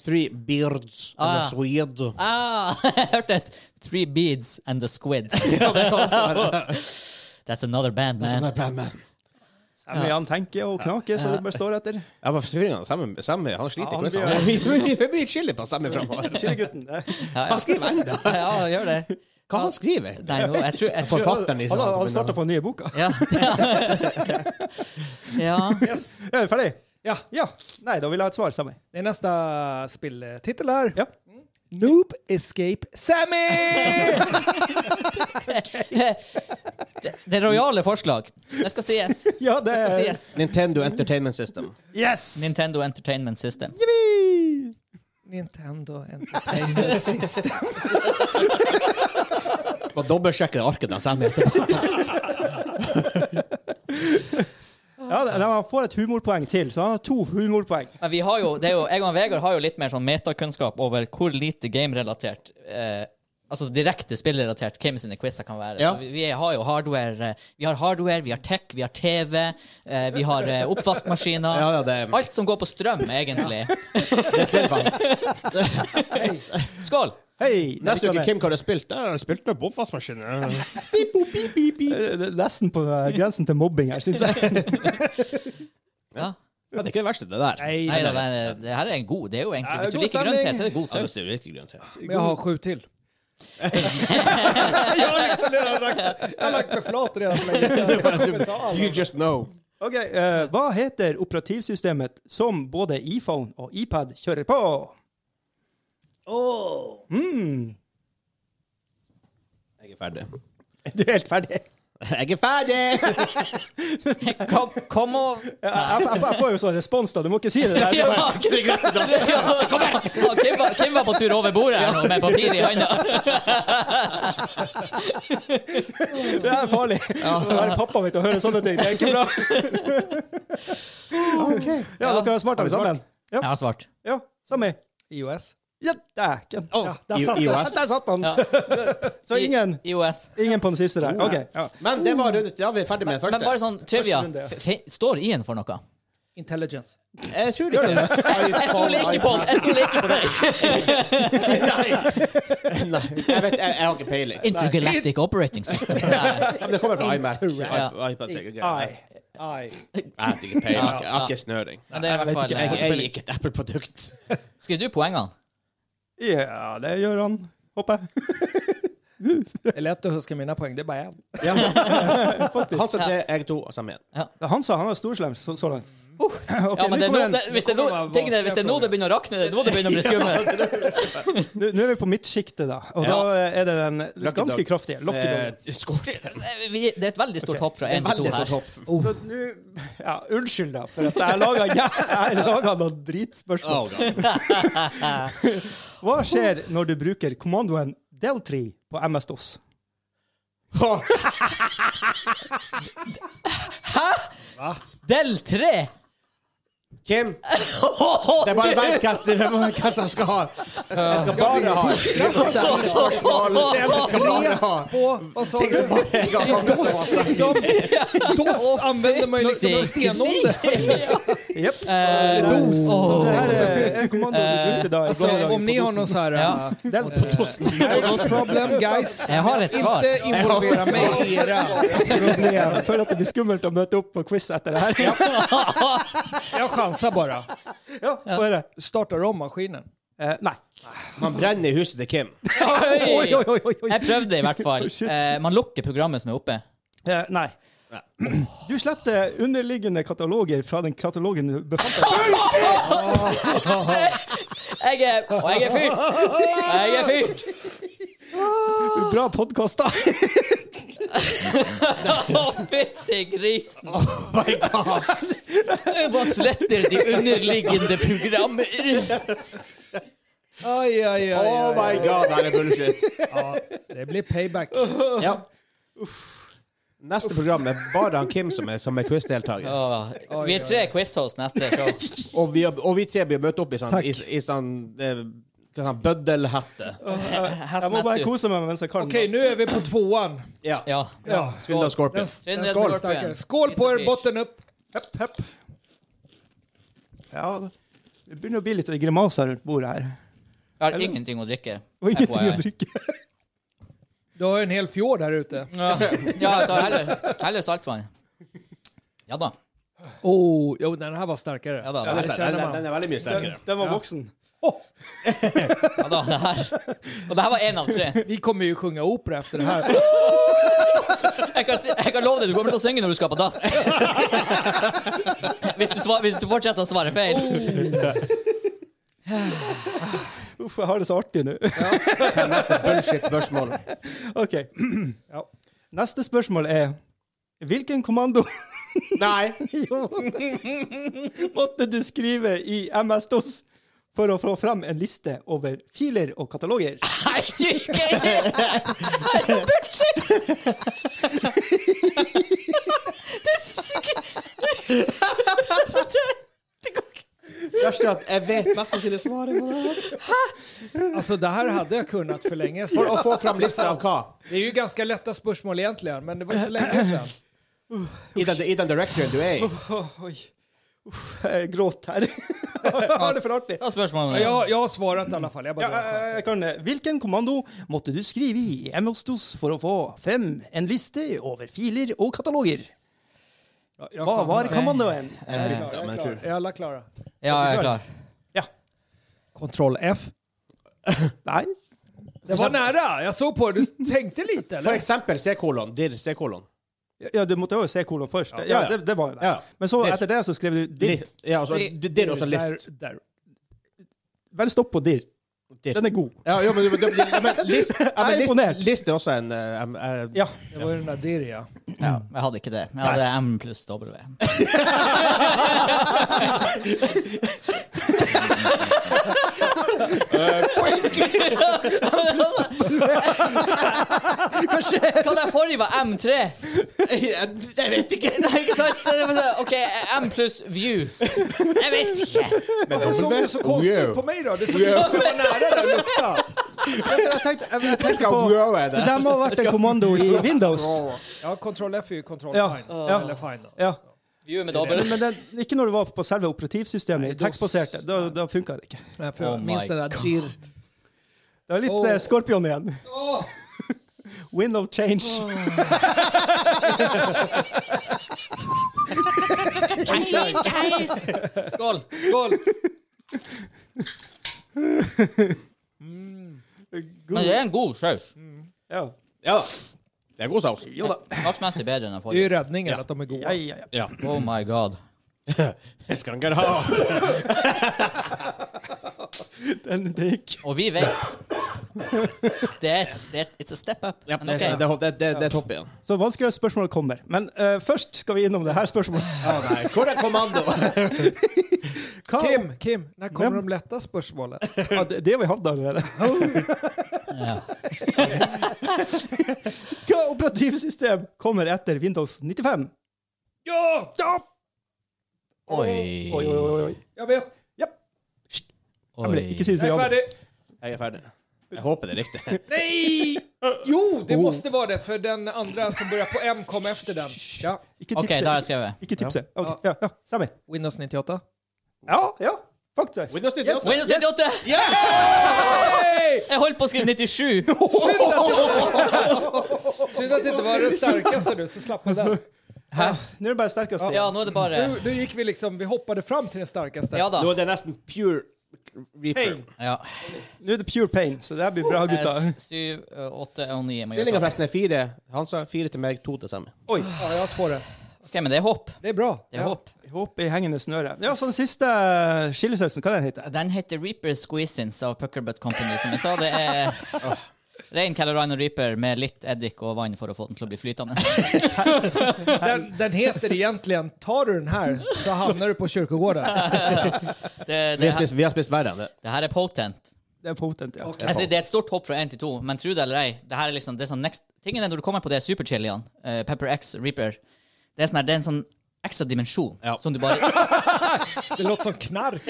S13: Three Beards and a
S14: Ah.
S13: Swede.
S14: Ah, jeg hørte et Three beads and a squid. That's another band, man.
S13: Sånn er bandman.
S4: Sammy han tenker og knaker, så det bare står etter.
S13: Ja, men forvirringen, Sammy, Sammy, han sliter
S4: Ja,
S13: ja,
S4: han
S13: Det blir chili på Sammy framover.
S4: Chillegutten. det.
S13: Han skriver ennå.
S14: Ja, gjør det.
S13: Hva han skriver?
S14: Nei, nå, jeg tror, jeg tror
S13: Forfatteren i
S14: liksom,
S4: Han,
S13: sånn
S4: han
S13: som
S4: starta på den nye boka.
S14: Ja. ja.
S4: Er vi Eh, ferdig?
S1: Ja.
S4: ja. Nei, da vil jeg ha et svar, Sammy.
S1: Det är nästa speltitel här.
S4: Ja.
S1: Noob Escape Sammy!
S14: Det er rojale forslag. Det skal sies.
S4: Ja, det
S14: Det skal
S4: er
S14: sies.
S13: Nintendo Entertainment System.
S4: Yes!
S14: Nintendo Entertainment System.
S4: Yippee!
S1: Nintendo Entertainment System.
S13: Må dobbeltsjekke arket av Sammy etterpå.
S4: Ja, det- nei, han får et humorpoeng til, så han har to humorpoeng.
S14: Men vi har jo, det er jo, jeg og Vegard har jo litt mer sånn metakunnskap over hvor lite game-relatert eh, Altså direkte spillrelatert hvem sine quizer kan være.
S13: Ja.
S14: Så vi, vi har jo hardware, eh, vi har hardware, vi har tech, vi har TV, eh, vi har eh, oppvaskmaskiner.
S13: Ja, ja, det-
S14: Alt som går på strøm, egentlig. Skål!
S4: Hei! jeg
S13: Neste uke,
S4: liker
S13: Kim, hva har du spilt? Der har jeg spilt med boffastmaskinen.
S4: det. Eh, det er Nesten på eh, grensen til mobbing her, syns jeg.
S14: Ja.
S13: Ja, det er ikke det verste, det der.
S1: Nej,
S14: Nei da, men eh, det her er en god. Det er jo egentlig, Hvis du
S4: god
S14: liker grønn
S4: stemning.
S14: te, så er det
S13: Ja,
S14: god saus.
S13: det er virkelig grønt.
S1: men jag har sju till. jag har lagt mig flat redan för länge sedan.
S13: You just know.
S4: Ok, eh, Hva heter operativsystemet som både iPhone og iPad kjører på? Mm.
S13: Jeg er ferdig.
S4: Du er helt ferdig.
S13: Jeg er ferdig!
S14: Kom, kom og
S4: Ja, jeg, jeg, jeg får jo sånn respons, da. Du må ikke si det der.
S14: Ja, Kom her! Ja, Kim, var, Kim var på tur over bordet her nå med papir i hånda.
S4: Det er farlig. Å være pappa mitt og høre sånne ting, det er ikke bra. Ja, dere har svart, alle sammen? Ja.
S14: Jeg har svart.
S4: ja. Sammy?
S1: iOS.
S4: Ja, dæken. Ja,
S13: I-
S4: der satt
S13: iOS.
S4: han. Der satt han. Så ingen,
S14: IOS.
S4: ingen på den siste der. OK. Ja.
S13: Men det var rundt, ja, vi er ferdig med den
S14: Men
S13: første.
S14: bare sånn trivia.
S4: runde, ja.
S14: F- fe- Står I-en for noe?
S1: Intelligence.
S13: Jeg tror ikke det.
S14: Jeg stoler ikke på Jeg stoler ikke på deg.
S13: Nei, jeg vet, jeg, jeg har ikke peiling.
S14: Intergalactic Operating System.
S13: Men det kommer fra iMac.
S14: Ja.
S13: I- iPad sikkert.
S4: Ai.
S13: Jeg
S1: Aj.
S13: har ikke peiling. Jeg har ikke- Jeg har ikke snøring.
S14: Men det er i hvert fall
S13: Jeg
S14: eh,
S13: eier ikke et Apple-produkt.
S14: Skriver du poengene?
S4: Uh. Ja, det gjør han, håper jeg.
S1: Det är lätt att huska mina poäng, det är bara en.
S13: Han sa tre, jeg to, og sammen igjen.
S4: Han sa han var storslem så, så langt. Ok,
S14: Ja, men
S4: nå
S14: det er
S4: kommer
S14: nå
S4: en-
S14: det, hvis, det er nå,
S1: kommer
S14: tingene, hvis det er nå det begynner å rakne, det er nå det begynner å bli skummelt.
S4: Nå nå er vi på midtsjiktet, da. Og
S13: Ja.
S4: da er det den ganske
S13: Dog.
S4: kraftige Lucky Dog.
S13: Eh, Scorpion.
S14: Vi- Det er et veldig stort hopp fra én til to
S13: Veldig
S14: her. Oh,
S13: stort hopp.
S4: Så nå Ja, unnskyld, da, for at jeg laga jeg laga noen dritspørsmål.
S13: Oh, God.
S4: Hva skjer når du bruker kommandoen del3 på MS-DOS?
S14: Del tre!
S13: Kim, det er bare Bergkast det er bare hva som skal ha. Jeg skal bare ha spørsmål. Jeg skal bare ha
S1: På, vad sa
S13: ting som
S1: du?
S13: bare jeg har kommet til å ha sagt.
S1: Liksom, DOS använder man ju liksom i stenåldern.
S4: Jepp.
S14: Eh, dos.
S4: Så det
S14: Åh.
S4: her er en kommando du brukte da i gamle
S1: Alltså,
S4: dager
S1: Oh. Altså, om ni
S4: på
S1: har någon
S4: DOS-en.
S1: så här...
S14: Ja.
S1: äh,
S4: Del på DOS-en.
S1: Those problem guys.
S14: Jeg har et svar.
S1: Inte involvera mig i era problem.
S4: Jeg føler at det blir skummelt å møte opp på quiz etter det her.
S1: Jag chansar bara.
S4: Ja, hva er det?
S1: Startar om maskinen.
S4: Eh, nei.
S13: Man brenner huset til Kim.
S4: Oi, oi,
S14: Oi!
S4: oi, oi, oi.
S14: Jeg prøvde i hvert fall.
S4: Shit.
S14: Eh, man lukker programmet som er oppe.
S4: Eh, nei. Du sletter underliggende kataloger fra den katalogen du befant deg i.
S14: Jeg er, og jeg er fyrt! Jeg er fyrt!
S4: Bra podkast, da.
S14: Å, fytti grisen! Oh Man sletter de underliggende programmer.
S1: Aj, aj, aj,
S13: Oh
S1: aj,
S13: my
S1: aj.
S13: god, det her er bullshit.
S1: Det blir payback.
S13: Ja. Neste program er bare han Kim som er, som er quizdeltaker.
S14: Åh, vi er tre quiz-host neste show.
S13: Og, vi- og vi tre blir møtt opp i sånn, i, i sånn, eh, hva sånn bøddelhette.
S4: Jeg må bare kose meg mens jeg kan.
S1: Okej, nu är vi på tvåan.
S13: Ja.
S14: Ja.
S1: Ja.
S13: Synd av Scorpion.
S14: Synd
S1: Den
S14: det er
S1: skål,
S14: Scorpion.
S1: skål på
S14: It's a
S1: er,
S14: fish.
S1: botten upp.
S4: Hepp, hepp. Ja, det begynner å bli litt grimaser rundt bordet her.
S14: Jeg har ingenting å drikke.
S4: Og ingenting å
S14: FYI.
S4: drikke.
S1: Du har ju en hel fjord här ute.
S14: Ja, ja jeg tar heller, heller saltvann. Ja da.
S1: Oh, jo, den här var starkare.
S14: Ja da.
S13: Den,
S14: det her-
S13: er sterk. den, den er veldig mye
S4: Den,
S13: sterkere.
S4: den var voksen.
S14: Ja, da det her. Og det her var én av tre.
S1: Vi kommer ju sjunga opera efter det här.
S14: Jeg kan, si, jeg kan love deg, du kommer til å synge når du skal på dass. Hvis du, svar, hvis du fortsetter å svare feil.
S1: Oh.
S4: Uff, jeg har det så artig nå.
S13: Bullshit-spørsmål.
S4: OK.
S1: Ja.
S4: Neste spørsmål er Hvilken kommando
S13: Nei.
S4: måtte du skrive i MS-DOS for å få fram en liste over filer og kataloger?
S14: Nei, du ikke Det er så bullshit!
S13: Verst er at jeg vet mest sannsynlig svaret på det. her.
S1: Alltså det här hade jeg kunnat för länge sedan.
S13: For å få fram lista av hva?
S1: Det är ju ganska lätta spörsmål egentligen, men det var så länge sedan.
S13: I den, i den directoren du er i.
S4: Åh, Oi. Uff, jeg gråter her. Jeg har det for artig.
S14: Ta spørsmålet.
S1: Ja, Jeg, jeg har svarat i alla fall. Jag bara
S4: Ja,
S1: drar en chans.
S4: jeg kan det. Hvilken kommando måtte du skrive i MS-DOS for å få frem en liste over filer og kataloger?
S1: Ja, jag
S4: Hva
S1: chansar.
S4: var kommandoen?
S13: Ja, men jeg tror-
S1: Är alla klara?
S14: Ja, jeg er klar.
S1: Kontroll F.
S4: Nei.
S1: Sånn Det var nära! Jag såg på det. Du tänkte lite
S13: For
S1: eller?
S13: eksempel C-kolon. Dir C-kolon.
S4: Ja, du måtte jo se kolon først. Ja,
S13: Ja, ja.
S4: Det, det var jo det.
S13: Ja.
S4: Men så
S13: Dir.
S4: etter det så skrev du dir.
S13: Litt. Ja, altså, du- dir også list.
S1: Där, där.
S4: Vel, stopp på dir.
S13: Dir.
S4: Den er god.
S13: Ja, jo, men, du- du- ja, men list, ja,
S4: Jeg
S13: men
S4: er imponert.
S13: list, list er også en eh, em- eh,
S4: Ja.
S1: Det var ju den där Dirja.
S14: Ja, jeg hadde ikke det. Jeg hadde M pluss W.
S4: Hva skjer?
S14: Hva den forrige var M3?
S13: Jeg jeg vet ikke!
S14: Nei, ikke sant? Så det var sånn, OK, M pluss View. Jeg vet ikke.
S13: Men
S1: Varför såg du så konstigt ut på mig då? Det såg ut som det var nära det lukta.
S4: Jeg tenkte, jeg, jeg tenkte
S13: Skal
S4: på
S13: wow-e
S4: Det
S13: det?
S4: der må ha vært en kommando i Windows.
S1: Ja, kontroll F är ju kontroll
S4: Ja,
S1: fine.
S4: ja.
S1: Eller fine då.
S4: Ja.
S14: View med dobbel.
S4: Men den, ikke når det var på selve operativsystemet. Tekstbaserte. Da, da funka det ikke.
S1: Nej, för
S14: Oh
S1: jag
S14: my
S1: minns den där Dirr.
S4: Det var litt
S1: Åh.
S4: eh, Scorpion igjen.
S1: Åh!
S4: Wind of change.
S14: Skål.
S1: Skål!
S14: Men det er en god saus.
S4: Ja.
S13: Ja da. Det er god saus.
S4: Jo da.
S14: Smaksmessig bedre enn den
S1: Det är ju
S14: forrige.
S1: räddningen att de är goda.
S4: Ja, ja, ja.
S14: Oh my god.
S13: Skangarhat!
S4: Den, det gikk.
S14: Og vi vet det er, det er, It's a step up.
S13: Ja,
S14: Men
S13: det,
S14: ok.
S13: det, det, det, det er topp igjen.
S4: Så vanskeligere spørsmål kommer. Men eh, først skal vi innom det her spørsmålet.
S13: Å nei, hvor er kommando?
S4: Hva,
S1: Kim, Kim, när kommer
S4: Men-
S1: de lätta spörsmålen?
S4: Ja, det, det har vi hatt allerede.
S14: Ja.
S4: Hva operativsystem kommer etter Windows 95?
S1: Ja!
S14: Oi.
S4: Oi, oi, oi. oi.
S1: Jag vet.
S4: Emily,
S14: Oi.
S4: ikke si
S1: Jag
S4: det
S1: är
S4: til Jan.
S1: färdig.
S13: Jeg er ferdig. Jeg håper det er riktig.
S1: Nej! Jo, det måste vara det, för den andra som börjar på M kom efter den. Ja.
S4: Oh, Ikke
S14: OK,
S4: tipset.
S14: da har jeg skrevet.
S4: Ikke tipset. Ok, Ja, ja. Sami.
S1: Windows 98.
S4: Ja, ja. Faktisk.
S13: Windows 98.
S14: Windows 98! Jeg holdt på å skrive 97.
S1: Synd att det inte var den starkaste du, så slapp man den.
S4: Nå er det bare sterkest.
S14: Ja, nå er det bare
S1: Nu, nu gick vi liksom, vi hoppade fram till den starkaste.
S14: Ja da.
S13: Nå er det nesten pure reaper.
S14: Ja.
S4: Nå er det pure pain, så det her blir bra, gutta.
S14: Eh, Syv, eh, åtte og ni. må jeg
S13: Stillinga
S14: gjøre.
S13: forresten er fire. Han sa fire til meg, to til sammen.
S1: Oj, ja, jag har två rätt.
S14: OK, men det er håp.
S1: Det är bra.
S14: Det er
S1: Ja.
S14: håp.
S4: Hopp i hengende snøre. Ja, så den siste chilesausen, hva den heter
S14: Den heter Reaper Squeezins av Puckerbutt Company, som jeg sa. Det er rein Carolina Reaper med litt eddik og vann for å få den til å bli flytende.
S1: Den, den heter egentligen, tar du den här så hamnar du på kyrkogården.
S13: Vi
S14: Det, det,
S13: har spist, vi har spist verre enn det.
S14: det her er potent.
S4: Det er potent, ja.
S14: Jeg sier Altså, det er et stort hopp fra én til to, men tro det eller ei, det her er liksom det er sånn next, Tingen er når du kommer på det superchiliene, uh, Pepper X Reaper, det er, sånn her, det er en sånn ekstra dimensjon som du bare
S1: Det låter som knark.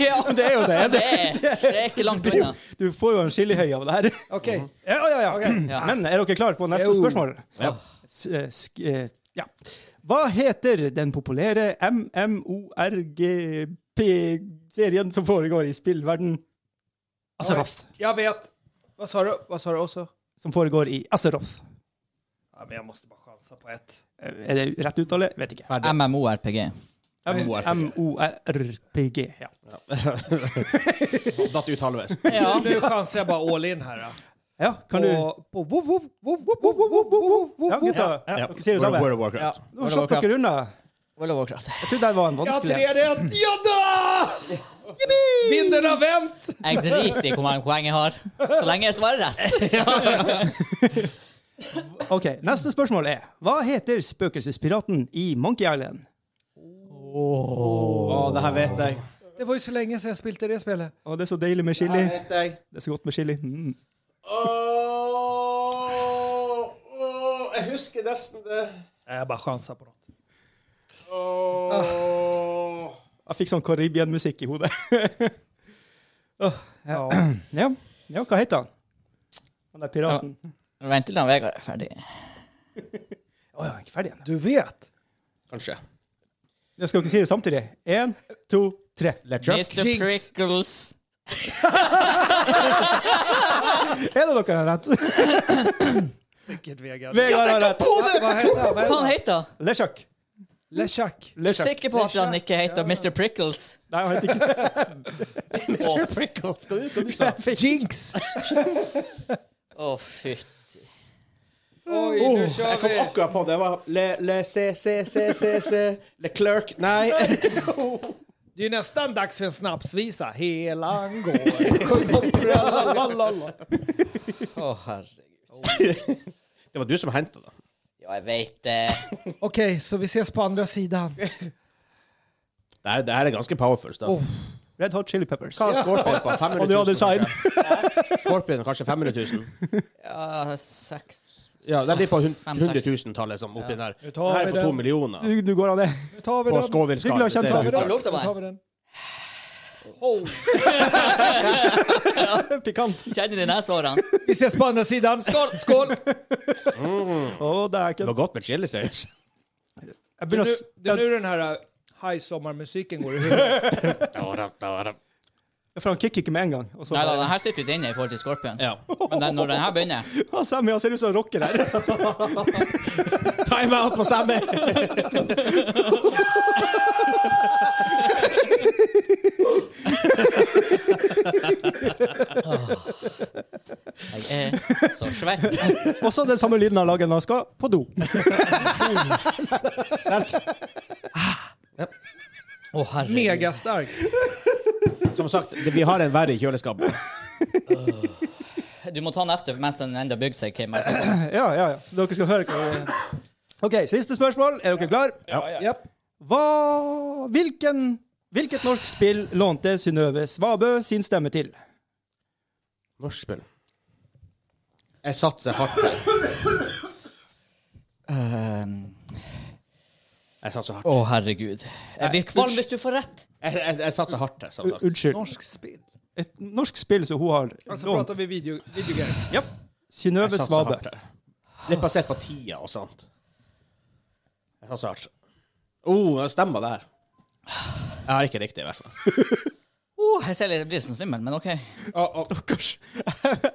S14: ja,
S4: Det er jo det.
S14: det, er, det er ikke langt unna.
S4: Du får jo en chilihøy av det her.
S1: Okej.
S4: Ja, ja, ja.
S14: Ja.
S4: Men er dere klare på neste
S1: Jo.
S4: spørsmål? S- eh, sk- eh, ja. Hva heter den populære MMORGP-serien som foregår i spillverden Azeroth?
S1: Jag vet. Vad sa du? Vad sa du också?
S4: Som foregår i Azeroth.
S1: Ja, men jag måste bara chansa på ett.
S4: Eh, Er det rett uttale? Vet ikke.
S14: MMORPG.
S13: MMORPG.
S4: MORPG. Ja.
S13: Datt ut halvveis.
S14: Ja.
S1: Nu chansar jag bara all in här. då.
S4: ja, kan du
S1: På, på woof, woof, woof, woof, woof, woof, woof, woof,
S4: Ja,
S1: woof.
S4: gutta. Ja,
S13: Ja.
S4: dere sier det samme.
S13: World of
S14: Ja.
S13: Warcraft.
S4: Nå slapp dere unna.
S14: World of Warcraft.
S4: Jeg trodde det var en
S1: Jag har
S4: vanskelig
S1: tre rätt! Ja då! Vinden har vänt!
S14: Jeg driter i hvor mange poeng jeg har, så lenge jeg svarer rett.
S4: Ok, Neste spørsmål er Hva heter spøkelsespiraten i Monkey Island?
S13: Å, det her vet jeg.
S1: Det var ju så länge sedan jag spelade det spelet.
S4: Å, det er så deilig med chili.
S13: vet jeg.
S4: Det er så godt med chili. Mm.
S13: jeg husker nesten det.
S1: Nej, jag bara chansar på något.
S4: Jeg fikk sånn Caribbean-musikk i hodet.
S1: Ja.
S4: ja. ja, hva heter han? Han der piraten. Å
S14: Vent til da Vegard er ferdig.
S4: ja, jeg er ikke ferdig ennå.
S1: Du vet.
S13: Kanskje.
S4: Jeg skal ikke si det samtidig. Én, to, tre.
S14: Mr.
S1: Jinx.
S14: Prickles.
S4: Er det dere har rett?
S1: Säkert Vegard.
S4: Vegard har rett.
S1: Vad heter han? Vad
S14: Hva
S1: heter
S14: han
S1: han?
S14: heter han?
S4: LeChuck.
S1: LeChuck.
S4: LeChuck.
S14: Sikker på at han ikke heter Mr. Prickles?
S4: Nei, han heter ikke
S14: Å,
S13: Prickles. Skal du, skal du ta?
S1: Jinx!
S14: å, fytti.
S1: Oj,
S13: Oh,
S1: nu kör
S13: jeg kom
S1: vi.
S13: akkurat på det. Det var Le, le C, C, C, C, C. Le Clerk. Nei.
S1: Det är ju nästan dags för en snapsvisa. Helan går. Sjung på prölalalala.
S14: Å, herregud.
S13: Det var du som henta det.
S14: Ja, jeg veit det.
S1: Okej, så vi ses på andra sidan.
S13: Det her, det her er ganske powerful stuff.
S1: Oh.
S4: Red Hot Chili Peppers.
S13: Hva har Scorpion på? 500 000?
S4: On the other side.
S13: kanskje? Scorpion kanskje 500 000?
S14: Ja, Ah, seks
S13: Ja, den ligger på hun-
S14: Fem, seks.
S13: 100 000-tallet, som oppi der.
S1: Nu
S13: Det
S1: tar
S13: her
S1: vi
S13: er på to
S1: den.
S13: millioner.
S4: Du, du går av det.
S1: Nu tar vi
S13: På
S1: den.
S13: Skåvilskade.
S4: Hyggelig å kjenne
S13: Det
S4: ta
S13: er
S4: med
S13: uklart.
S14: den. lukter på
S1: Nu tar vi den. Oh.
S4: Pikant.
S14: Kjenner de nesehårene?
S1: Vi ses på andra sidan. Skål! Skål!
S4: Å, det er ikke
S13: Det var godt med chilisaus.
S1: Nu,
S4: Jeg begynner å s-
S1: det är nu den här äh, high-sommarmusiken går i huvudet.
S4: For han kicker ikke med en gang. Og så
S14: Nei da,
S4: bare-
S14: den her sitter litt inne i forhold til Scorpion.
S13: Ja.
S14: Men den, når den her begynner
S4: Ja, Sammy, han ser ut som en rocker her.
S13: Time out på Sammy!
S14: Jeg er så svett.
S4: Også den samme lyden han lager når han skal på do.
S13: Der.
S14: Å, herregud.
S1: Megastark.
S13: Som sagt, det- vi har en verre i kjøleskapet.
S14: Du må ta neste mens den enda bygger seg, Kim. Altså.
S4: Ja, ja, ja. Så dere skal høre hva vi OK, siste spørsmål. Er dere klar?
S1: Japp.
S4: Hva Hvilken Hvilket norsk spill lånte Synnøve Svabø sin stemme til?
S13: Norsk spill. Jeg satser hardt her.
S4: Um.
S14: Ehm,
S13: Jeg satser hardt.
S14: Å, herregud. Jeg blir kvalm hvis du får rett.
S13: Jeg, jeg, jeg satser hardt her, som sagt.
S4: Unnskyld.
S1: Norsk spill.
S4: Et norsk spill som hun har
S13: Altså,
S1: Og så
S4: lånt.
S1: prater vi video, videogame.
S4: Ja.
S13: Jeg
S4: Synnøve
S13: satser
S4: Svabø.
S13: hardt her. Litt basert på tida og sånt. Jeg satser hardt. Å, oh, det stemmer der. Jeg har ikke riktig, i hvert fall.
S14: Åh, jeg ser litt, jeg blir sånn svimmel, men OK.
S4: Stakkars.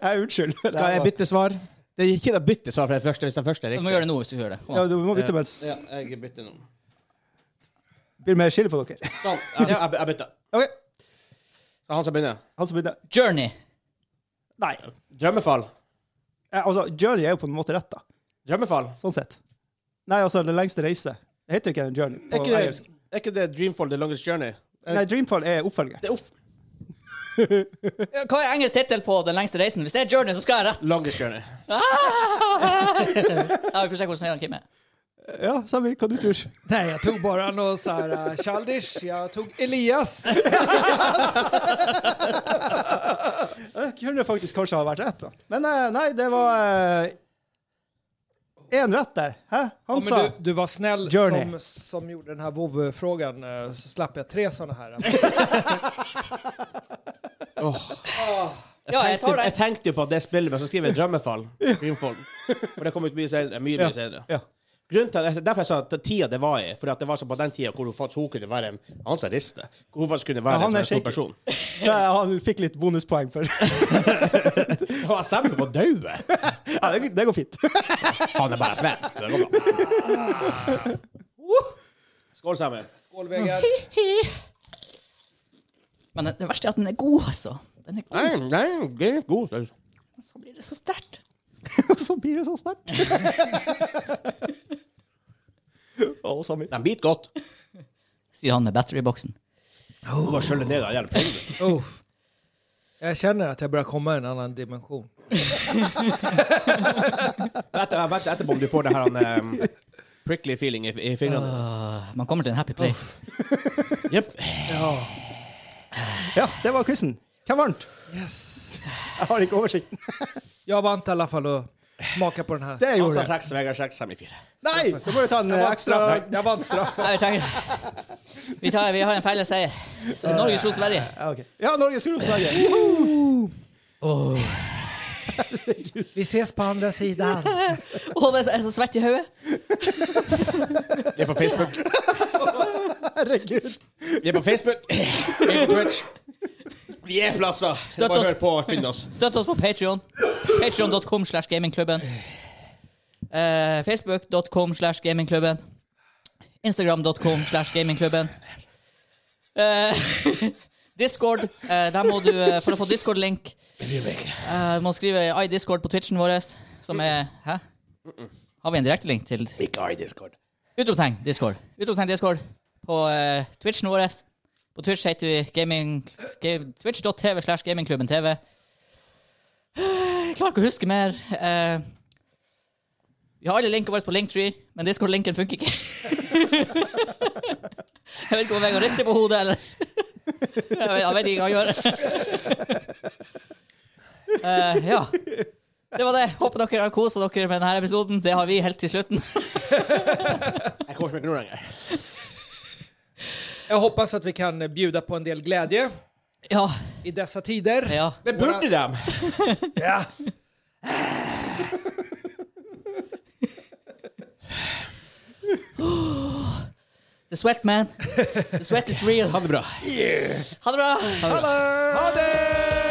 S4: Jeg unnskyld.
S13: Skal jeg bytte svar? Det er ikke å bytte svar fra den første, hvis den første er
S14: Du må
S13: riktig.
S14: gjøre det nå hvis du gjør det. Kom
S4: Ja,
S14: an.
S4: du må bytte mens
S13: Ja, jeg bytter nå.
S4: det blir mer skille på dere.
S13: Sånn. Jeg, jeg, jeg bytter.
S4: OK,
S13: Så han som begynner.
S4: han som begynner.
S14: Journey.
S4: Nei,
S13: Drømmefall.
S4: eh, altså, Journey er jo på en måte rett, da.
S13: Drømmefall.
S4: Sånn sett. Nei, altså, Den lengste reise. Det heter ikke en Journey på
S13: Er ikke,
S4: engelsk.
S13: det, er ikke det Dreamfall The Longest Journey? Er,
S4: Nei, Dreamfall er oppfølger.
S13: det er off.
S14: Ja, Hva er engelsk tittel på Den lengste reisen? Hvis det er Journey, så skal jeg ha rett. Ah!
S13: Longest Journey.
S14: Ja, vi får se hvordan Kim er.
S4: Ja, Sami, hva du tror
S1: Nej, jag tog bara något så här uh, childish. Jag tog Elias.
S4: Kunne det faktisk kanskje ha vært rett, da. Men eh, nei, det var én rett der. Hæ?
S1: Ja,
S4: Han sa
S1: men du, du var snäll
S4: Journey.
S1: som, som gjorde den här WoW-frågan eh, så slapp jag tre sådana här. äh,
S14: Ja, jeg tar
S13: Jeg
S14: den.
S13: tenkte jo på det spillet, men så skriver jeg Drømmefall. Dreamfall. For det kom ut mye senere. Mye, mye
S4: Ja.
S13: senere.
S4: Ja.
S13: Grunnen til at, derfor jeg sa at tida det var i, for at det var så på den tida hvor hun faktisk hun kunne være en Han som rister. Hvor hun faktisk kunne være
S4: Ja, han
S13: en,
S4: er
S13: sånn stor
S4: shaky.
S13: person.
S4: Så jeg- han fikk litt bonuspoeng for
S13: Og Han stemmer på daue!
S4: Ja, det, det går fint.
S13: Han er bare svensk, så det går bra. Skål, Samuel.
S1: Skålväggar.
S14: Men det verste er at den er god, altså. Den er god.
S13: nei, det er god saus.
S14: Så blir det så sterkt.
S4: Og så blir det så snart. Å, Sami.
S13: Den biter godt.
S14: Sier han med batteryboksen.
S13: Hun bare skjøller ned den jævla pølsen.
S1: Uff. Jag känner att jag börjar komma i en annan dimension.
S13: Etter, etter, etterpå om du får det her han, um, prickly feeling i, i
S1: Ah.
S13: fingrene.
S14: Åh, man kommer til en happy place.
S13: Jepp.
S4: Ja, det var quizen. Hvem vant?
S1: Yes.
S4: Jeg har ikke oversikten.
S1: Jag vann i alla fall och smaka på den här.
S4: Det
S13: Han
S4: gjorde
S13: sa
S4: jeg.
S13: seks, Vegard seks, Sami fire.
S4: Nei! Da må du ta en eh,
S1: Jag vann
S4: ekstra
S1: straff. Jag vann straff.
S14: Nei, vi trenger vi, tar, vi har en felles seier. Så Norge slo Sverige.
S4: Ja, ok. ja Norge skulle opp slaget.
S1: Vi ses på andra sidan.
S14: Åh, det er så svett i hodet.
S13: Vi er på Facebook.
S4: Herregud.
S13: Vi er på Facebook. Vi er på Twitch. Vi er plasser.
S14: Støtt
S13: Bare
S14: oss.
S13: hør på og finn oss.
S14: Støtt oss på Patreon Patreon.com slash gamingklubben. Eh, Facebook.com slash gamingklubben. Instagram.com slash gamingklubben. Eh, Discord. eh, der må du, eh, for å få Discord-link, eh, du må skrive i Discord på Twitchen vår, som er Hæ? Har vi en direktelink til
S13: Ikke i Discord.
S14: Utropstegn Discord. Utropstegn Discord på eh, Twitchen vår. På Twitch heter vi gaming... ga- Twitch.tv slash gamingklubben TV. Jeg klarer ikke å huske mer. Eh, vi har alle linkene våre på Linktree, men Discord-linken funker ikke. jeg vet ikke om Vegard rister på hodet, eller jeg vet, jeg vet ikke hva han gjør. Eh, ja. Det var det. Håper dere har kosa dere med denne episoden. Det har vi helt til slutten.
S13: Jeg kommer ikke nå lenger.
S1: Jag hoppas att vi kan eh, bjuda på en del glädje
S14: ja,
S1: i dessa tider.
S14: ja.
S13: Det burde dem!
S1: Ja.
S14: The sweat, man. The sweat is real.
S13: Ha det bra.
S14: Ha det bra.
S1: Ha det!